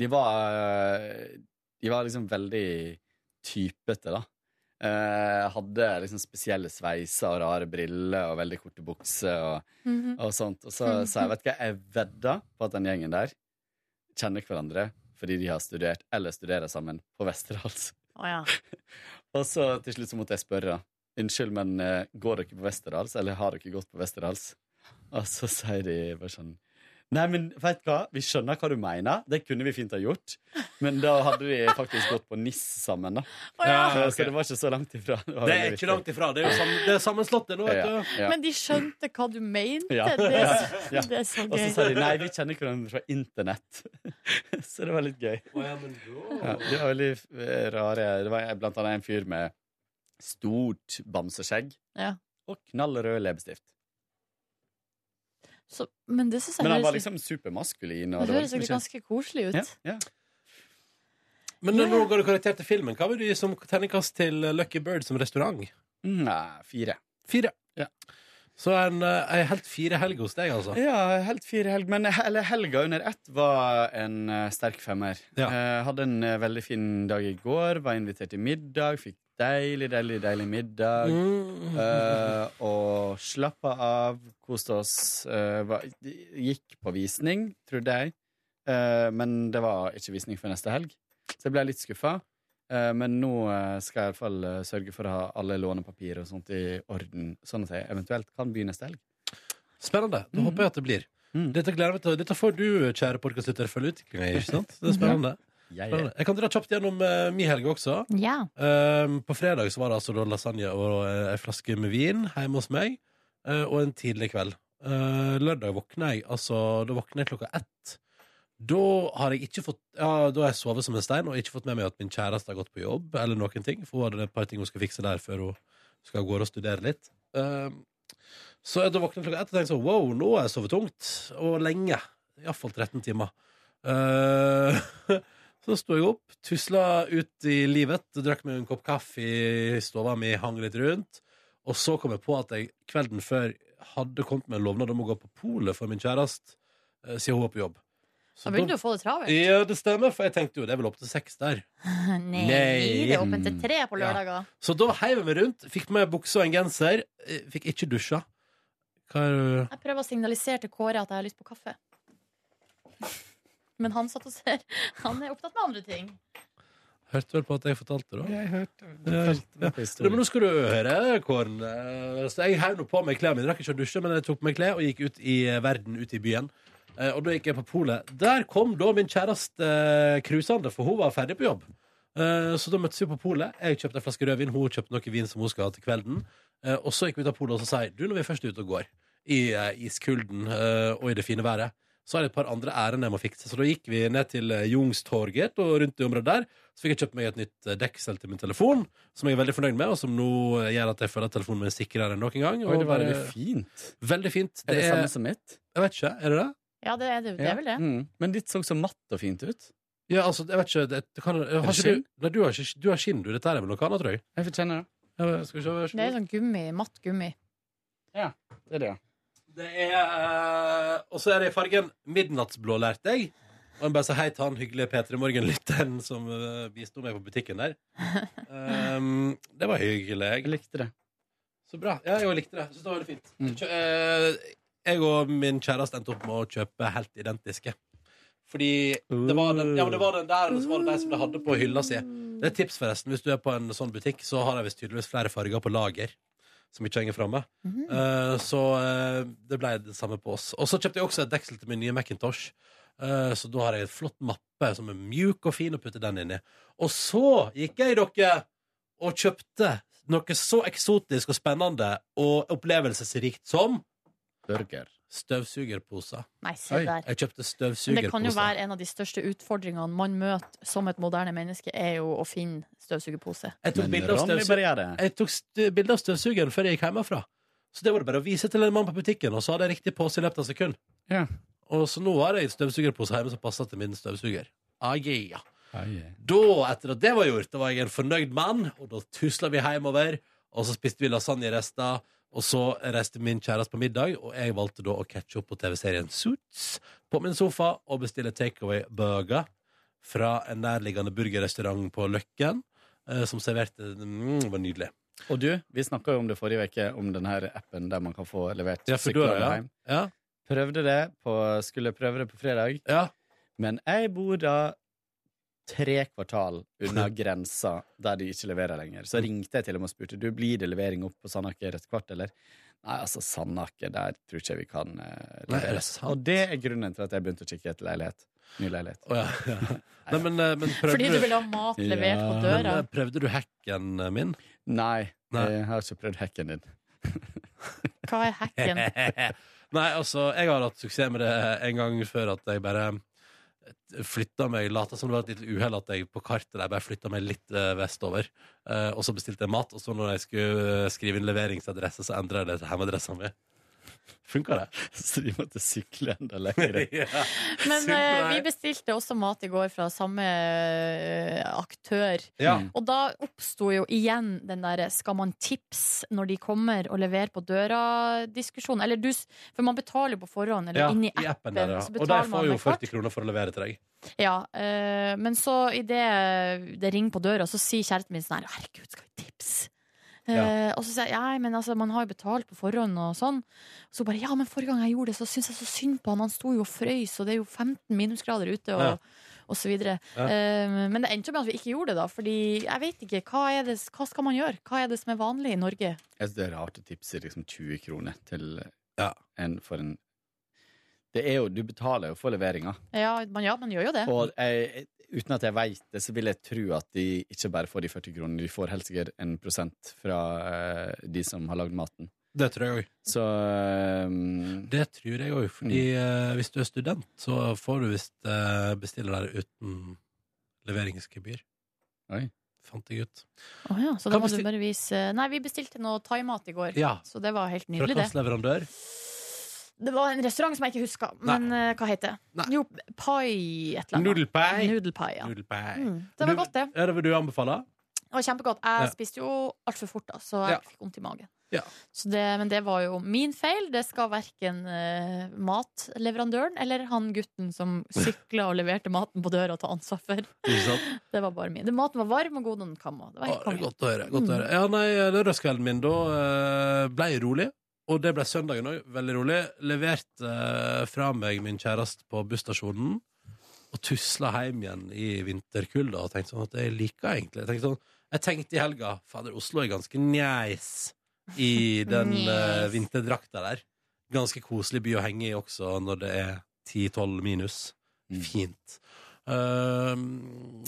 S8: De var eh, De var liksom veldig typete, da. Eh, hadde liksom spesielle sveiser og rare briller og veldig korte bukser og,
S3: Mhm.
S8: og sånt. Og så sa jeg, vet du hva, jeg vedda på at den gjengen der kjenner hverandre fordi de har studert eller studerer sammen på Westerdals.
S3: Å ja.
S8: Og så til slutt så måtte jeg spørre, unnskyld, men eh, går dere på Westerdals, eller har dere gått på Westerdals? Og så sier de bare sånn Nei, men vet du hva? Vi skjønner hva du mener. Det kunne vi fint ha gjort. Men da hadde de faktisk gått på NIS sammen, da.
S3: Å ja.
S1: Ja, Ah, ok.
S8: Så det var ikke så langt ifra. var
S1: Det
S8: veldig
S1: er
S8: vittig.
S1: ikke langt ifra. Det er jo sammen, det er sammenslått, det nå, vet
S8: Ja,
S1: du.
S8: ja.
S3: Men de skjønte hva du mente.
S8: Ja.
S3: Det, er så-
S8: Ja.
S3: det er så
S8: Og så
S3: gøy.
S8: sa de nei, vi kjenner hverandre fra internett. så det var litt gøy.
S1: Å, ja, men da-
S8: Ja, de var veldig eh, rare. Det var blant annet en fyr med stort bamseskjegg
S3: Ja.
S8: og knallrød leppestift.
S3: Så, men det syns jeg
S8: Men han
S3: høres,
S8: var
S3: litt-
S8: liksom supermaskulin. Og
S3: det
S8: det var
S3: høres egentlig
S8: liksom
S3: ganske koselig ut.
S8: ikke- ja, ja.
S1: Men når du ga du karakter til filmen, hva vil du gi som terningkast til eh, Lucky Bird som restaurant?
S8: Nei, fire.
S1: Fire.
S8: Ja.
S1: Så en, eh, ei helt fire helg hos deg, altså.
S8: Ja, helt fire helg. Men eller helga under ett var en eh, sterk femmer.
S1: Ja.
S8: Eh, hadde en eh, veldig fin dag i går, var invitert til middag, fikk deilig, deilig, deilig middag.
S3: Mm.
S1: Mm.
S8: Eh, og slappa av, koste oss. eh, var, gikk på visning, trodde jeg. Eh, men det var ikke visning før neste helg, så jeg ble litt skuffa. Eh, men nå eh, skal jeg iallfall uh, sørge for å ha alle lånepapirer og sånt i orden, sånn at jeg eventuelt kan begynne neste helg.
S1: Spennende. Da håper jeg at det blir.
S8: Mm.
S1: Dette gleder jeg meg til. Dette får du, kjære podkastlytter, følge utviklinga i, ikke sant? Det er spennende. spennende. Jeg kan dra kjapt gjennom eh, mi helg også.
S3: Ja.
S1: Ehm, på fredag så var det altså da lasagne og eh, ei flaske med vin hjemme hos meg, eh, og en tidlig kveld. Eh, lørdag våkna jeg, altså da våkna jeg klokka ett. Da har jeg ikke fått Ja, da har jeg sovet som en stein og ikke fått med meg at min kjæreste har gått på jobb, eller noen ting, for hun hadde et par ting hun skal fikse der før hun skal av gårde og studere litt. Ehm, så da våkna jeg klokka ett og tenkte sånn wow, nå har jeg sovet tungt, og lenge. Iallfall 13 timer. Eh, Så sto jeg opp, tusla ut i livet, drakk meg en kopp kaffe i stova mi, hang litt rundt. Og så kom jeg på at jeg kvelden før hadde kommet med en lovnad om å gå på polet for min kjæreste, eh, siden hun var på jobb. Så
S3: Da begynner du å få det travelt.
S1: Ja, det stemmer, for jeg tenkte jo det er vel opp til seks der.
S3: Nei,
S1: Nei.
S3: det er åpent til tre på lørdager.
S1: Så da heiv jeg meg rundt, fikk på meg bukse og en genser. eh, Fikk ikke dusja. Hva er det
S3: Jeg prøver å signalisere til Kåre at jeg har lyst på kaffe. men han satt og ser. Han er opptatt med andre ting.
S1: Hørte vel på at jeg fortalte det? da?
S8: Jeg hørte
S1: Ja, ja. Du, men nå skal du høre, Kåren. Eh, Så jeg heiv nå på meg klærne mine. Rakk ikke å dusje, men jeg tok på meg klær og gikk ut i verden, ut i byen. Eh, Og da gikk jeg på polet. Der kom da min kjæreste eh, krusende, for hun var ferdig på jobb. Eh, Så da møttes vi på polet. Jeg kjøpte en flaske rødvin, hun kjøpte noe vin som hun skal ha til kvelden. Eh, Og så gikk vi ut av polet og så sa jeg, du, når vi først er ute og går, i eh, iskulden eh, og i det fine været, så har jeg et par andre ærend jeg må fikse. Så da gikk vi ned til eh, Youngstorget og rundt i området der. Så fikk jeg kjøpt meg et nytt eh, deksel til min telefon, som jeg er veldig fornøyd med, og som nå eh, gjør at jeg føler at telefonen min er sikrere enn noen gang. Og
S8: Oi, det var
S1: bare-
S8: veldig fint.
S1: veldig fint.
S8: Er det samme som mitt?
S1: Jeg vet ikke, er det det?
S3: Ja, det er det, det er vel det.
S8: Mm. Men ditt så så matt og fint ut.
S1: Ja, altså, jeg vet ikke, det, det kan, har ikke
S8: skinn?
S1: du, nei, du, har ikke, du har skinn, du. Dette her er vel noe annet, tror jeg.
S8: Jeg får kjenne det.
S1: Ja, Skal vi se,
S3: Det er sånn gummi, matt gummi.
S8: Det er det, ja.
S1: Det er eh, Og så er det i fargen midnattsblå, lærte jeg. Og en bare sa hei til han hyggelige P3 Morgen-lytteren som eh, bisto meg på butikken der. Ehm, det var
S8: Jeg
S1: hyggelig.
S8: likte det.
S1: Så bra. Ja, jeg likte det. Syns det var veldig fint.
S8: Mm.
S1: Kjø- eh, jeg og min kjæreste endte opp med å kjøpe helt identiske. Fordi det var den, ja, men det var den der, og så var det de som de hadde på hylla si. Det er et tips, forresten. Hvis du er på en sånn butikk, så har de visst tydeligvis flere farger på lager. Som ikke henger framme. Eh, så eh, det ble det samme på oss. Og så kjøpte jeg også et deksel til min nye Macintosh. Eh, så da har jeg en flott mappe som er mjuk og fin, og putter den inni. Og så gikk jeg, dere, og kjøpte noe så eksotisk og spennende og opplevelsesrikt som
S8: Burger.
S1: støvsugerposer.
S3: Nei, se
S8: Oi.
S3: der.
S1: Jeg kjøpte
S3: Men det kan jo
S1: støvsugerposer.
S3: være en av de største utfordringene man møter som et moderne menneske, er jo å finne støvsugerpose.
S1: Jeg tok
S8: Men
S1: bilde av
S8: Ronny
S1: støvsugeren.
S8: bare gjør det.
S1: Jeg tok st- bilde av støvsugeren før jeg gikk hjemmefra. Så det var det bare å vise til en mann på butikken, og så hadde jeg riktig pose i løpet av et sekund.
S8: Ja.
S1: Og så nå har jeg støvsugerpose hjemme som passer til min støvsuger. Ah, yeah. Da, etter at det var gjort, da var jeg en fornøyd mann, og da tusla vi hjemover, og så spiste vi lasagnerester, og så reiste min kjæreste på middag, og jeg valgte da å catche opp på TV-serien Suits på min sofa og bestille takeaway-burger fra en nærliggende burgerrestaurant på Løkken, eh, som serverte mm, det var nydelig.
S8: Og du, vi snakka jo om det forrige uke, om denne her appen der man kan få levert
S1: Ja, for du har det,
S8: sjokolade hjem.
S1: Ja,
S8: Prøvde det på, skulle prøve det på fredag,
S1: ja.
S8: men jeg bor da tre kvartal unna grensa der de ikke leverer lenger. Så ringte jeg til dem og spurte du, blir det levering opp på Sandaker et kvart, eller? Nei, altså Sandaker, der tror ikke jeg vi kan eh,
S1: Nei, er
S8: levere.
S1: det sant?
S8: og det er grunnen til at jeg begynte å kikke etter leilighet. Ny leilighet.
S1: Å, ja, ja. Nei, men, eh, men prøvde
S3: Fordi du vil ha mat levert på
S8: Ja.
S1: men,
S3: døra.
S1: eh, Prøvde du hacken eh, min?
S8: Nei,
S1: Nei.
S8: jeg har ikke prøvd hacken din.
S3: Hva er hacken?
S1: Nei, altså, jeg har hatt suksess med det en gang før at jeg bare flytta meg Lata som det var et lite uhell at jeg på kartet der bare flytta meg litt eh, vestover. Eh, og så bestilte jeg mat, og så når jeg skulle eh, skrive inn leveringsadresse, så endra jeg det til hjemmeadressa mi. Funka det?
S8: Så de måtte sykle enda lenger.
S1: ja.
S3: Men
S1: Super,
S3: eh,
S1: nei.
S3: vi bestilte også mat i går fra samme eh, aktør.
S1: Ja.
S3: Og da oppsto jo igjen den derre 'skal man tips når de kommer og levere på døra'-diskusjonen. Eller du, s- For man betaler jo på forhånd, eller
S1: ja,
S3: inni
S1: I
S3: appen.
S1: appen der, ja.
S3: så
S1: Og
S3: betaler
S1: de
S3: man
S1: får jo
S3: med kort.
S1: 40 kroner for å levere til deg.
S3: Ja, eh, men så idet det ringer på døra, så sier kjæresten min sånn her Herregud, skal vi tipse? Eh, og så sier jeg ja, men altså, man har jo betalt på forhånd og sånn. Så bare ja, men forrige gang jeg gjorde det, så syntes jeg så synd på han. Han sto jo og frøys, og det er jo 15 minusgrader ute. og
S1: Ja.
S3: Og så videre.
S1: Ja.
S3: Eh, men det endte jo med at vi ikke gjorde det, da. Fordi jeg vet ikke. Hva, er det, hva skal man gjøre? Hva er det som er vanlig i Norge?
S8: Jeg synes det er rart å tipse liksom 20 kroner til
S1: Ja.
S8: en for en Det er jo, Du betaler jo for leveringa,
S3: Ja, man, ja, man gjør jo det.
S8: og jeg, uten at jeg veit det, så vil jeg tro at de ikke bare får de 40 kronene, de får helt sikkert en prosent fra eh, de som har lagd maten.
S1: Det tror jeg òg.
S8: Så eh,
S1: Det tror jeg òg, fordi eh, hvis du er student, så får du visst eh, bestille der uten leveringsgebyr.
S8: Oi.
S1: Fant jeg ut.
S3: Å ja, så
S1: Hva
S3: da må du
S1: bestil-
S3: bare vise Nei, vi bestilte noe thaimat i går,
S1: Ja.
S3: så det var helt
S1: Fra
S3: nydelig, det.
S1: hvilken leverandør?
S3: Det var en restaurant som jeg ikke husker, men eh, hva heter det?
S1: Nei.
S3: Jo, pai et eller annet.
S1: Nudelpai.
S3: Noodle pie, ja.
S1: Nudelpai.
S3: Mm. Det var
S1: Du-
S3: godt, det.
S1: Ja, det vil du anbefale?
S3: Det var kjempegodt. Jeg
S1: Ja.
S3: spiste jo altfor fort, da, så jeg
S1: Ja.
S3: fikk vondt i magen.
S1: Ja.
S3: Så det, men det var jo min feil. Det skal verken eh, matleverandøren eller han gutten som sykla og leverte maten på døra, ta ansvar for.
S1: Ikke sant?
S3: Det var bare min. Det- Maten var varm og god, og den kamma. Det var
S1: Å,
S3: helt
S1: det er
S3: konge.
S1: godt å høre. Godt å høre. Ja, nei, lørdagskvelden min, da eh, ble jeg rolig. Og det ble søndagen òg, veldig rolig. Leverte eh, fra meg min kjæreste på busstasjonen. og tusla hjem igjen i vinterkulda og tenkte sånn at jeg liker egentlig Jeg tenkte, sånn, jeg tenkte i helga Fader, Oslo er ganske njeis i den eh,
S3: Njeis.
S1: vinterdrakta der. Ganske koselig by å henge i også når det er 10-12 minus.
S8: Mm.
S1: Fint. Ehm,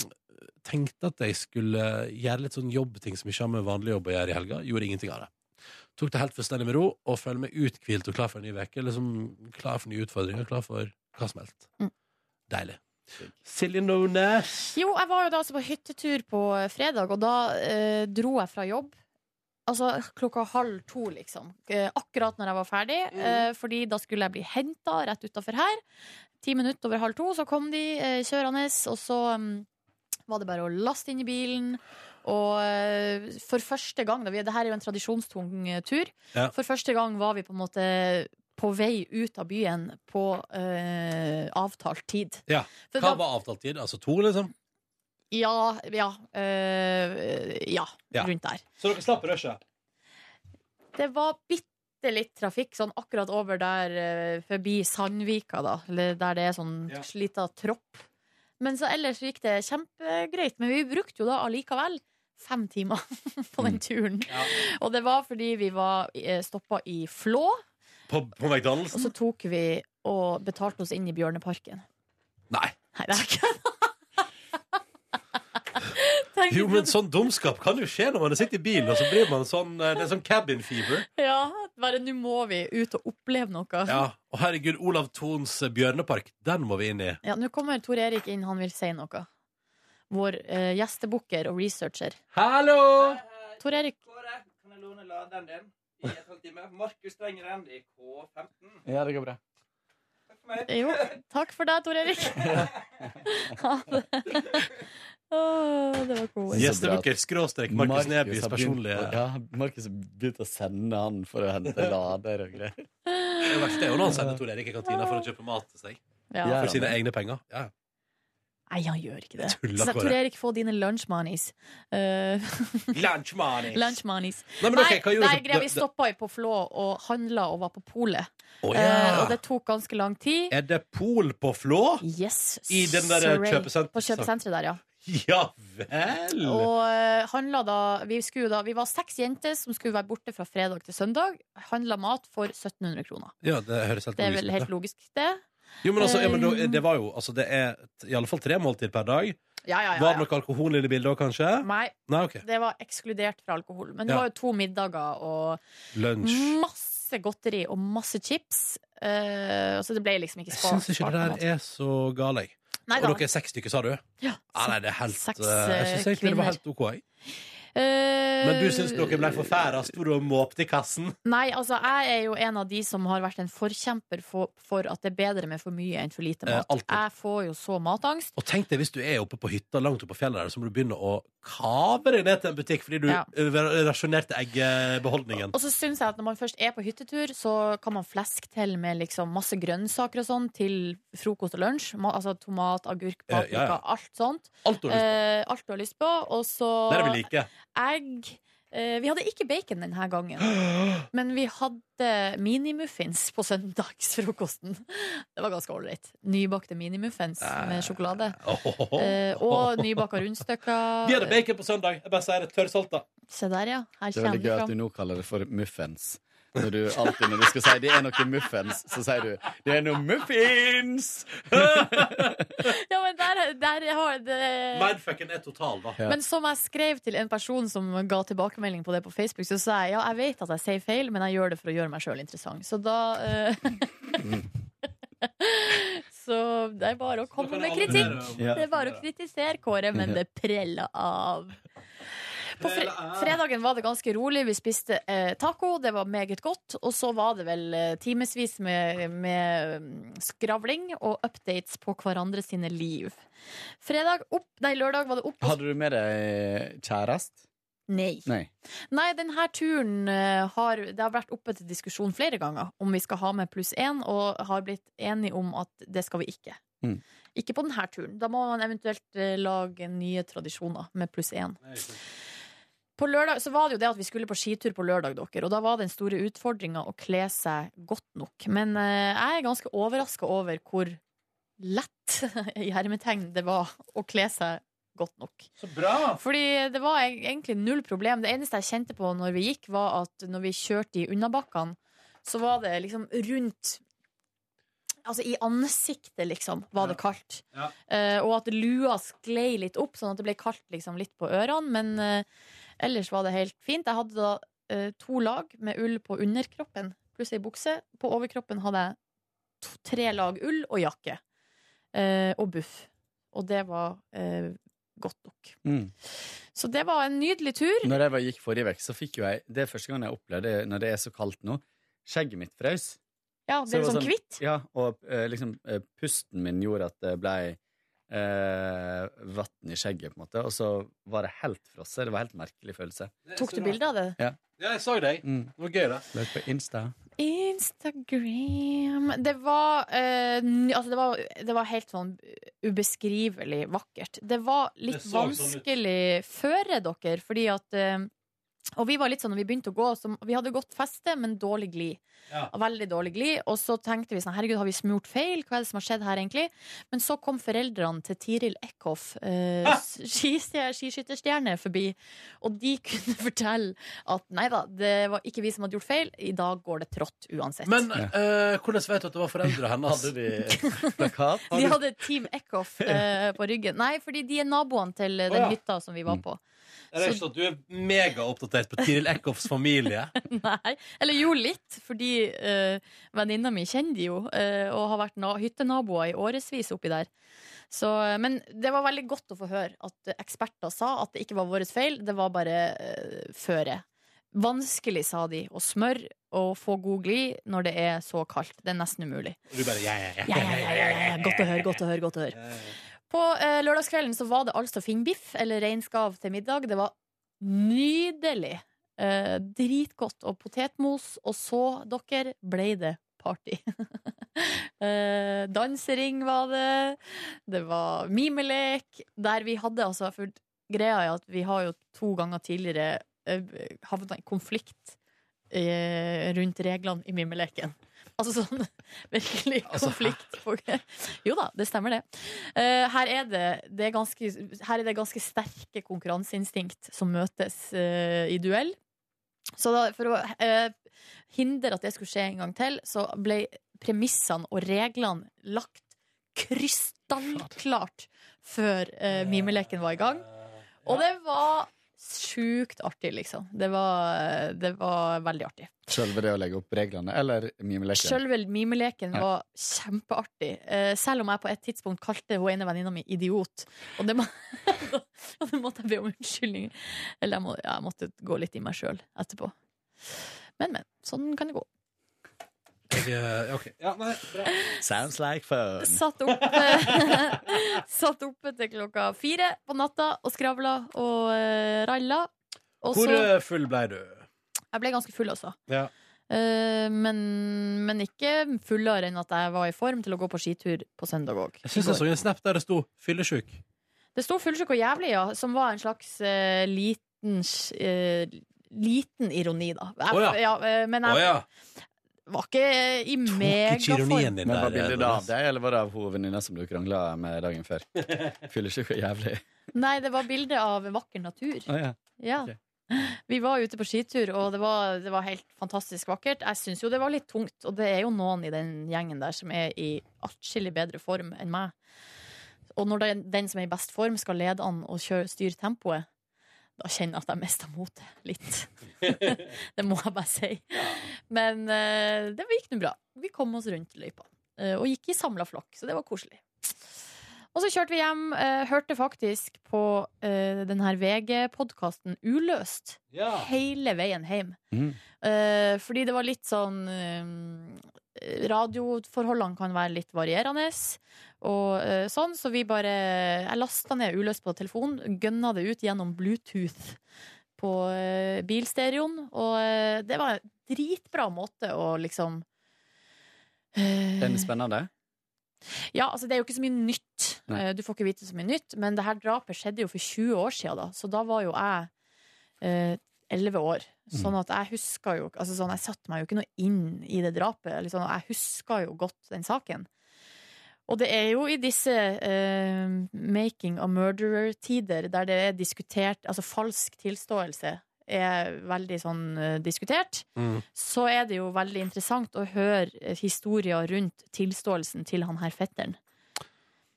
S1: tenkte at jeg skulle gjøre litt sånn jobbting som ikke har med vanlig jobb å gjøre i helga. Gjorde ingenting av det. Tok det helt fullstendig med ro og føler meg uthvilt og klar for en ny uke. Liksom klar for nye utfordringer, klar for hva som helst.
S3: Mm.
S1: Deilig. Silje Nordnes.
S3: Jo, jeg var jo da altså på hyttetur på eh, fredag, og da eh, dro jeg fra jobb. Altså klokka halv to, liksom. Eh, akkurat når jeg var ferdig.
S1: Mm.
S3: Eh, fordi da skulle jeg bli henta rett utafor her. Ti minutter over halv to, så kom de eh, kjørende, og så mm, var det bare å laste inn i bilen. Og eh, for første gang da vi, Det her er jo en tradisjonstung eh, tur.
S1: Ja.
S3: For første gang var vi på en måte på vei ut av byen på eh, avtalt tid.
S1: Ja.
S3: For
S1: Hva
S3: da-
S1: var avtalt tid? Altså to, liksom?
S3: ja, ja, øh, ja,
S1: Ja.
S3: rundt der.
S1: Så dere slapp rushet?
S3: Det var bitte litt trafikk sånn akkurat over der øh, forbi Sandvika, da. Eller der det er sånn
S1: Ja.
S3: lita tropp. Men så ellers gikk det kjempegreit. Men vi brukte jo da allikevel fem timer på
S1: Mm.
S3: den turen. Og det var fordi vi var stoppa i Flå,
S1: På, på McDonald's?
S3: og så tok vi og betalte oss inn i Bjørneparken.
S1: Nei.
S3: Nei, det er ikke Tenk
S1: Jo,
S3: at
S1: men sånn dumskap kan jo skje når man sitter i bilen, og så blir man sånn eh, Det er sånn cabin fever.
S3: Ja, bare nå må vi ut og oppleve noe. Ja,
S1: Ja. Og herregud, Olav Thons eh, Bjørnepark, den må vi inn i.
S3: nå kommer Tor Erik inn, han vil si noe. Vår eh, gjestebukker og researcher.
S1: Hallo!
S3: Tor Erik,
S9: Kåre, kan jeg låne laderen din i et halvt time? Markus trenger den i K15.
S7: Ja, det går bra.
S9: Takk for meg.
S3: jo, takk for deg, Tor Erik. Ha det. Åh, det var god.
S8: Yes. Så bra.
S1: Gjestebukker, skråstrek, Markus Nebys
S8: har begynt-
S1: personlige
S8: Ja, Markus har begynt å sende han for å hente lader og greier.
S1: Det verste er jo når han sender Tor Erik i kantina for å kjøpe mat til seg.
S3: Ja.
S1: For sine egne penger. Ja.
S3: Nei, han gjør ikke det.
S1: Tulla,
S3: Så da,
S1: Kåre.
S3: Tor Erik, få dine lunch monies. Eh,
S1: Lunch money!
S3: lunch monies.
S1: Nei, men ok,
S3: Nei,
S1: hva gjorde
S3: nei
S1: dere-
S3: greia, vi stoppa jo på Flå og handla og var på polet.
S1: Å,
S3: Eh, og
S1: ja.
S3: det tok ganske lang tid.
S1: Er det pol på Flå?
S3: Yes,
S1: I den der eh,
S3: Surrey.
S1: kjøpesent-
S3: På kjøpesenteret der, ja.
S1: Ja vel!
S3: Og eh, handla da vi, skulle da vi var seks jenter som skulle være borte fra fredag til søndag. Handla mat for 1700 kroner.
S1: Ja, det høres helt
S3: Det er
S1: logisk ut,
S3: vel
S1: ja.
S3: helt logisk, det.
S1: Jo, men altså, ja, men da- det var jo altså, Det er t- i alle fall tre måltid per dag.
S3: Ja, ja, ja,
S1: Var det
S3: ja.
S1: noe alkohol inne i bildet òg, kanskje?
S3: Nei,
S1: Nei, OK.
S3: det var ekskludert fra alkohol. Men det
S1: Ja.
S3: var jo to middager og
S1: Lunsj.
S3: Mm. masse godteri og masse chips. Eh, så det ble liksom ikke
S1: Jeg
S3: spart.
S1: syns ikke det der er så gale, jeg.
S3: Nei
S1: Og
S3: da.
S1: dere er seks stykker, sa du?
S3: Ja,
S1: Ja, nei, det er helt
S3: Seks,
S1: eh, Jeg syns
S3: eh,
S1: egentlig det var
S3: kvinner.
S1: helt OK. jeg.
S3: Eh,
S1: Men du syns dere ble forferda? Sto du og måpte i kassen?
S3: Nei, altså jeg er jo en av de som har vært en forkjemper for, for at det er bedre med for mye enn for lite
S1: Eh,
S3: mat.
S1: alltid.
S3: jeg får jo så matangst.
S1: Og tenk deg hvis du er oppe på hytta langt oppe på fjellet der, så må du begynne å kave deg ned til en butikk fordi du
S3: Ja.
S1: eh, rasjonerte eggebeholdningen.
S3: Og så syns jeg at når man først er på hyttetur, så kan man fleske til med liksom masse grønnsaker og sånn til frokost og lunsj. Ma altså tomat, agurk,
S1: Eh, ja,
S3: paprika,
S1: ja.
S3: alt sånt.
S1: Alt du har lyst på.
S3: Eh, alt du har lyst på. Og så
S1: Det er det vi liker.
S3: egg. Eh, vi hadde ikke bacon denne gangen, men vi hadde minimuffins på søndagsfrokosten. Det var ganske ålreit. Nybakte minimuffins med sjokolade.
S1: Åhåhå.
S3: Eh, og nybaka rundstykker.
S1: Vi hadde bacon på søndag. Jeg bare sier det. Tørrsalta.
S3: Se der, ja. Her
S8: Det er
S3: kommer
S8: veldig gøy
S3: det
S8: at du
S3: fram.
S8: nå kaller det for muffens. Når du alltid når du skal si 'det er noe muffens', så sier du 'det er noe muffins'!
S3: Ja, men der, der har det
S1: Mindfucken er total, da.
S8: Ja.
S3: men som jeg skrev til en person som ga tilbakemelding på det på Facebook, så sa jeg ja, jeg vet at jeg sier feil, men jeg gjør det for å gjøre meg sjøl interessant. Så da eh, Så det er bare å komme med kritikk.
S8: Ja.
S3: Det er bare å kritisere Kåre, men det preller av. På fre fredagen var det ganske rolig. Vi spiste eh, taco, det var meget godt. Og så var det vel eh, timevis med, med mm, skravling og updates på hverandre sine liv. Fredag opp, nei, lørdag var det opp og
S8: Hadde du med deg eh, kjærest?
S3: Nei.
S8: Nei.
S3: Nei, denne turen eh, har Det har vært oppe til diskusjon flere ganger om vi skal ha med pluss én, og har blitt enige om at det skal vi ikke.
S8: Mm.
S3: Ikke på denne turen. Da må man eventuelt eh, lage nye tradisjoner med pluss én. På lørdag så var det jo det at vi skulle på skitur på lørdag, dere, og da var den store utfordringa å kle seg godt nok. Men eh, jeg er ganske overraska over hvor lett i hermetegn det var å kle seg godt nok.
S7: Så bra!
S3: Fordi det var eg- egentlig null problem. Det eneste jeg kjente på når vi gikk, var at når vi kjørte i unnabakkene, så var det liksom rundt Altså i ansiktet, liksom, var det kaldt.
S7: Ja.
S3: Eh, og at lua sklei litt opp, sånn at det ble kaldt liksom, litt på ørene. Men eh, ellers var det helt fint. Jeg hadde da eh, to lag med ull på underkroppen pluss ei bukse. På overkroppen hadde jeg to, tre lag ull og jakke. Eh, og buff. Og det var eh, godt nok.
S8: Mm.
S3: Så det var en nydelig tur.
S8: Når jeg var, gikk forrige vekk, så fikk jo jeg Det er første gang jeg opplevde det når det er så kaldt nå. Skjegget mitt frøs.
S3: Ja, det er
S8: Så det var
S3: sånn
S8: sånn-
S3: kvitt.
S8: Ja, og eh, liksom eh, pusten min gjorde at det ble eh, vann i skjegget, på en måte. Og så var det helt frosset. Det var en helt merkelig følelse.
S3: Tok du bilde av det?
S1: Ja, jeg så deg.
S8: Mm.
S1: Det var gøy, det.
S8: Løk på Insta.
S3: Instagram Det var, eh, ny- altså det var Det var helt sånn ubeskrivelig vakkert. Det var litt
S1: Det så sånn ut.
S3: vanskelig føre dere, fordi at eh, Og vi var litt sånn når vi begynte å gå, så vi hadde godt feste, men dårlig glid.
S1: Ja.
S3: Veldig dårlig glid. Og så tenkte vi sånn Herregud, har vi smurt feil? Hva er det som har skjedd her, egentlig? Men så kom foreldrene til Tiril Eckhoff, eh,
S1: Ah!
S3: skistjer- skiskytterstjerne, forbi. Og de kunne fortelle at nei da, det var ikke vi som hadde gjort feil. I dag går det trått uansett.
S1: Men eh, hvordan vet du at det var foreldra hennes?
S8: Hadde de plakat?
S3: de hadde Team Eckhoff eh, på ryggen. Nei, fordi de er naboene til eh, den
S1: Å, ja.
S3: hytta som vi var på.
S1: Jeg vet ikke at du er megaoppdatert på Tiril Eckhoffs familie.
S3: Nei. Eller jo, litt, fordi eh, venninna mi kjenner de jo, eh, og har vært na hyttenaboer i årevis oppi der. Så, eh, men det var veldig godt å få høre at eksperter sa at det ikke var vår feil, det var bare eh, føre. Vanskelig, sa de, å smøre og få god glid når det er så kaldt. Det er nesten umulig.
S1: Og du bare ja, ja, ja.
S3: Ja, ja, ja, ja, ja. Godt å høre, godt å høre. godt å høre På eh, lørdagskvelden så var det altså finnbiff eller reinskav til middag. Det var nydelig. Eh, dritgodt. Og potetmos. Og så, dere, ble det party. eh, dansering var det. Det var mimelek. Der vi hadde altså for Greia er at vi har jo to ganger tidligere eh, havna i konflikt eh, rundt reglene i mimeleken. Altså sånn virkelig konflikt. Jo da, det stemmer det. Eh, her, er det, det er ganske, her er det ganske sterke konkurranseinstinkt som møtes eh, i duell. Så da, for å eh, hindre at det skulle skje en gang til, så ble premissene og reglene lagt krystallklart før eh, mimeleken var i gang. Og det var sjukt artig, liksom. Det var, det var veldig artig.
S8: Selve det å legge opp reglene, eller mimeleken?
S3: Sjølve mimeleken
S8: Ja.
S3: var kjempeartig. eh, Selv om jeg på et tidspunkt kalte hun ene venninna mi idiot. Og det, må, og det måtte jeg be om unnskyldning. Eller jeg, må, ja, jeg måtte gå litt i meg sjøl etterpå. Men, men. Sånn kan det gå.
S1: Jeg, eh, ok. ja, nei, bra.
S8: Sounds like
S1: Sånn.
S8: fun.
S3: Satt oppe, satt oppe til klokka fire på natta og skravla og eh, ralla. Og
S1: Hvor
S3: så
S1: eh, full ble du?
S3: Jeg ble ganske full, altså.
S1: Ja.
S3: Eh, men, men ikke fullere enn at jeg var i form til å gå på skitur på søndag òg.
S1: Jeg syns jeg så en snap der det sto 'fyllesyk'.
S3: Det sto fullsjuk og jævlig, ja, som var en slags eh, liten eh, Liten ironi, da. Jeg,
S1: Å ja.
S3: eh, men
S1: Å
S3: jeg
S1: ja.
S3: var ikke eh, i
S1: Tok ikke ironien
S3: megaform.
S1: din
S8: Men
S1: der.
S8: var
S1: eh,
S8: bildet det av
S1: Nordnes.
S8: deg, eller var det av hovedvenninna som du krangla med dagen før? Fyllesyk og jævlig.
S3: Nei, det var bilde av vakker natur.
S8: Å, ja.
S3: Ja.
S8: Ok.
S3: Vi var ute på skitur, og det var, det var helt fantastisk vakkert. Jeg syns jo det var litt tungt, og det er jo noen i den gjengen der som er i atskillig bedre form enn meg. Og når den, den som er i best form, skal lede an og kjøre, styre tempoet, da kjenner jeg at jeg mista motet litt. det må jeg bare si. Men eh, det gikk nå bra. Vi kom oss rundt løypa, eh, og gikk i samla flokk, så det var koselig. Og så kjørte vi hjem. eh, hørte faktisk på eh, den her VG-podkasten Uløst
S1: Ja.
S3: hele veien hjem.
S8: Mm.
S3: Eh, fordi det var litt sånn eh, Radioforholdene kan være litt varierende, og eh, sånn, så vi bare Jeg lasta ned Uløst på telefonen, gønna det ut gjennom Bluetooth på eh, bilstereoen, og eh, det var en dritbra måte å liksom eh,
S8: Den er spennende.
S3: ja, altså det er jo ikke så mye nytt.
S8: Nei.
S3: Eh, Du får ikke vite så mye nytt, men det her drapet skjedde jo for 20 år siden, da. så da var jo jeg eh, 11 år. Sånn at jeg huska jo altså sånn, Jeg satte meg jo ikke noe inn i det drapet. Eller sånn, jeg huska jo godt den saken. Og det er jo i disse eh, making a murderer-tider, der det er diskutert Altså falsk tilståelse er veldig sånn eh, diskutert,
S1: Mm.
S3: så er det jo veldig interessant å høre eh, historier rundt tilståelsen til han her fetteren.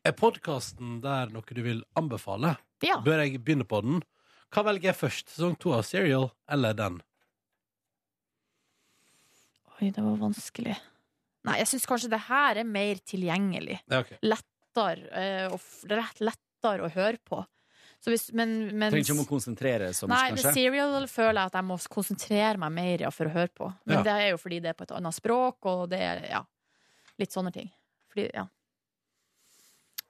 S1: Er podkasten der noe du vil anbefale?
S3: Ja.
S1: Bør jeg begynne på den? Hva velger jeg først? Sesong to av Serial eller den?
S3: Oi, det var vanskelig. Nei, jeg syns kanskje det her er mer tilgjengelig.
S1: Ja, ok.
S3: Lettere, eh, og f- lett, lettere å høre på. Så hvis, men, men
S8: Trenger ikke om å konsentrere så mye,
S3: Nei, med
S8: kanskje.
S3: Serial føler jeg at jeg må konsentrere meg mer ja, for å høre på. Men
S1: Ja.
S3: det er jo fordi det er på et annet språk, og det er ja, litt sånne ting. Fordi, ja.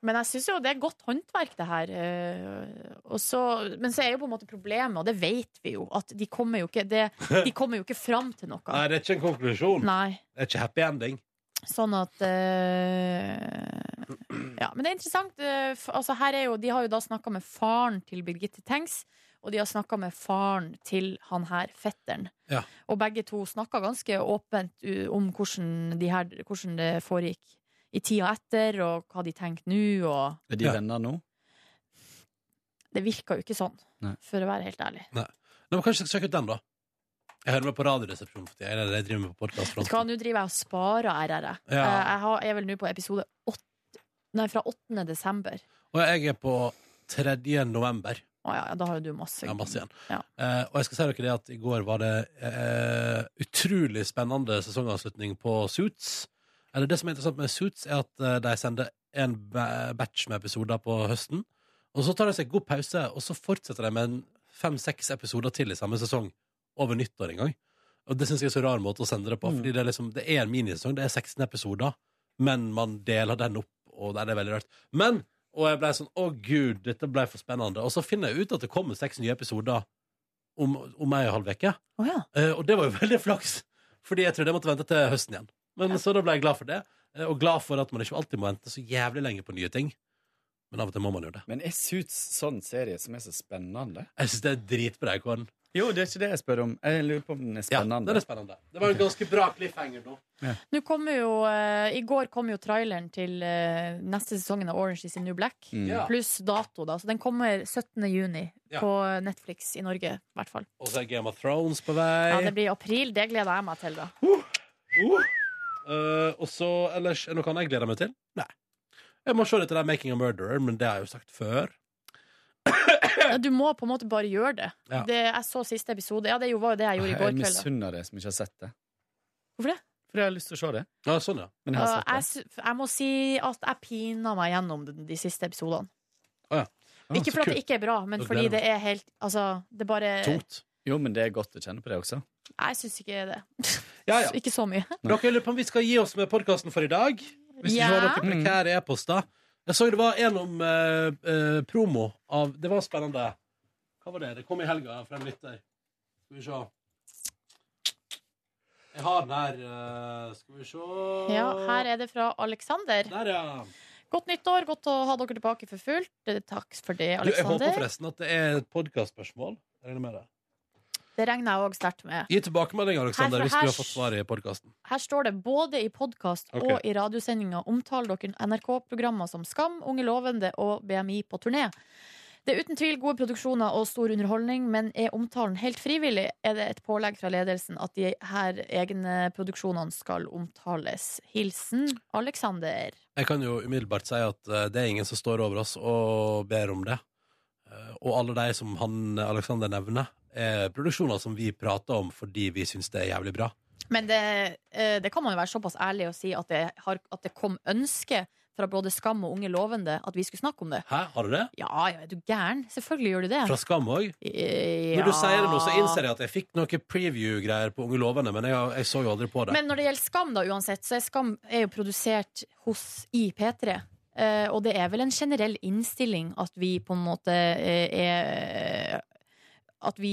S3: Men jeg syns jo det er godt håndverk, det her. eh, Og så, men så er jo på en måte problemet, og det vet vi jo, at de kommer jo ikke, det, de kommer jo ikke fram til noe.
S1: Nei, det er ikke en konklusjon.
S3: Nei.
S1: Det er ikke happy ending.
S3: Sånn at eh, Ja, men det er interessant. eh, f- altså her er jo, de har jo da snakka med faren til Birgitte Tengs, og de har snakka med faren til han her fetteren.
S1: Ja.
S3: Og begge to snakka ganske åpent u- om hvordan, de her, hvordan det foregikk i tida etter, og hva de tenkte nå, og
S8: Er de
S1: Ja.
S8: venner nå?
S3: Det virka jo ikke sånn,
S8: Nei.
S3: for å være helt ærlig.
S1: Nei, men Kanskje jeg skal sjekke ut den, da. Jeg hører meg på Radioresepsjonen for tida. eller Jeg driver med på
S3: Vet du hva,
S1: podcastfronten.
S3: nå driver jeg og sparer RR. jeg.
S1: Ja.
S3: Eh, Jeg har- jeg er vel nå på episode 8, nei, fra 8. desember.
S1: Og jeg er på 3. november.
S3: Å ja, ja, da har jo du masse.
S1: Ja, masse igjen.
S3: Ja.
S1: Eh, og jeg skal si dere det at i går var det eh, utrolig spennende sesongavslutning på Suits. Eller det som er interessant med Suits, er at eh, de sender en ba- batch med episoder på høsten. Og så tar de seg god pause, og så fortsetter de med en fem-seks episoder til i samme sesong. Over nyttår en gang. Og det syns jeg er så rar måte å sende det på. Fordi det er, liksom, det er en minisesong, det er 16 episoder, men man deler den opp, og det er veldig rart. Men og jeg ble sånn, å gud, dette ble for spennende Og så finner jeg ut at det kommer seks nye episoder Om, om ei og en halv veke
S3: Å ja.
S1: Eh, Og det var jo veldig flaks Fordi jeg trodde jeg måtte vente til høsten igjen Men så da ble jeg glad for det eh, Og glad for at man ikke alltid må vente så jævlig lenge på nye ting Men av og til må man jo det
S8: Men er Suits sånn serie som er så spennende?
S1: Jeg synes det er dritbra, Kåren
S8: Jo, det er ikke det jeg spør om. Jeg lurer på om den er
S1: Ja, det
S8: spennende.
S1: er spennende Det var en ganske bra cliffhanger nå
S3: Nå kommer jo, eh, I går kom jo traileren til eh, neste sesongen av Orange is the New Black.
S8: Mm.
S1: Ja.
S3: Pluss dato, da. Så den kommer 17. juni
S1: Ja.
S3: på Netflix i Norge, i hvert fall.
S1: Og så er Game of Thrones på vei Uh.
S3: Ja, det blir i april. Det gleder jeg meg til, da.
S1: Eh, og så, ellers, er det noe annet jeg gleder meg til? Nei. Jeg må se litt til det Making a Murderer, men det har jeg jo sagt før.
S3: Nei, Du må på en måte bare gjøre det.
S1: Ja.
S3: det jeg så siste episode. Ja, det jo- var jo det jeg gjorde i
S8: Jeg
S3: går kveld. da.
S8: misunner deg som ikke har sett det.
S3: Hvorfor det?
S8: Fordi jeg har lyst til å se det.
S1: Ja, sånn, ja.
S8: Men jeg
S3: Og
S8: har sett det.
S3: jeg, sy- jeg må si at jeg pina meg gjennom de, de siste episodene.
S1: Å ja.
S8: Å,
S1: så
S3: Ikke fordi
S1: kult.
S3: det ikke er bra, men
S1: Da
S3: fordi
S1: gleder jeg
S3: det er helt Altså, det bare
S1: Tungt.
S8: Jo, men det er godt å kjenne på det også.
S3: Jeg syns ikke det.
S1: Ja, ja.
S3: Ikke så mye.
S1: Dere lurer på om vi skal gi oss med podkasten for i dag? Hvis
S3: Ja.
S1: vi har noen prekære e-poster. Jeg så det var en om eh, eh, promo av Det var spennende. Hva var det? Det kom i helga fra en lytter. Skal vi se. Jeg har den her. eh, skal vi se
S3: Ja, her er det fra Alexander.
S1: Der, ja.
S3: Godt nyttår, godt å ha dere tilbake for fullt. Eh, Takk for det,
S1: Du, jeg håper
S3: Alexander.
S1: forresten at det er et podkastspørsmål. Jeg regner med det.
S3: Det regner jeg òg sterkt med.
S1: Gi tilbakemelding, Aleksander,
S3: Her-
S1: hvis
S3: her-
S1: du har fått svar i podkasten.
S3: Her står det både i podkast
S1: Ok.
S3: og i radiosendinga omtaler dere NRK-programmer som Skam, Unge lovende og BMI på turné. Det er uten tvil gode produksjoner og stor underholdning, men er omtalen helt frivillig, er det et pålegg fra ledelsen at de her egne produksjonene skal omtales. Hilsen Alexander.
S1: Jeg kan jo umiddelbart si at eh, det er ingen som står over oss og ber om det. Eh, Og alle de som han eh, Alexander nevner, er produksjoner som vi prater om fordi vi syns det er jævlig bra.
S3: Men det, eh, det kan man jo være såpass ærlig og si at det, har, at det kom ønske fra både Skam og Unge Lovende at vi skulle snakke om det.
S1: Hæ, har du det?
S3: Ja, ja, er du gæren? Selvfølgelig gjør du det.
S1: Fra Skam òg?
S3: Ja.
S1: Når du sier det nå, så innser jeg at jeg fikk noen preview-greier på Unge lovende, men jeg, jeg så jo aldri på det.
S3: Men når det gjelder Skam, da, uansett, så er Skam er jo produsert hos, i P3. Eh, og det er vel en generell innstilling at vi på en måte eh, er At vi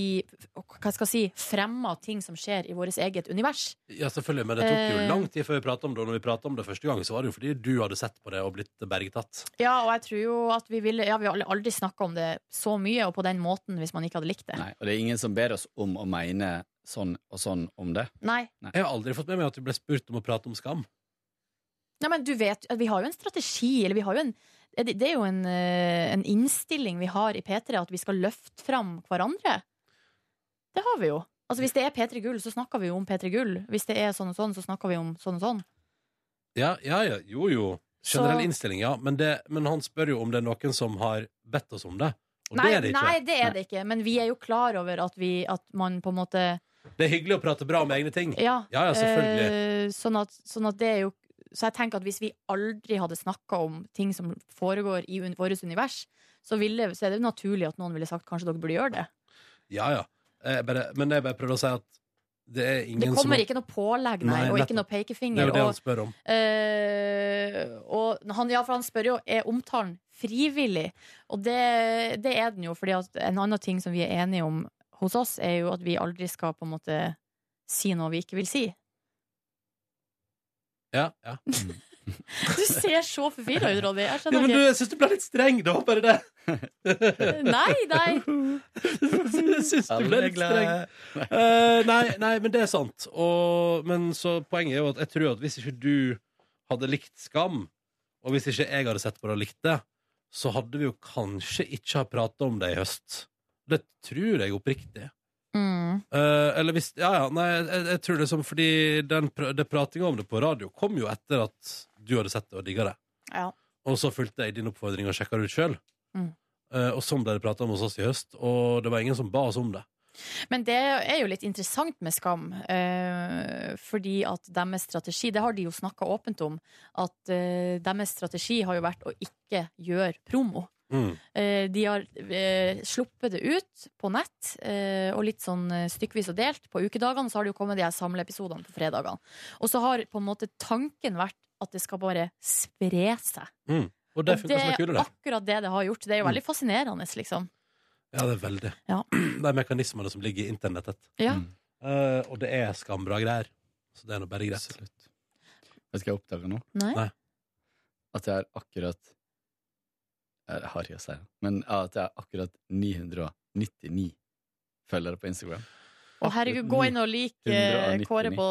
S3: hva skal jeg si, fremmer ting som skjer i vårt eget univers.
S1: ja, selvfølgelig, men det tok jo
S3: Eh.
S1: lang tid før vi prata om det. Og når vi prata om det første gang, så var det jo fordi du hadde sett på det og blitt bergtatt.
S3: Ja, og jeg tror jo at vi ville Ja, vi har aldri snakka om det så mye og på den måten hvis man ikke hadde likt det. Nei.
S8: Nei, og det er ingen som ber oss om å mene sånn og sånn om det.
S1: Jeg har aldri fått med meg at vi ble spurt om å prate om Skam.
S3: Nei, men du vet, Vi har jo en strategi, eller vi har jo en det det er jo en, eh, en innstilling vi har i P3, at vi skal løfte fram hverandre. Det har vi jo. Altså Hvis det er P3 Gull, så snakker vi jo om P3 Gull. Hvis det er sånn og sånn, så snakker vi om sånn og sånn.
S1: Ja, ja, ja. Jo, jo. Generell
S3: Så-
S1: innstilling, ja. Men, det, men han spør jo om det er noen som har bedt oss om det. Og
S3: Nei,
S1: det er det ikke.
S3: nei, det er det ikke. Men vi er jo klar over at, vi, at man på en måte
S1: Det er hyggelig å prate bra om egne ting.
S3: Ja,
S1: Ja, ja, selvfølgelig.
S3: eh, sånn, at, sånn at det er jo Så jeg tenker at hvis vi aldri hadde snakka om ting som foregår i un vårt univers, så, ville, så er det jo naturlig at noen ville sagt kanskje dere burde gjøre det.
S1: Ja, ja. Jeg bare, men jeg bare prøvde å si at det er ingen
S3: Det
S1: som
S3: kommer ikke noe pålegg, nei,
S1: Nei,
S3: og
S1: nettopp.
S3: ikke noe
S1: Det er
S3: pekefinger.
S1: jo det altså. han
S3: Og,
S1: spør om.
S3: eh, og han, ja, for han spør jo er omtalen frivillig, og det, det er den jo. Fordi at en annen ting som vi er enige om hos oss, er jo at vi aldri skal på en måte si noe vi ikke vil si.
S1: Ja, ja.
S3: Du ser så forvirra ut, Ronny. Jeg
S1: ja
S3: skjønner
S1: men du,
S3: ikke.
S1: jeg syns du ble litt streng, da. Bare det.
S3: Nei, nei.
S1: Jeg syns du ble litt streng. Eh, nei, nei, men det er sant. Og, men så poenget er jo at jeg tror at hvis ikke du hadde likt Skam, og hvis ikke jeg hadde sett på det og likt det, så hadde vi jo kanskje ikke ha prata om det i høst. Det tror jeg oppriktig.
S3: Mm.
S1: Eh, eller hvis Ja, ja. Nei, jeg, jeg tror det er som fordi den, pr- det pratinga om det på radio kom jo etter at du hadde sett det og digga det.
S3: Ja.
S1: Og så fulgte jeg din oppfordring og sjekka det ut sjøl.
S3: Mm.
S1: og sånn ble det prata om hos oss i høst, og det var ingen som ba oss om det.
S3: Men det er jo litt interessant med Skam, eh, fordi at deres strategi Det har de jo snakka åpent om, at eh, deres strategi har jo vært å ikke gjøre promo.
S1: Mm.
S3: Eh, de har eh, sluppet det ut på nett, eh, og litt sånn eh, stykkevis og delt. På ukedagene så har det jo kommet de her samleepisodene på fredagene. Og så har på en måte tanken vært at det skal bare spre seg.
S1: Og det
S3: Og
S1: funka som en kule, det.
S3: er akkurat det det har gjort. Det er jo veldig fascinerende, liksom.
S1: Ja, det er veldig.
S3: Ja.
S1: Det er mekanismene som ligger i internettet.
S3: Ja.
S8: Mm.
S1: Eh, og det er skambra greier. Så det er nå bare greit.
S8: Absolutt. Vet du hva jeg oppdager nå?
S3: Nei?
S1: Nei.
S8: At jeg er akkurat Jeg har ikke å si det, men at jeg er akkurat 999 følgere på Instagram.
S3: Å, herregud, gå inn og lik eh,
S8: 199.
S3: Kåre på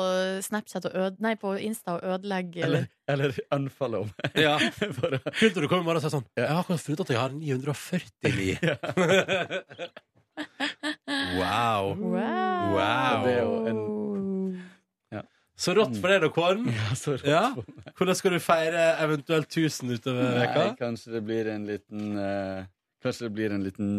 S3: Snapchat og øde, Nei, på Insta og ødelegg
S8: Eller, eller unfollow meg.
S1: Ja.
S8: For å-
S1: Kult når du kommer i morgen og sier sånn Jeg har akkurat funnet at jeg har 949. wow.
S3: Wow!
S1: Wow.
S8: Det er jo
S1: Så rått for deg, da, Kåren.
S8: Ja, så rått. Eh,
S1: Ja. Hvordan skal du feire eventuelt 1000 utover veka?
S8: Nei, kanskje det blir en liten eh, Kanskje det blir en liten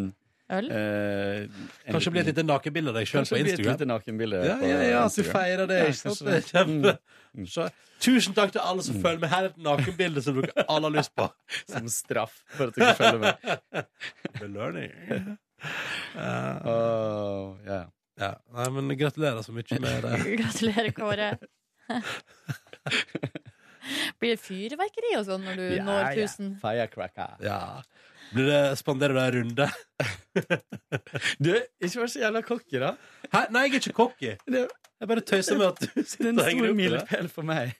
S3: Øl?
S8: eh, en
S1: Kanskje det blir et lite nakenbilde av deg sjøl
S8: Kanskje
S1: på
S8: det blir et
S1: Instagram?
S8: lite nakenbilde.
S1: Ja,
S8: på
S1: ja, ja, så du
S8: Instagram.
S1: feirer det.
S8: Ja,
S1: Ikke sant?
S8: kanskje
S1: Det er kjempe.
S8: det. Mm.
S1: Så, tusen takk til alle som følger med. Her er et nakenbilde som dere alle har lyst på.
S8: Som straff for at du ikke følger med.
S1: Belønning.
S8: Åh, ja.
S1: Ja. Nei, men gratulerer så mye med
S8: Eh.
S1: det.
S3: Gratulerer, Kåre. Blir det fyrverkeri og sånn når du
S8: Ja,
S3: når
S8: ja.
S3: 1000?
S8: Firecracker.
S1: Ja. Blir det spanderer deg en runde?
S8: Du, ikke vær så jævla cocky, da.
S1: Hæ? Nei, jeg er ikke cocky.
S8: Det-
S1: Jeg bare tøyser med at du
S8: Det er
S1: sitter
S8: en
S1: og henger
S8: stor
S1: opp i det.
S8: milepæl for meg.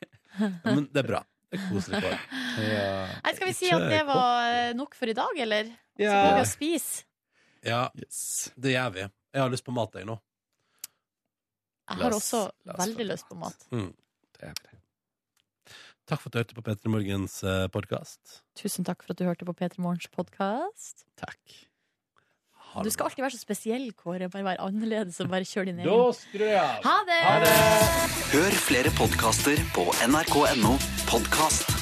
S1: Men det er bra. Det er koselig for deg.
S3: Nei, skal vi si at det var eh, nok for i dag, eller? Så går vi og spiser.
S1: Ja,
S8: Yes.
S1: det gjør vi. Jeg har lyst på mat, jeg nå.
S3: Jeg
S8: La
S3: har
S8: oss-
S3: også
S8: la oss få
S3: veldig
S8: litt
S3: lyst på
S8: mat.
S3: mat.
S8: Det er bra.
S1: Takk for at du hørte på P3 Morgens eh, podkast.
S3: Tusen takk for at du hørte på P3 Morgens podkast.
S8: Takk.
S3: Du skal alltid være så spesiell, Kåre. Bare være annerledes og bare kjøre din
S1: Da
S3: egen.
S1: skrur jeg av.
S3: Ha det!
S10: Hør flere podkaster på nrk.no podkast.